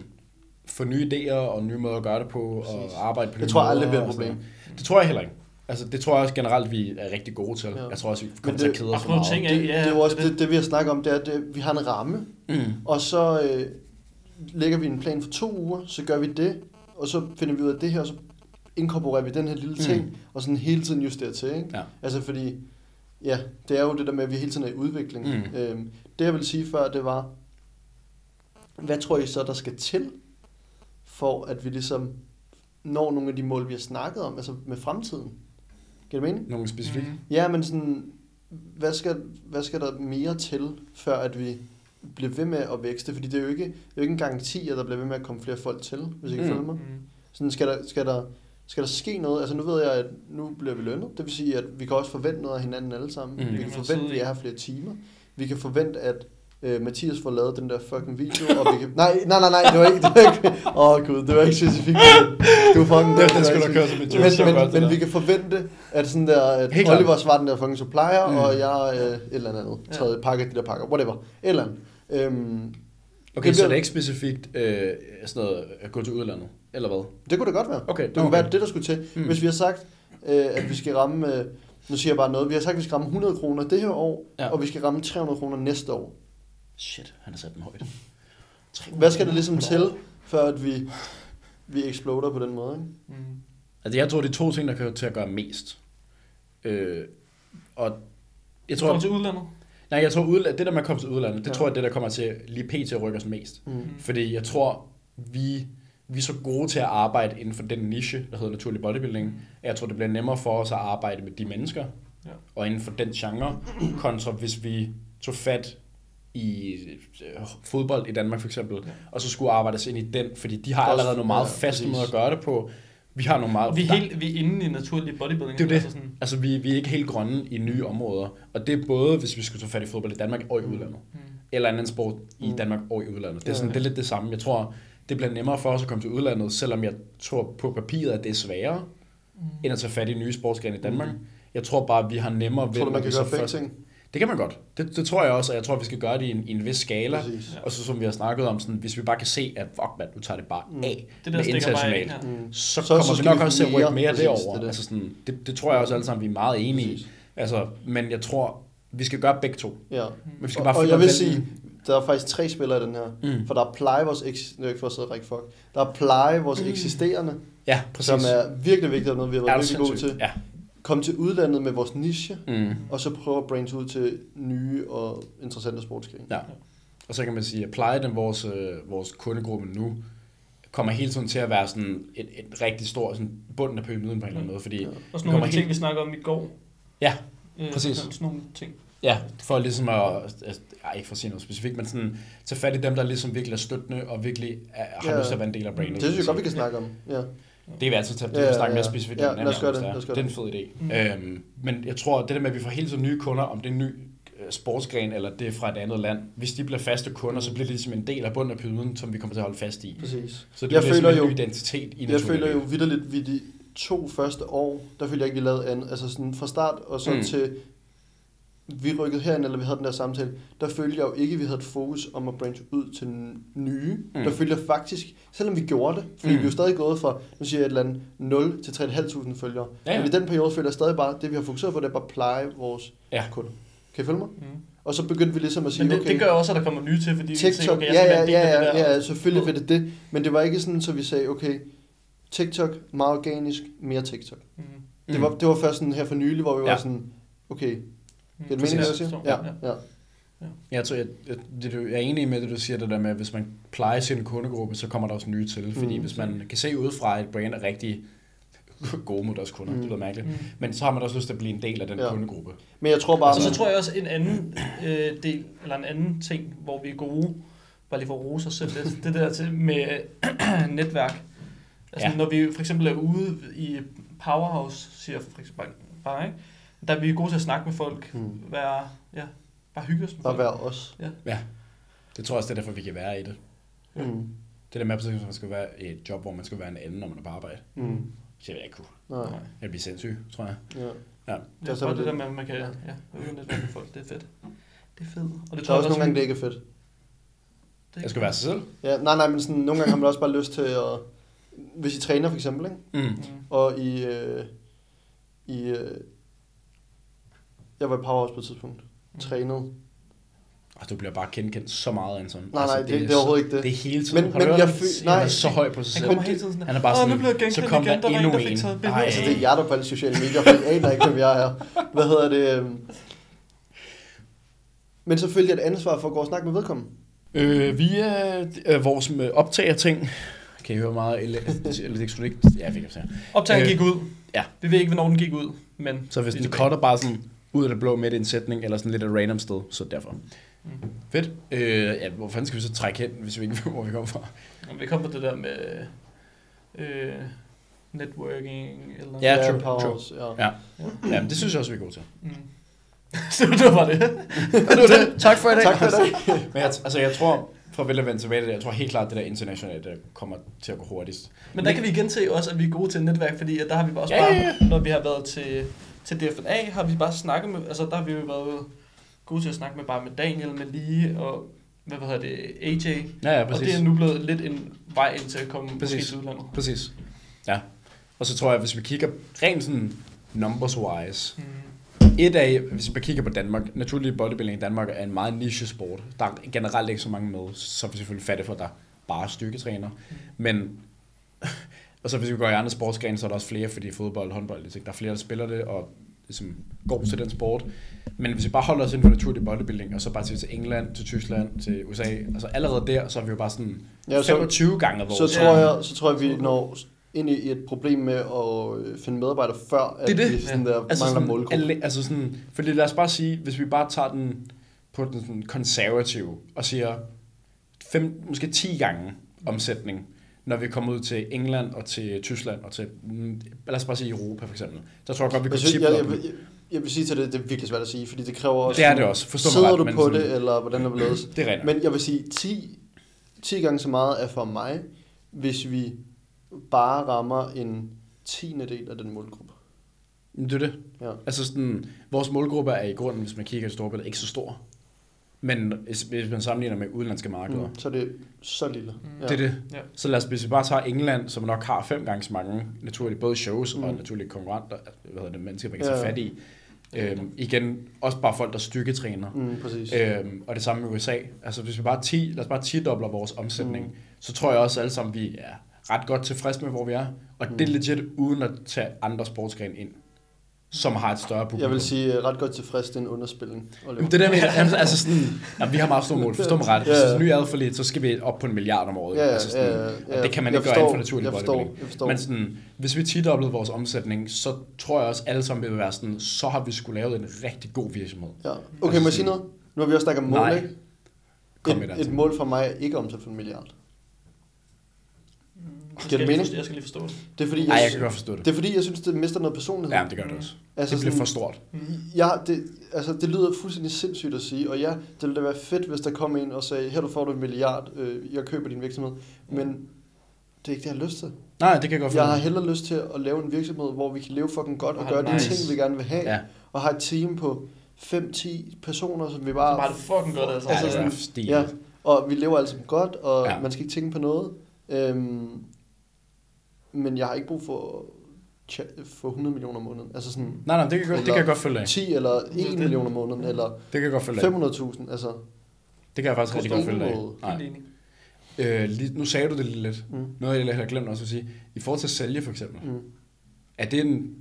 Speaker 3: få nye idéer og nye måder at gøre det på,
Speaker 1: Præcis.
Speaker 3: og arbejde på nye
Speaker 1: Det tror jeg aldrig
Speaker 3: måder
Speaker 1: bliver et
Speaker 3: og sådan
Speaker 1: problem.
Speaker 3: noget. Det tror jeg heller ikke. Altså, det tror jeg også generelt, vi er rigtig gode til.
Speaker 1: Ja.
Speaker 3: Jeg tror også, vi kommer
Speaker 1: Men
Speaker 3: til at
Speaker 1: det-
Speaker 3: kede os for
Speaker 2: Apropos
Speaker 3: meget.
Speaker 2: ting,
Speaker 3: Ting.
Speaker 2: ja,
Speaker 1: Det,
Speaker 2: ja,
Speaker 1: det er jo også det, det, vi har snakket om, det er, at øh, vi har en ramme,
Speaker 3: Mm.
Speaker 1: Og så øh, lægger vi en plan for to uger, så gør vi det, og så finder vi ud af det her, og så inkorporerer vi den her lille ting,
Speaker 3: Mm.
Speaker 1: mm. og sådan hele tiden justerer til, ikke?
Speaker 3: Ja.
Speaker 1: Altså fordi, ja, det er jo det der med, at vi hele tiden er i udvikling.
Speaker 3: Mm.
Speaker 1: Øhm, det jeg ville sige før, det var, hvad tror I så, der skal til, for at vi ligesom når nogle af de mål, vi har snakket om, altså med fremtiden? Giver det mening?
Speaker 3: Nogle specifikke. Mm.
Speaker 2: Mm.
Speaker 1: Ja, men sådan, hvad skal, hvad skal der mere til, før at vi bliver ved med at vækste? Fordi det er jo ikke, det er jo ikke en garanti, at der bliver ved med at komme flere folk til, hvis ikke
Speaker 3: Mm.
Speaker 1: mm. følger mig.
Speaker 2: Mm.
Speaker 1: Sådan, skal, der, skal, der, skal der ske noget? Altså nu ved jeg, at nu bliver vi lønnet. Det vil sige, at vi kan også forvente noget af hinanden alle sammen.
Speaker 3: Mm.
Speaker 1: Mm. Vi
Speaker 3: Det
Speaker 2: kan
Speaker 1: kan
Speaker 2: man
Speaker 1: forvente,
Speaker 2: sidde
Speaker 1: at vi
Speaker 2: i.
Speaker 1: er her flere timer. Vi kan forvente, at øh, Mathias får lavet den der fucking video, og vi kan... Nej, nej, nej, nej, det var ikke... det var ikke- Åh oh, gud, det var ikke specifikt. Du er fucking...
Speaker 3: Den,
Speaker 1: var
Speaker 3: den
Speaker 1: ikke
Speaker 3: skulle have kørt som en joke. Det var
Speaker 1: men, men,
Speaker 3: godt, det
Speaker 1: men vi
Speaker 3: der.
Speaker 1: kan forvente, at, sådan der, at
Speaker 3: Helt klart.
Speaker 1: Oliver svarer den der fucking supplier,
Speaker 3: Mm.
Speaker 1: mm. og jeg øh, et eller andet andet.
Speaker 2: Ja.
Speaker 1: Tredje pakke, de der pakker, whatever. Et eller andet. Øhm,
Speaker 3: Okay,
Speaker 1: det
Speaker 3: så
Speaker 1: bliver-
Speaker 3: det er ikke specifikt øh, sådan noget at gå til udlandet, eller hvad?
Speaker 1: det kunne det godt være.
Speaker 3: Okay,
Speaker 1: Det kunne
Speaker 3: okay.
Speaker 1: være det, der skulle til.
Speaker 3: Mm.
Speaker 1: Mm. Hvis vi har sagt, øh, at vi skal ramme... Øh, nu siger jeg bare noget. Vi har sagt, at vi skal ramme 100 kroner det her år,
Speaker 3: Ja.
Speaker 1: ja. og vi skal ramme 300 kroner næste år.
Speaker 3: Shit, han har sat den højt.
Speaker 1: Hvad skal der ligesom til, før at vi, vi eksploder på den måde? Ikke?
Speaker 2: Mm.
Speaker 3: Altså, jeg tror, det er to ting, der kan til at gøre mest. Øh, og jeg
Speaker 2: Jeg tror,
Speaker 3: tror,
Speaker 2: til udlandet.
Speaker 3: nej, jeg tror udla- det der med at komme til udlandet, det
Speaker 1: Ja.
Speaker 3: tror jeg, det der kommer til lige pt. at rykke os mest.
Speaker 1: Mm.
Speaker 3: Fordi jeg tror, vi, vi er så gode til at arbejde inden for den niche, der hedder naturlig bodybuilding. at Jeg tror, det bliver nemmere for os at arbejde med de mennesker,
Speaker 2: Ja.
Speaker 3: og inden for den genre, kontra hvis vi tog fat i øh, fodbold i Danmark for eksempel, ja. og så skulle arbejdes ind i den, fordi de har
Speaker 1: Også-
Speaker 3: allerede nogle meget
Speaker 1: ja,
Speaker 3: faste
Speaker 1: præcis.
Speaker 3: måder at gøre det på. Vi har nogle meget...
Speaker 2: Vi er,
Speaker 3: der-
Speaker 2: helt, vi er inde i naturlig bodybuilding.
Speaker 3: det er jo
Speaker 2: altså
Speaker 3: det.
Speaker 2: sådan,
Speaker 3: Altså, vi, vi er ikke helt grønne i nye områder. Og det er både, hvis vi skulle tage fat i fodbold i Danmark og i udlandet. Mm. Eller anden sport i Danmark og i udlandet. Det er, sådan, det er lidt det samme. Jeg tror, det bliver nemmere for os at komme til udlandet, selvom jeg tror på papiret, at det er sværere, mm. end at tage fat i nye sportsgrene i Danmark. Mm. Jeg tror bare, at vi har nemmere ved...
Speaker 1: Tror du,
Speaker 3: når
Speaker 1: man
Speaker 3: vi
Speaker 1: kan
Speaker 3: så
Speaker 1: gøre begge
Speaker 3: først-
Speaker 1: ting?
Speaker 3: Det kan man godt. Det, det tror jeg også, og jeg tror, vi skal gøre det i en, i en vis skala.
Speaker 1: Præcis.
Speaker 3: Og så som vi har snakket om, sådan, hvis vi bare kan se, at fuck mand, nu tager det bare af
Speaker 2: Det
Speaker 3: det
Speaker 2: der
Speaker 3: med
Speaker 2: stikker bare af.
Speaker 3: internationalt,
Speaker 2: Ja.
Speaker 1: Mm.
Speaker 3: så, så
Speaker 1: Så-
Speaker 3: kommer
Speaker 1: så
Speaker 3: vi
Speaker 1: skal
Speaker 3: nok
Speaker 1: vi
Speaker 3: også til at rykke
Speaker 1: mere-
Speaker 3: mere
Speaker 1: præcis,
Speaker 3: derover.
Speaker 1: det er
Speaker 3: Det,
Speaker 1: det.
Speaker 3: altså sådan, det, det tror jeg også alle sammen, vi er meget enige i. Altså, men jeg tror, vi skal gøre begge
Speaker 2: Mm.
Speaker 3: to.
Speaker 1: Ja.
Speaker 3: Men Mm. vi skal
Speaker 1: Og,
Speaker 3: bare
Speaker 1: og
Speaker 3: finde
Speaker 1: jeg
Speaker 3: ud af,
Speaker 1: vil
Speaker 3: hvilken-
Speaker 1: sige, der er faktisk tre spillere i den her.
Speaker 3: Mm.
Speaker 1: Mm. For der er pleje vores... Eks- nu er jeg ikke for at sidde og række fuck. Der er pleje vores mm. eksisterende,
Speaker 3: Ja,
Speaker 1: Præcis.
Speaker 3: præcis.
Speaker 1: som er virkelig vigtigt, og noget vi har
Speaker 3: Er
Speaker 1: været
Speaker 3: du
Speaker 1: virkelig gode
Speaker 3: sindssyg?
Speaker 1: til.
Speaker 3: Ja.
Speaker 1: Kom til udlandet med vores niche,
Speaker 3: Mm.
Speaker 1: og så prøve at branche ud til nye og interessante sportsgrene.
Speaker 3: ja. Og så kan man sige, at pleje den vores, øh, vores kundegruppe nu, kommer hele tiden til at være sådan et, et rigtig stort sådan bunden af pyramiden på en eller anden måde, fordi ja.
Speaker 2: Mm. Også nogle af de ting, vi snakkede om i går.
Speaker 3: Ja,
Speaker 2: Øh,
Speaker 3: Præcis.
Speaker 2: Sådan nogle ting.
Speaker 3: ja, for ligesom at, altså, ej, ikke for at sige noget specifikt, men sådan tage fat i dem, der ligesom virkelig er støttende og virkelig er, har
Speaker 1: Ja.
Speaker 3: ja. lyst til at være en del af brandet.
Speaker 1: Det synes jeg godt, vi kan snakke om. Ja.
Speaker 3: Det kan vi altid tage, det
Speaker 1: Ja,
Speaker 3: kan vi
Speaker 1: ja, ja.
Speaker 3: snakke mere specifikt
Speaker 1: Ja,
Speaker 3: om. en anden
Speaker 1: lad os gøre
Speaker 3: gang,
Speaker 1: det,
Speaker 3: hvis
Speaker 1: lad
Speaker 3: Det er Det er en fed idé. Mm. Øhm, men jeg tror, det der med, at vi får hele tiden nye kunder, om det er en ny øh, sportsgren, eller det er fra et andet land. Hvis de bliver faste kunder, så bliver det ligesom en del af bunden af pyramiden, som vi kommer til at holde fast i.
Speaker 1: Præcis.
Speaker 3: Så det
Speaker 1: Jeg
Speaker 3: bliver
Speaker 1: føler
Speaker 3: sådan en
Speaker 1: jo-
Speaker 3: ny identitet i
Speaker 1: Jeg føler jo vidderligt, vi de to første år, der følte jeg ikke, vi lavede andet. Altså sådan fra start og så mm.
Speaker 3: Mm.
Speaker 1: til vi rykkede herind, eller vi havde den der samtale, der følte jeg jo ikke, at vi havde et fokus om at branche ud til n- nye. Mm.
Speaker 3: Mm.
Speaker 1: Der følte jeg faktisk, selvom vi gjorde det, fordi mm.
Speaker 3: Mm.
Speaker 1: vi er jo stadig gået fra, nu siger jeg et eller andet, 0 til 3.500 følgere. Ja,
Speaker 3: Ja,
Speaker 1: ja.
Speaker 3: ja.
Speaker 1: Men i den periode føler jeg stadig bare, at det vi har fokuseret på, det er bare at pleje vores
Speaker 3: Ja.
Speaker 1: kunder. Kan I følge mig?
Speaker 2: Mm.
Speaker 1: Og så begyndte vi ligesom at sige,
Speaker 2: Men det,
Speaker 1: okay,
Speaker 2: det gør også, at der kommer nye til, fordi vi kan se,
Speaker 1: TikTok,
Speaker 2: okay, jeg
Speaker 1: ja,
Speaker 2: skal være
Speaker 1: ja,
Speaker 2: en del af
Speaker 1: ja,
Speaker 2: det der.
Speaker 1: ja, ja, selvfølgelig vil det det. Men det var ikke sådan, så vi sagde, okay, TikTok, meget organisk, mere TikTok. Mm.
Speaker 2: Mm.
Speaker 1: Det, var, det var først sådan her for nylig, hvor vi ja.
Speaker 3: Ja.
Speaker 1: var sådan, okay,
Speaker 2: Mm.
Speaker 1: giver det mening, hvad jeg
Speaker 2: Præcis.
Speaker 1: siger?
Speaker 2: Forstår.
Speaker 1: Ja, ja.
Speaker 3: Jeg, tror, jeg, jeg, det, du, jeg er enig med det, du siger, det der med, at hvis man plejer sin kundegruppe, så kommer der også nye til. Fordi
Speaker 1: Mm.
Speaker 3: mm. hvis man kan se udefra, at et brand er rigtig gode mod deres kunder,
Speaker 1: Mm.
Speaker 3: mm. det lyder mærkeligt,
Speaker 2: Mm.
Speaker 3: mm. men så har man også lyst til at blive en del af den
Speaker 1: Ja.
Speaker 3: ja. kundegruppe.
Speaker 1: Men jeg tror bare,
Speaker 2: Og Altså, så
Speaker 1: man-
Speaker 2: tror jeg også en anden øh, del, eller en anden ting, hvor vi er gode, bare lige for at rose os selv lidt, det der til med netværk. Altså ja.
Speaker 3: Ja.
Speaker 2: når vi for eksempel er ude i Powerhouse, siger jeg for eksempel bare, ikke? der er vi gode til at snakke med folk,
Speaker 1: Mm.
Speaker 2: mm. være, ja, bare hygge os med
Speaker 1: at
Speaker 2: folk.
Speaker 1: være os.
Speaker 3: Det tror jeg også, det er derfor, vi kan være i det.
Speaker 1: Mm.
Speaker 3: Det der med, at man skal være i et job, hvor man skal være en anden, når man er på arbejde.
Speaker 1: Mm.
Speaker 3: Det vil jeg ikke kunne.
Speaker 1: Nej,
Speaker 2: Nej.
Speaker 3: Jeg bliver sindssyg, tror jeg.
Speaker 1: ja.
Speaker 2: Det er
Speaker 1: så
Speaker 2: bare
Speaker 1: var
Speaker 2: det der
Speaker 1: det-
Speaker 2: med, at man kan ja, øve netværk med folk, det er fedt. Det er fedt. Og det
Speaker 1: Der
Speaker 2: tror
Speaker 1: er
Speaker 2: jeg
Speaker 1: også nogle gange, det
Speaker 2: vi-
Speaker 1: ikke er fedt.
Speaker 2: det-
Speaker 3: Jeg skal være sig selv.
Speaker 1: Ja, nej, nej, men sådan, nogle gange har man også bare lyst til at... Hvis I træner for eksempel, ikke?
Speaker 3: Mm.
Speaker 2: Mm.
Speaker 1: Og i... Øh, i øh, jeg var i Powerhouse på et tidspunkt.
Speaker 2: Mm.
Speaker 1: Trænet.
Speaker 3: Og du bliver bare genkendt så meget, Anton.
Speaker 1: Nej, nej, det,
Speaker 3: er
Speaker 1: det er overhovedet ikke det.
Speaker 3: Det er hele tiden.
Speaker 1: Men-
Speaker 3: Men, har du
Speaker 1: men
Speaker 3: hørt,
Speaker 1: jeg
Speaker 3: jeg
Speaker 1: føl-
Speaker 3: nej.
Speaker 1: nej.
Speaker 3: Han er så høj på sig
Speaker 2: Han
Speaker 3: selv.
Speaker 2: kommer hele tiden sådan
Speaker 3: Han er bare
Speaker 2: "Åh, nu
Speaker 3: sådan,
Speaker 2: blev jeg genkendt
Speaker 3: så kom
Speaker 2: igen,
Speaker 3: der
Speaker 2: var
Speaker 3: endnu
Speaker 2: en, der fik
Speaker 3: en."
Speaker 2: taget billeder.
Speaker 3: Ej.
Speaker 1: Altså, det er jer, der på alle sociale medier, for jeg aner ikke, hvem jeg er. Hvad hedder det? øhm? Men så følte jeg et ansvar for at gå og snakke med vedkommende.
Speaker 3: Øh, via øh, vores øh, optagerting, kan I høre meget ele- elektronik? Ja, jeg fik det
Speaker 2: Optagen
Speaker 3: Øh,
Speaker 2: gik ud.
Speaker 3: ja.
Speaker 2: Vi ved ikke, hvornår den gik ud, men...
Speaker 3: Så hvis
Speaker 2: vi er
Speaker 3: den
Speaker 2: tilbage.
Speaker 3: cutter bare sådan ud af det blå midt i en sætning, eller sådan lidt et random sted, så derfor.
Speaker 2: Mm.
Speaker 3: Mm. Fedt. Øh, ja, hvor fanden skal vi så trække hen, hvis vi ikke ved, hvor vi kommer fra?
Speaker 2: Nå, Vi kom på det der med øh, networking eller...
Speaker 3: Ja, true,
Speaker 1: Powerhouse, Ja.
Speaker 3: Ja. Ja, men det synes jeg også, vi er gode til.
Speaker 2: Mm. så det var det.
Speaker 3: Og det var det. Tak for i dag.
Speaker 1: Tak for i dag.
Speaker 3: Men jeg, altså, jeg tror, for at vende tilbage til det, jeg tror helt klart, at det der internationale, der kommer til at gå hurtigst.
Speaker 2: Men der kan vi igen se også, at vi er gode til netværk, fordi at der har vi bare også
Speaker 3: Ja,
Speaker 2: bare,
Speaker 3: ja,
Speaker 2: når vi har været til, til DFNA, har vi bare snakket med, altså der har vi jo været gode til at snakke med bare med Daniel, med Lige og hvad, hvad hedder det, AJ.
Speaker 3: Ja, ja,
Speaker 2: Og
Speaker 3: præcis.
Speaker 2: det er nu blevet lidt en vej ind til at komme præcis.
Speaker 3: Præcis.
Speaker 2: til udlandet.
Speaker 3: Præcis. Ja. Og så tror jeg, hvis vi kigger rent sådan numbers wise,
Speaker 1: Mm.
Speaker 3: et af, hvis vi kigger på Danmark, naturlig bodybuilding i Danmark er en meget niche sport. Der er generelt ikke så mange med, så er vi selvfølgelig fattige for, at der bare er styrketræner.
Speaker 1: Mm.
Speaker 3: Men, og så hvis vi går i andre sportsgrene, så er der også flere, fordi fodbold, håndbold, det er ikke- der er flere, der spiller det, og ligesom går til den sport. Men hvis vi bare holder os inden for naturlig bodybuilding, og så bare til til England, til Tyskland, til USA, altså allerede der, så er vi jo bare sådan
Speaker 1: Ja,
Speaker 3: ja,
Speaker 1: så-
Speaker 3: så, 25 gange vores.
Speaker 1: Så tror jeg, så tror jeg, vi når ind i et problem med at øh, finde medarbejdere, før at
Speaker 3: Det er det.
Speaker 1: vi sådan der
Speaker 3: altså
Speaker 1: mangler
Speaker 3: sådan,
Speaker 1: målgruppe.
Speaker 3: alle- altså sådan, fordi lad os bare sige, hvis vi bare tager den på den sådan konservative og siger fem, måske 10 gange omsætning, når vi kommer ud til England og til Tyskland og til, mm, lad os bare sige Europa for eksempel. Der tror jeg godt, vi
Speaker 1: Jeg,
Speaker 3: kunne
Speaker 1: synes,
Speaker 3: tippe
Speaker 1: jeg, jeg,
Speaker 3: dem.
Speaker 1: vil- jeg, jeg vil sige til det, det er virkelig svært at sige, fordi det kræver også...
Speaker 3: Det er det også, forstå mig
Speaker 1: Sidder
Speaker 3: ret,
Speaker 1: du
Speaker 3: men
Speaker 1: på
Speaker 3: sådan-
Speaker 1: det, eller hvordan det vil ledes?
Speaker 3: Det er rigtigt.
Speaker 1: Men jeg vil sige, 10, 10 gange så meget er for mig, hvis vi bare rammer en tiende del af den målgruppe.
Speaker 3: Men det er det.
Speaker 1: Ja.
Speaker 3: Altså sådan, vores målgruppe er i grunden, hvis man kigger i storbilledet, ikke så stor. Men hvis hvis man sammenligner med udenlandske markeder,
Speaker 1: Mm, så er det så lille.
Speaker 2: Mm.
Speaker 1: Ja.
Speaker 3: Det er det.
Speaker 2: Ja.
Speaker 3: Ja. Så lad os, hvis vi bare tager England, som nok har fem gange så mange naturligt, både shows mm. og naturligt konkurrenter, hvad hedder det, mennesker, man kan ja.
Speaker 1: Ja.
Speaker 3: tage fat i. Øhm, igen, også bare folk, der styrketræner. Mm.
Speaker 1: Mm, præcis.
Speaker 3: Øhm, og det samme med USA. Altså hvis vi bare 10, lad os bare 10 dobler vores omsætning, mm. så tror jeg også alle sammen, vi er ret godt tilfredse med, hvor vi er. Og mm. det er legit uden at tage andre sportsgrene ind. som har et større publikum.
Speaker 1: Jeg vil sige øh, ret godt tilfreds, det er en underspilling.
Speaker 3: Jamen, det der med, altså, altså sådan, jamen, vi har meget store mål, forstår mig ret. Hvis
Speaker 1: Ja, ja.
Speaker 3: det er ny adfærd lidt, så skal vi op på en milliard om året.
Speaker 1: Ja, ja,
Speaker 3: altså sådan,
Speaker 1: ja, ja, ja.
Speaker 3: Og det kan man
Speaker 1: Jeg
Speaker 3: ikke gøre
Speaker 1: forstår,
Speaker 3: inden for naturlig
Speaker 1: jeg forstår,
Speaker 3: bodybuilding.
Speaker 1: jeg forstår.
Speaker 3: Men sådan, hvis vi tidoblede vores omsætning, så tror jeg også alle sammen vil være sådan, så har vi skulle lavet en rigtig god virksomhed.
Speaker 1: Ja. Okay, må jeg sige noget? Nu har vi også snakket om mål,
Speaker 3: Nej.
Speaker 1: ikke?
Speaker 3: Kom med
Speaker 1: Et,
Speaker 3: det,
Speaker 1: et mål for mig er ikke om til en milliard.
Speaker 2: Mm. Jeg
Speaker 1: Giver
Speaker 2: skal,
Speaker 1: det
Speaker 2: lige,
Speaker 1: mening?
Speaker 2: forstå- jeg skal lige forstå det.
Speaker 1: Det er fordi,
Speaker 3: Nej, jeg
Speaker 1: sy-
Speaker 3: kan godt forstå det.
Speaker 1: det er fordi, jeg synes, det mister noget personlighed.
Speaker 3: Ja, men det gør det også.
Speaker 1: Altså
Speaker 3: det bliver
Speaker 1: sådan-
Speaker 3: for stort.
Speaker 1: Jeg, det, altså, det lyder fuldstændig sindssygt at sige, og ja, det ville da være fedt, hvis der kom en og sagde, her du får du en milliard, øh, jeg køber din virksomhed, men det er ikke det, jeg har lyst til.
Speaker 3: Nej, det kan jeg godt
Speaker 1: Jeg
Speaker 3: forstå.
Speaker 1: har hellere lyst til at lave en virksomhed, hvor vi kan leve fucking godt og
Speaker 2: Ah,
Speaker 1: gøre de
Speaker 2: nice.
Speaker 1: ting, vi gerne vil have,
Speaker 3: Ja.
Speaker 1: og har et team på 5-10 personer, som vi
Speaker 2: Så var
Speaker 1: bare...
Speaker 2: det fucking godt, altså.
Speaker 1: Altså
Speaker 3: Altså,
Speaker 1: sådan-
Speaker 3: sådan,
Speaker 1: Ja, og vi lever altså godt, og ja.
Speaker 3: Ja.
Speaker 1: man skal ikke tænke på noget. Øhm, men jeg har ikke brug for, tja- for 100 millioner om måneden. Altså sådan
Speaker 3: Nej, nej, det kan, jeg godt, det kan jeg godt følge af.
Speaker 1: 10 eller
Speaker 2: er
Speaker 1: 1
Speaker 2: det.
Speaker 1: million om måneden, eller
Speaker 3: Det kan jeg godt følge af.
Speaker 1: 500.000, altså...
Speaker 3: Det kan jeg faktisk rigtig godt følge af.
Speaker 1: Forstået.
Speaker 3: Nej.
Speaker 2: Helt enig.
Speaker 3: Øh, lige, nu sagde du det lige lidt.
Speaker 1: Mm.
Speaker 3: Mm. Noget, jeg har glemt også at sige. I forhold til at sælge, for eksempel. Mm.
Speaker 1: Mm.
Speaker 3: Er det en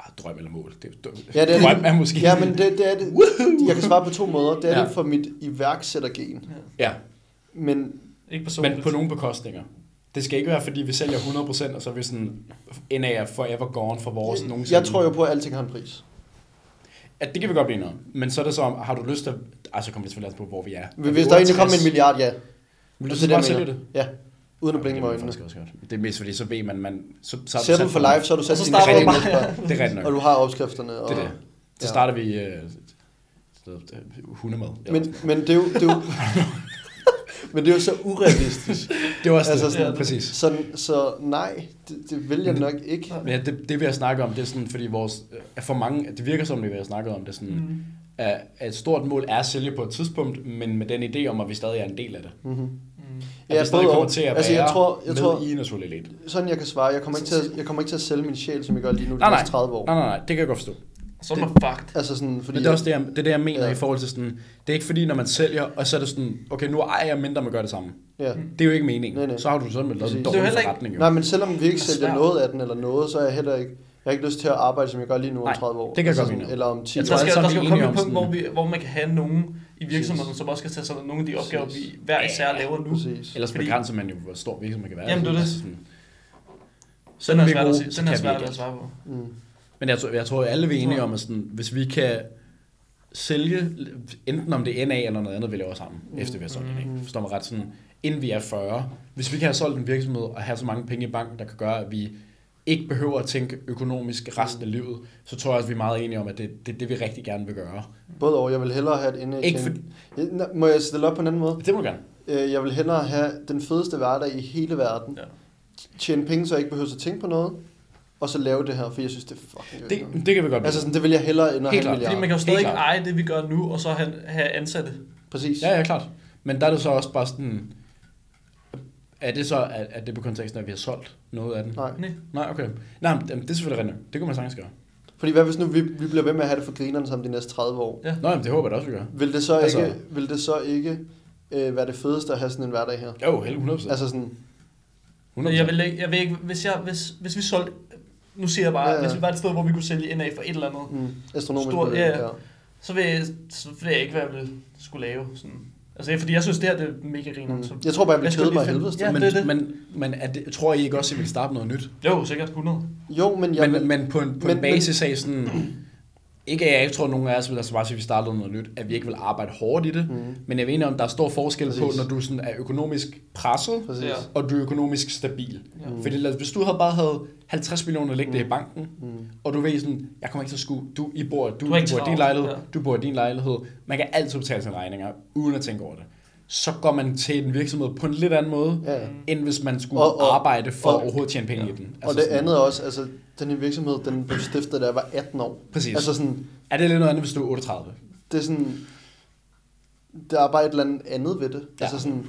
Speaker 3: ah, drøm eller mål? Det er, jo dø-
Speaker 1: Ja, det er det.
Speaker 3: drøm er måske.
Speaker 1: Ja, men det, det er det. Jeg kan svare på to måder. Det er ja.
Speaker 3: Ja.
Speaker 1: det for mit iværksættergen,
Speaker 3: ja,
Speaker 1: men
Speaker 2: Ikke personligt.
Speaker 3: men på nogle bekostninger. Det skal ikke være, fordi vi sælger 100%, og så er vi sådan, NA er forever gone for vores nogensinde.
Speaker 1: jeg tror jo på, at alting har en pris.
Speaker 3: At det kan vi godt blive enige om. Men så er det så, om, har du lyst til... Ej, så kommer det selvfølgelig an på, hvor vi er.
Speaker 1: Hvis der egentlig kom en milliard, ja.
Speaker 3: Vil du
Speaker 1: Altså,
Speaker 3: så
Speaker 1: det,
Speaker 3: bare
Speaker 1: jeg
Speaker 3: sælge
Speaker 1: mener.
Speaker 3: det?
Speaker 1: Ja, uden at blinke
Speaker 3: det
Speaker 1: med
Speaker 3: vil jeg
Speaker 1: øjnene.
Speaker 3: faktisk også godt. Det er mest fordi, så ved man, man så, så er du
Speaker 1: Sætter
Speaker 3: sat
Speaker 1: du for
Speaker 3: for-
Speaker 1: live, så er du
Speaker 2: Og
Speaker 1: sat
Speaker 2: så
Speaker 1: din
Speaker 2: starter
Speaker 1: egen
Speaker 2: du bare.
Speaker 1: næste
Speaker 3: Det er rigtigt nok.
Speaker 1: Og du har opskrifterne. Og...
Speaker 3: Det er det.
Speaker 1: Ja.
Speaker 3: Så starter vi øh, så- øh, hundemad. eller
Speaker 1: Men,
Speaker 3: sådan.
Speaker 1: men det er jo... Det er jo men det er jo så urealistisk.
Speaker 3: det var også
Speaker 1: altså
Speaker 3: altså, det.
Speaker 1: sådan-
Speaker 3: Sådan, ja, præcis.
Speaker 1: Så, så nej, det, det vil jeg nok ikke.
Speaker 3: Men ja, det, det vi har snakket om, det er sådan, fordi vores, øh, at for mange, det virker som det, vi har snakket om, det er sådan, mm. at, at et stort mål er at sælge på et tidspunkt, men med den idé om, at vi stadig er en del af det. Mm-hmm. At
Speaker 1: Ja,
Speaker 3: vi stadig
Speaker 1: både
Speaker 3: kommer
Speaker 1: og.
Speaker 3: til at være
Speaker 1: Altså, jeg tror- jeg
Speaker 3: med
Speaker 1: tror-
Speaker 3: i naturlig lidt.
Speaker 1: Sådan jeg kan svare. Jeg kommer, ikke til at, jeg kommer ikke til at sælge min sjæl, som jeg gør lige nu de
Speaker 3: Nej, nej.
Speaker 1: næste 30 år.
Speaker 3: nej, nej, nej, det kan jeg godt forstå.
Speaker 2: Så er man fucked.
Speaker 1: Altså sådan, fordi...
Speaker 3: Men det er også det, jeg, det, er det, jeg mener
Speaker 1: Ja.
Speaker 3: ja. i forhold til sådan, det er ikke fordi, når man sælger, og så er det sådan, okay, nu ejer jeg mindre, man gør det samme.
Speaker 1: Ja.
Speaker 3: Det Mm. er jo ikke meningen.
Speaker 1: Nej, nej.
Speaker 3: Så har du sådan lavet en
Speaker 1: Præcis.
Speaker 2: Det er
Speaker 3: dårlig
Speaker 2: jo heller ikke-
Speaker 3: forretning. Jo.
Speaker 1: Nej, men selvom vi ikke
Speaker 2: Det er
Speaker 1: sælger
Speaker 2: svært.
Speaker 1: noget af den eller noget, så er jeg heller ikke... Jeg har ikke lyst til at arbejde, som jeg gør lige nu om
Speaker 3: Nej,
Speaker 1: 30 år.
Speaker 3: det kan jeg
Speaker 1: altså
Speaker 3: godt
Speaker 1: sådan-
Speaker 3: mene.
Speaker 1: Eller om 10 år.
Speaker 3: Jeg
Speaker 2: Der
Speaker 3: tror,
Speaker 2: skal,
Speaker 3: alle
Speaker 2: der
Speaker 3: sammen
Speaker 2: skal jo
Speaker 3: er
Speaker 2: komme
Speaker 3: enige
Speaker 2: et
Speaker 3: om
Speaker 2: punkt, hvor,
Speaker 3: sådan-
Speaker 2: vi, hvor man kan have nogen i virksomheden, som også skal tage sig af nogle af de opgaver, vi hver især laver nu.
Speaker 1: Præcis.
Speaker 3: Ellers
Speaker 2: Fordi-
Speaker 3: fordi... begrænser man jo, hvor stor virksomhed man kan være.
Speaker 2: Jamen, det er det.
Speaker 3: Altså sådan-
Speaker 2: Den
Speaker 3: Selvom
Speaker 2: er
Speaker 3: vi
Speaker 2: svært at,
Speaker 3: gode,
Speaker 2: sige-
Speaker 3: så
Speaker 2: den er
Speaker 3: kan vi
Speaker 2: svært
Speaker 3: ikke
Speaker 2: at svare på.
Speaker 1: Mm.
Speaker 3: alt. Men jeg tror, jeg tror alle er enige
Speaker 2: tror-
Speaker 3: om, at sådan, hvis vi kan sælge, enten om det er NA eller noget andet, vi laver sammen, mm. efter vi har solgt NA, forstår man ret, sådan, inden vi er 40. Hvis vi kan have solgt en virksomhed og have så mange penge i banken, der kan gøre, at vi ikke behøver at tænke økonomisk resten af livet, så tror jeg også, vi er meget enige om, at det er det, det, vi rigtig gerne vil gøre.
Speaker 1: Både og. Jeg vil hellere have et indlæg.
Speaker 3: Ikke
Speaker 1: til en- Ja, nå, Må jeg stille op på en anden måde?
Speaker 3: Det må du gerne.
Speaker 1: Øh, Jeg vil hellere have den fedeste hverdag i hele verden.
Speaker 2: Ja.
Speaker 1: Tjene penge, så jeg ikke behøver at tænke på noget. Og så lave det her, for jeg synes, det er fucking det,
Speaker 3: Det, det kan vi godt
Speaker 1: Altså sådan, det vil jeg hellere end at
Speaker 3: Helt
Speaker 1: have en
Speaker 3: klart.
Speaker 2: Fordi man
Speaker 1: milliard.
Speaker 2: kan jo stadig
Speaker 3: Helt
Speaker 2: ikke
Speaker 3: klart.
Speaker 2: eje det, vi gør nu, og så have, have ansatte.
Speaker 1: Præcis.
Speaker 3: Ja, ja, klart. Men der er det så også bare sådan... Er det så, er, er det på konteksten, at vi har solgt noget af den?
Speaker 1: Nej.
Speaker 2: Nej.
Speaker 3: Nej, okay. Nej, men jamen, det er selvfølgelig rigtigt. Det kunne man sagtens gøre.
Speaker 1: Fordi hvad hvis nu vi, vi bliver ved med at have det for grinerne som de næste 30 år?
Speaker 2: Ja.
Speaker 3: Nå, jamen, det håber jeg da også, vi gør.
Speaker 1: Vil det så
Speaker 3: Altså-
Speaker 1: ikke, vil det så ikke øh, være det fedeste at have sådan en hverdag her?
Speaker 3: Jo, helt 100%. Altså,
Speaker 1: Altså sådan,
Speaker 3: 100%.
Speaker 2: Men jeg vil ikke, jeg vil ikke hvis, jeg, hvis, hvis vi solgte, nu siger jeg bare,
Speaker 1: Ja, ja.
Speaker 2: hvis vi var et sted, hvor vi kunne sælge NA for et eller andet,
Speaker 1: mm, astronomisk.
Speaker 2: Stor-
Speaker 1: beløb,
Speaker 2: ja, ja. så vil, jeg- så vil jeg ikke, hvad jeg ville skulle lave. Sådan. Altså, det er fordi jeg synes, det her det er mega griner.
Speaker 1: Mm.
Speaker 2: Så.
Speaker 1: Jeg tror bare, jeg bliver
Speaker 2: skulle
Speaker 1: kede mig
Speaker 2: lige finde-
Speaker 1: helvedes til.
Speaker 2: Ja,
Speaker 3: men,
Speaker 2: det er det.
Speaker 3: men, men er det, tror I ikke også, at I vil starte noget nyt?
Speaker 2: Jo, sikkert 100.
Speaker 1: Jo, men jeg
Speaker 3: Jamen,
Speaker 1: vil,
Speaker 3: men, men på en, på
Speaker 1: men-
Speaker 3: men, en basis af sådan... Ikke at jeg ikke tror, at nogen af os vil altså bare sige, at vi startede noget nyt, at vi ikke vil arbejde hårdt i det. Mm. Men jeg ved enig om, der er stor forskel Præcis. på,
Speaker 1: Præcis.
Speaker 3: når du sådan er økonomisk presset,
Speaker 1: Præcis.
Speaker 2: Ja.
Speaker 3: og du er økonomisk stabil. Mm. Fordi lad os- hvis du havde bare havde 50 millioner liggende mm. i banken, mm. og du ved sådan, jeg kommer ikke til at skue, du, I bor, du,
Speaker 2: Du
Speaker 3: du,
Speaker 2: har
Speaker 3: bor
Speaker 2: ikke
Speaker 3: i
Speaker 2: travlt,
Speaker 3: din lejlighed,
Speaker 2: ja.
Speaker 3: ja. du bor i din lejlighed, man kan altid betale sine regninger, uden at tænke over det. Så går man til en virksomhed på en lidt anden måde,
Speaker 1: Ja, ja.
Speaker 3: end hvis man skulle
Speaker 1: Og-
Speaker 3: og,
Speaker 1: og-
Speaker 3: og, arbejde for
Speaker 1: og-
Speaker 3: og, at overhovedet tjene penge ja. i den. Altså
Speaker 1: og det
Speaker 3: sådan-
Speaker 1: andet er også, altså, den her virksomhed, den blev stiftet, da jeg var 18 år.
Speaker 3: Præcis.
Speaker 1: Altså sådan,
Speaker 3: Er det lidt noget andet, hvis du er 38?
Speaker 1: det er sådan, der er bare et eller andet andet ved det. Ja.
Speaker 3: Ja.
Speaker 1: Altså sådan,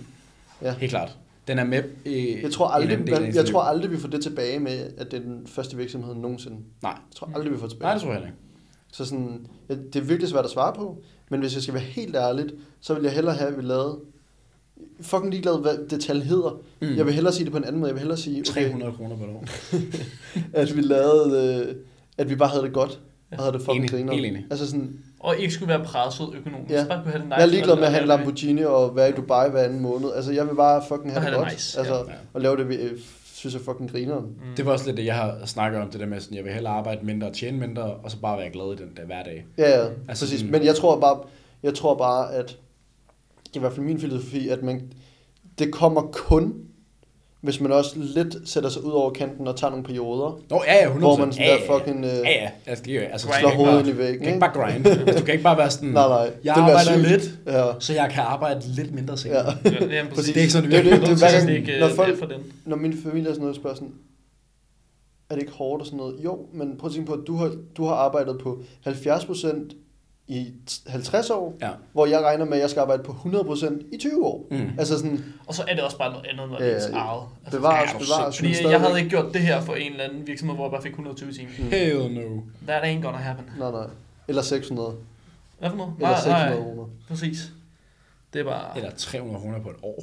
Speaker 1: ja.
Speaker 3: Helt klart. Den er med i
Speaker 1: Jeg tror,
Speaker 3: i den
Speaker 1: aldrig,
Speaker 3: del af
Speaker 1: man,
Speaker 3: ens
Speaker 1: jeg
Speaker 3: liv.
Speaker 1: tror aldrig, vi får det tilbage med, at det er den første virksomhed nogensinde.
Speaker 3: Nej.
Speaker 1: Jeg tror aldrig, vi får det tilbage.
Speaker 3: Nej, det tror jeg heller ikke.
Speaker 1: Så sådan, ja, det er virkelig svært at svare på, men hvis jeg skal være helt ærligt, så vil jeg hellere have, at vi lavede fucking ligeglad, hvad det tal hedder. Mm.
Speaker 3: Mm.
Speaker 1: Jeg vil hellere sige det på en anden måde. Jeg vil hellere sige, okay,
Speaker 3: 300 kroner per år.
Speaker 1: at vi lavede, øh, at vi bare havde det godt. og havde det fucking
Speaker 3: Enig,
Speaker 1: griner.
Speaker 3: helt enig.
Speaker 1: Altså sådan,
Speaker 2: Og ikke skulle være presset økonomisk.
Speaker 1: Ja.
Speaker 2: Ja. Bare kunne have det nice.
Speaker 1: jeg er ligeglad med at have en
Speaker 2: og-
Speaker 1: Lamborghini og være i Dubai hver anden måned. Altså, jeg vil bare fucking have det
Speaker 2: Og have det
Speaker 1: godt.
Speaker 2: nice,
Speaker 1: Altså,
Speaker 2: ja.
Speaker 3: Ja.
Speaker 1: og lave det, vi øh, synes jeg fucking grineren.
Speaker 3: Det var også lidt det, jeg har snakket om, det der med, sådan, jeg vil hellere arbejde mindre og tjene mindre, og så bare være glad i den der hverdag.
Speaker 1: Ja, ja,
Speaker 3: Altså
Speaker 1: altså, præcis.
Speaker 3: sådan-
Speaker 1: Men jeg tror bare, jeg tror bare, at det er i hvert fald min filosofi, at man, det kommer kun, hvis man også lidt sætter sig ud over kanten og tager nogle perioder.
Speaker 3: Nå, ja, ja, 100%.
Speaker 1: Hvor man sådan
Speaker 3: ja,
Speaker 1: der fucking, øh,
Speaker 3: Ja, ja, altså, det er jo, altså,
Speaker 2: slår
Speaker 3: du kan ikke
Speaker 1: hovedet
Speaker 3: bare-
Speaker 1: ind i væggen,
Speaker 3: Du kan ikke bare grind. Altså, Du kan ikke bare være sådan,
Speaker 1: Nej, nej. det
Speaker 3: jeg
Speaker 1: ville være
Speaker 3: arbejder
Speaker 1: sygt.
Speaker 3: lidt,
Speaker 1: Ja.
Speaker 3: så jeg kan arbejde lidt mindre senere.
Speaker 1: Ja.
Speaker 3: Ja.
Speaker 2: Ja, jamen, præcis.
Speaker 3: Det er ikke sådan,
Speaker 1: Det er jo det, det er hver
Speaker 2: det,
Speaker 1: gang,
Speaker 2: det, ikke,
Speaker 1: når
Speaker 2: øh,
Speaker 1: folk-
Speaker 2: det er for dem.
Speaker 1: Når min familie er sådan noget, spørger sådan, er det ikke hårdt og sådan noget? Jo, men prøv at tænke på, at du har, du har arbejdet på 70% i t- 50 år,
Speaker 3: Ja.
Speaker 1: hvor jeg regner med, at jeg skal arbejde på 100% i 20 år.
Speaker 3: Mm.
Speaker 1: Altså sådan,
Speaker 2: Og så er det også bare noget andet, når
Speaker 1: Ja,
Speaker 2: det er ens
Speaker 1: ja.
Speaker 2: eget. Altså,
Speaker 1: bevares,
Speaker 3: er du
Speaker 1: bevares.
Speaker 3: sindssyg.
Speaker 1: men
Speaker 2: fordi jeg
Speaker 1: stadigvæk-
Speaker 2: havde ikke gjort det her for en eller anden virksomhed, hvor jeg bare fik 120 timer.
Speaker 3: Hell no.
Speaker 2: That ain't gonna happen.
Speaker 1: Nej, nej. Eller 600.
Speaker 2: Hvad for noget?
Speaker 1: Eller
Speaker 2: Nej,
Speaker 1: 600
Speaker 2: nej,
Speaker 1: kroner.
Speaker 2: præcis. Det er bare
Speaker 3: Eller 300 kroner på et år.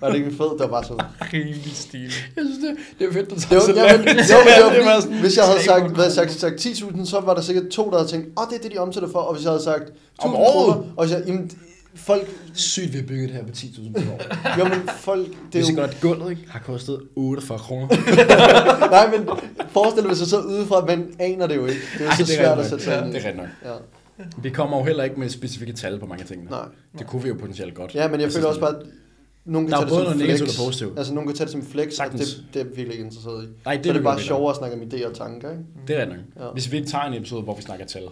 Speaker 1: Var det ikke en fed, der var så...
Speaker 2: rimelig stil.
Speaker 3: Jeg synes, det, det er fedt, du
Speaker 1: Jo,
Speaker 3: tager så
Speaker 1: ja, men,
Speaker 3: lavt.
Speaker 1: jo, men det var
Speaker 3: var
Speaker 1: fordi, hvis jeg havde
Speaker 2: tre
Speaker 1: sagt,
Speaker 2: kroner.
Speaker 1: hvad jeg sagt, sagt 10.000, så var der sikkert to, der havde tænkt, åh, oh, det er det, de omsætter for, og hvis jeg havde sagt 1.000
Speaker 3: Om året?
Speaker 1: kroner, og hvis jeg, jamen, folk,
Speaker 3: Sygt, vi har bygget det her på 10.000 på et år.
Speaker 1: jo, men folk,
Speaker 3: Det er
Speaker 1: det er
Speaker 3: jo
Speaker 1: jo,
Speaker 3: godt, at gulvet ikke, har kostet 48 kroner.
Speaker 1: nej, men forestil dig, hvis jeg sidder udefra, man aner det jo ikke, det er jo så
Speaker 3: rigtig
Speaker 1: svært at
Speaker 3: nok.
Speaker 1: sætte sig
Speaker 3: Ja,
Speaker 1: ind
Speaker 3: Det
Speaker 1: i.
Speaker 3: er ret nok.
Speaker 1: Ja.
Speaker 3: Vi kommer jo heller ikke med specifikke tal på mange af tingene.
Speaker 1: Nej.
Speaker 3: Det kunne vi jo potentielt godt.
Speaker 1: ja, men jeg
Speaker 3: Altså
Speaker 1: føler også
Speaker 3: sådan-
Speaker 1: bare, at nogen kan
Speaker 3: Der er
Speaker 1: tage
Speaker 3: både
Speaker 1: det som
Speaker 3: noget negativt
Speaker 1: flex,
Speaker 3: og positivt.
Speaker 1: altså nogen kan tage det som flex, og
Speaker 3: Sagtens.
Speaker 1: det, det er jeg virkelig ikke interesseret i.
Speaker 3: Nej, det
Speaker 1: så
Speaker 3: vil
Speaker 1: det er
Speaker 3: jeg
Speaker 1: bare
Speaker 3: ikke.
Speaker 1: sjovere at snakke om idéer og tanker, ikke?
Speaker 3: Det er ret nok.
Speaker 1: Ja.
Speaker 3: Hvis vi ikke tager en episode, hvor vi snakker tal,
Speaker 1: Ja,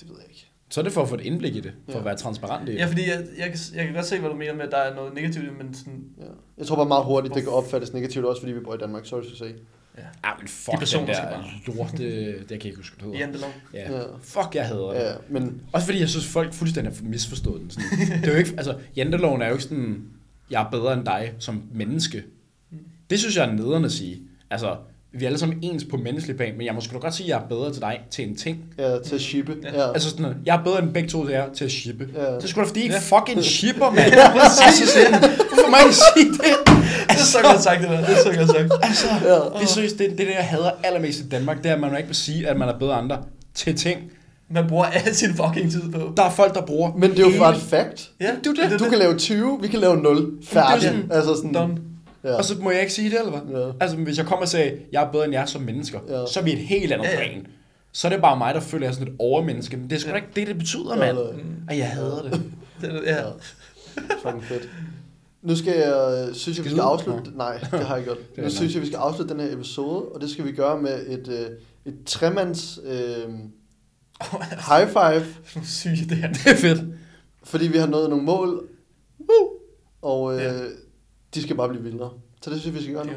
Speaker 1: det ved jeg ikke.
Speaker 3: så er det for at få et indblik i det. For
Speaker 1: Ja.
Speaker 3: at være transparent i det.
Speaker 2: Ja, fordi jeg, jeg, kan, jeg kan godt se, hvad du mener med, at der er noget negativt, i det, men sådan,
Speaker 1: Ja. Jeg tror bare meget hurtigt, det kan opfattes negativt, også fordi vi bor i Danmark, sorry to say.
Speaker 3: Ja, Ah, men
Speaker 2: De
Speaker 3: fuck
Speaker 2: personer
Speaker 3: den der
Speaker 2: skal bare-
Speaker 3: lorte, det kan jeg ikke huske, hvad det
Speaker 2: i
Speaker 3: hedder.
Speaker 2: Andelov.
Speaker 3: Ja.
Speaker 1: Ja.
Speaker 3: Fuck, jeg hader det.
Speaker 1: Ja, men
Speaker 3: Også fordi jeg synes, folk fuldstændig har misforstået den. Sådan. Det er jo ikke, altså, janteloven er jo ikke sådan, jeg er bedre end dig som menneske. Det synes jeg er nederen at sige. Altså, vi er alle sammen ens på menneskelig plan, men jeg må sgu da godt sige, at jeg er bedre til dig til en ting.
Speaker 1: ja, til at shippe.
Speaker 2: Ja.
Speaker 1: Ja.
Speaker 3: Altså sådan, jeg er bedre end begge to, der er til at shippe.
Speaker 1: Ja.
Speaker 3: Det er sgu da, fordi I ikke fucking shipper, mand. altså sådan, hvorfor må I ikke sige det?
Speaker 2: Det er så godt sagt, det der. Det er så godt sagt.
Speaker 3: Altså, det er seriøst, det, det, er det, jeg hader allermest i Danmark, det er, at man ikke vil sige, at man er bedre end andre til ting.
Speaker 2: Man bruger al sin fucking tid på.
Speaker 3: Der er folk, der bruger
Speaker 1: Men det er jo
Speaker 3: hele
Speaker 1: bare et fact.
Speaker 2: Ja,
Speaker 3: det er jo det.
Speaker 1: Du kan lave 20, vi kan lave 0.
Speaker 3: Det er jo
Speaker 1: Færdig.
Speaker 3: sådan-
Speaker 1: Altså sådan,
Speaker 2: Done.
Speaker 1: ja.
Speaker 3: Og så må jeg ikke sige det, eller hvad?
Speaker 1: Ja.
Speaker 3: Altså, hvis jeg kommer og sagde, jeg er bedre end jer som mennesker,
Speaker 1: Ja.
Speaker 3: så er vi et helt andet
Speaker 2: Ja, ja.
Speaker 3: plan. Så er det bare mig, der føler, jeg er sådan et overmenneske. Men det er sgu da ikke det, det betyder, mand.
Speaker 1: Eller-
Speaker 3: Og jeg hader det.
Speaker 2: Det er det, ja.
Speaker 1: Ja. Fucking fedt. Nu skal jeg, øh, synes jeg, vi skal
Speaker 3: du?
Speaker 1: afslutte... Nej, det har jeg ikke gjort.
Speaker 3: er
Speaker 1: Nu synes jeg, vi skal afslutte den her episode, og det skal vi gøre med et, øh, et tremands øh, high five,
Speaker 2: Nu syge det her.
Speaker 3: Det er fedt.
Speaker 1: fordi vi har nået nogle mål,
Speaker 3: Woo!
Speaker 1: og øh,
Speaker 2: Ja.
Speaker 1: de skal bare blive vildere. Så det synes jeg, vi skal gøre nu.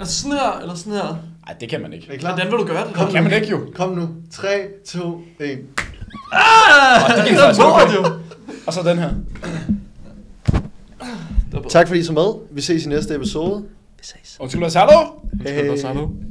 Speaker 2: Altså sådan her, eller sådan her.
Speaker 3: Ej, det kan man ikke.
Speaker 1: Er I klar?
Speaker 2: Hvordan vil du gøre det?
Speaker 1: Kom
Speaker 3: Det
Speaker 2: der?
Speaker 3: kan man ikke jo.
Speaker 1: Kom nu. 3, 2, 1.
Speaker 2: Ah,
Speaker 3: det gik
Speaker 2: der
Speaker 3: faktisk
Speaker 2: var det
Speaker 3: okay.
Speaker 2: jo.
Speaker 3: Og så den her.
Speaker 1: Tak fordi I så med. Vi ses i næste episode.
Speaker 2: Vi ses.
Speaker 3: Undskyld, hvad sagde du?
Speaker 1: Hey.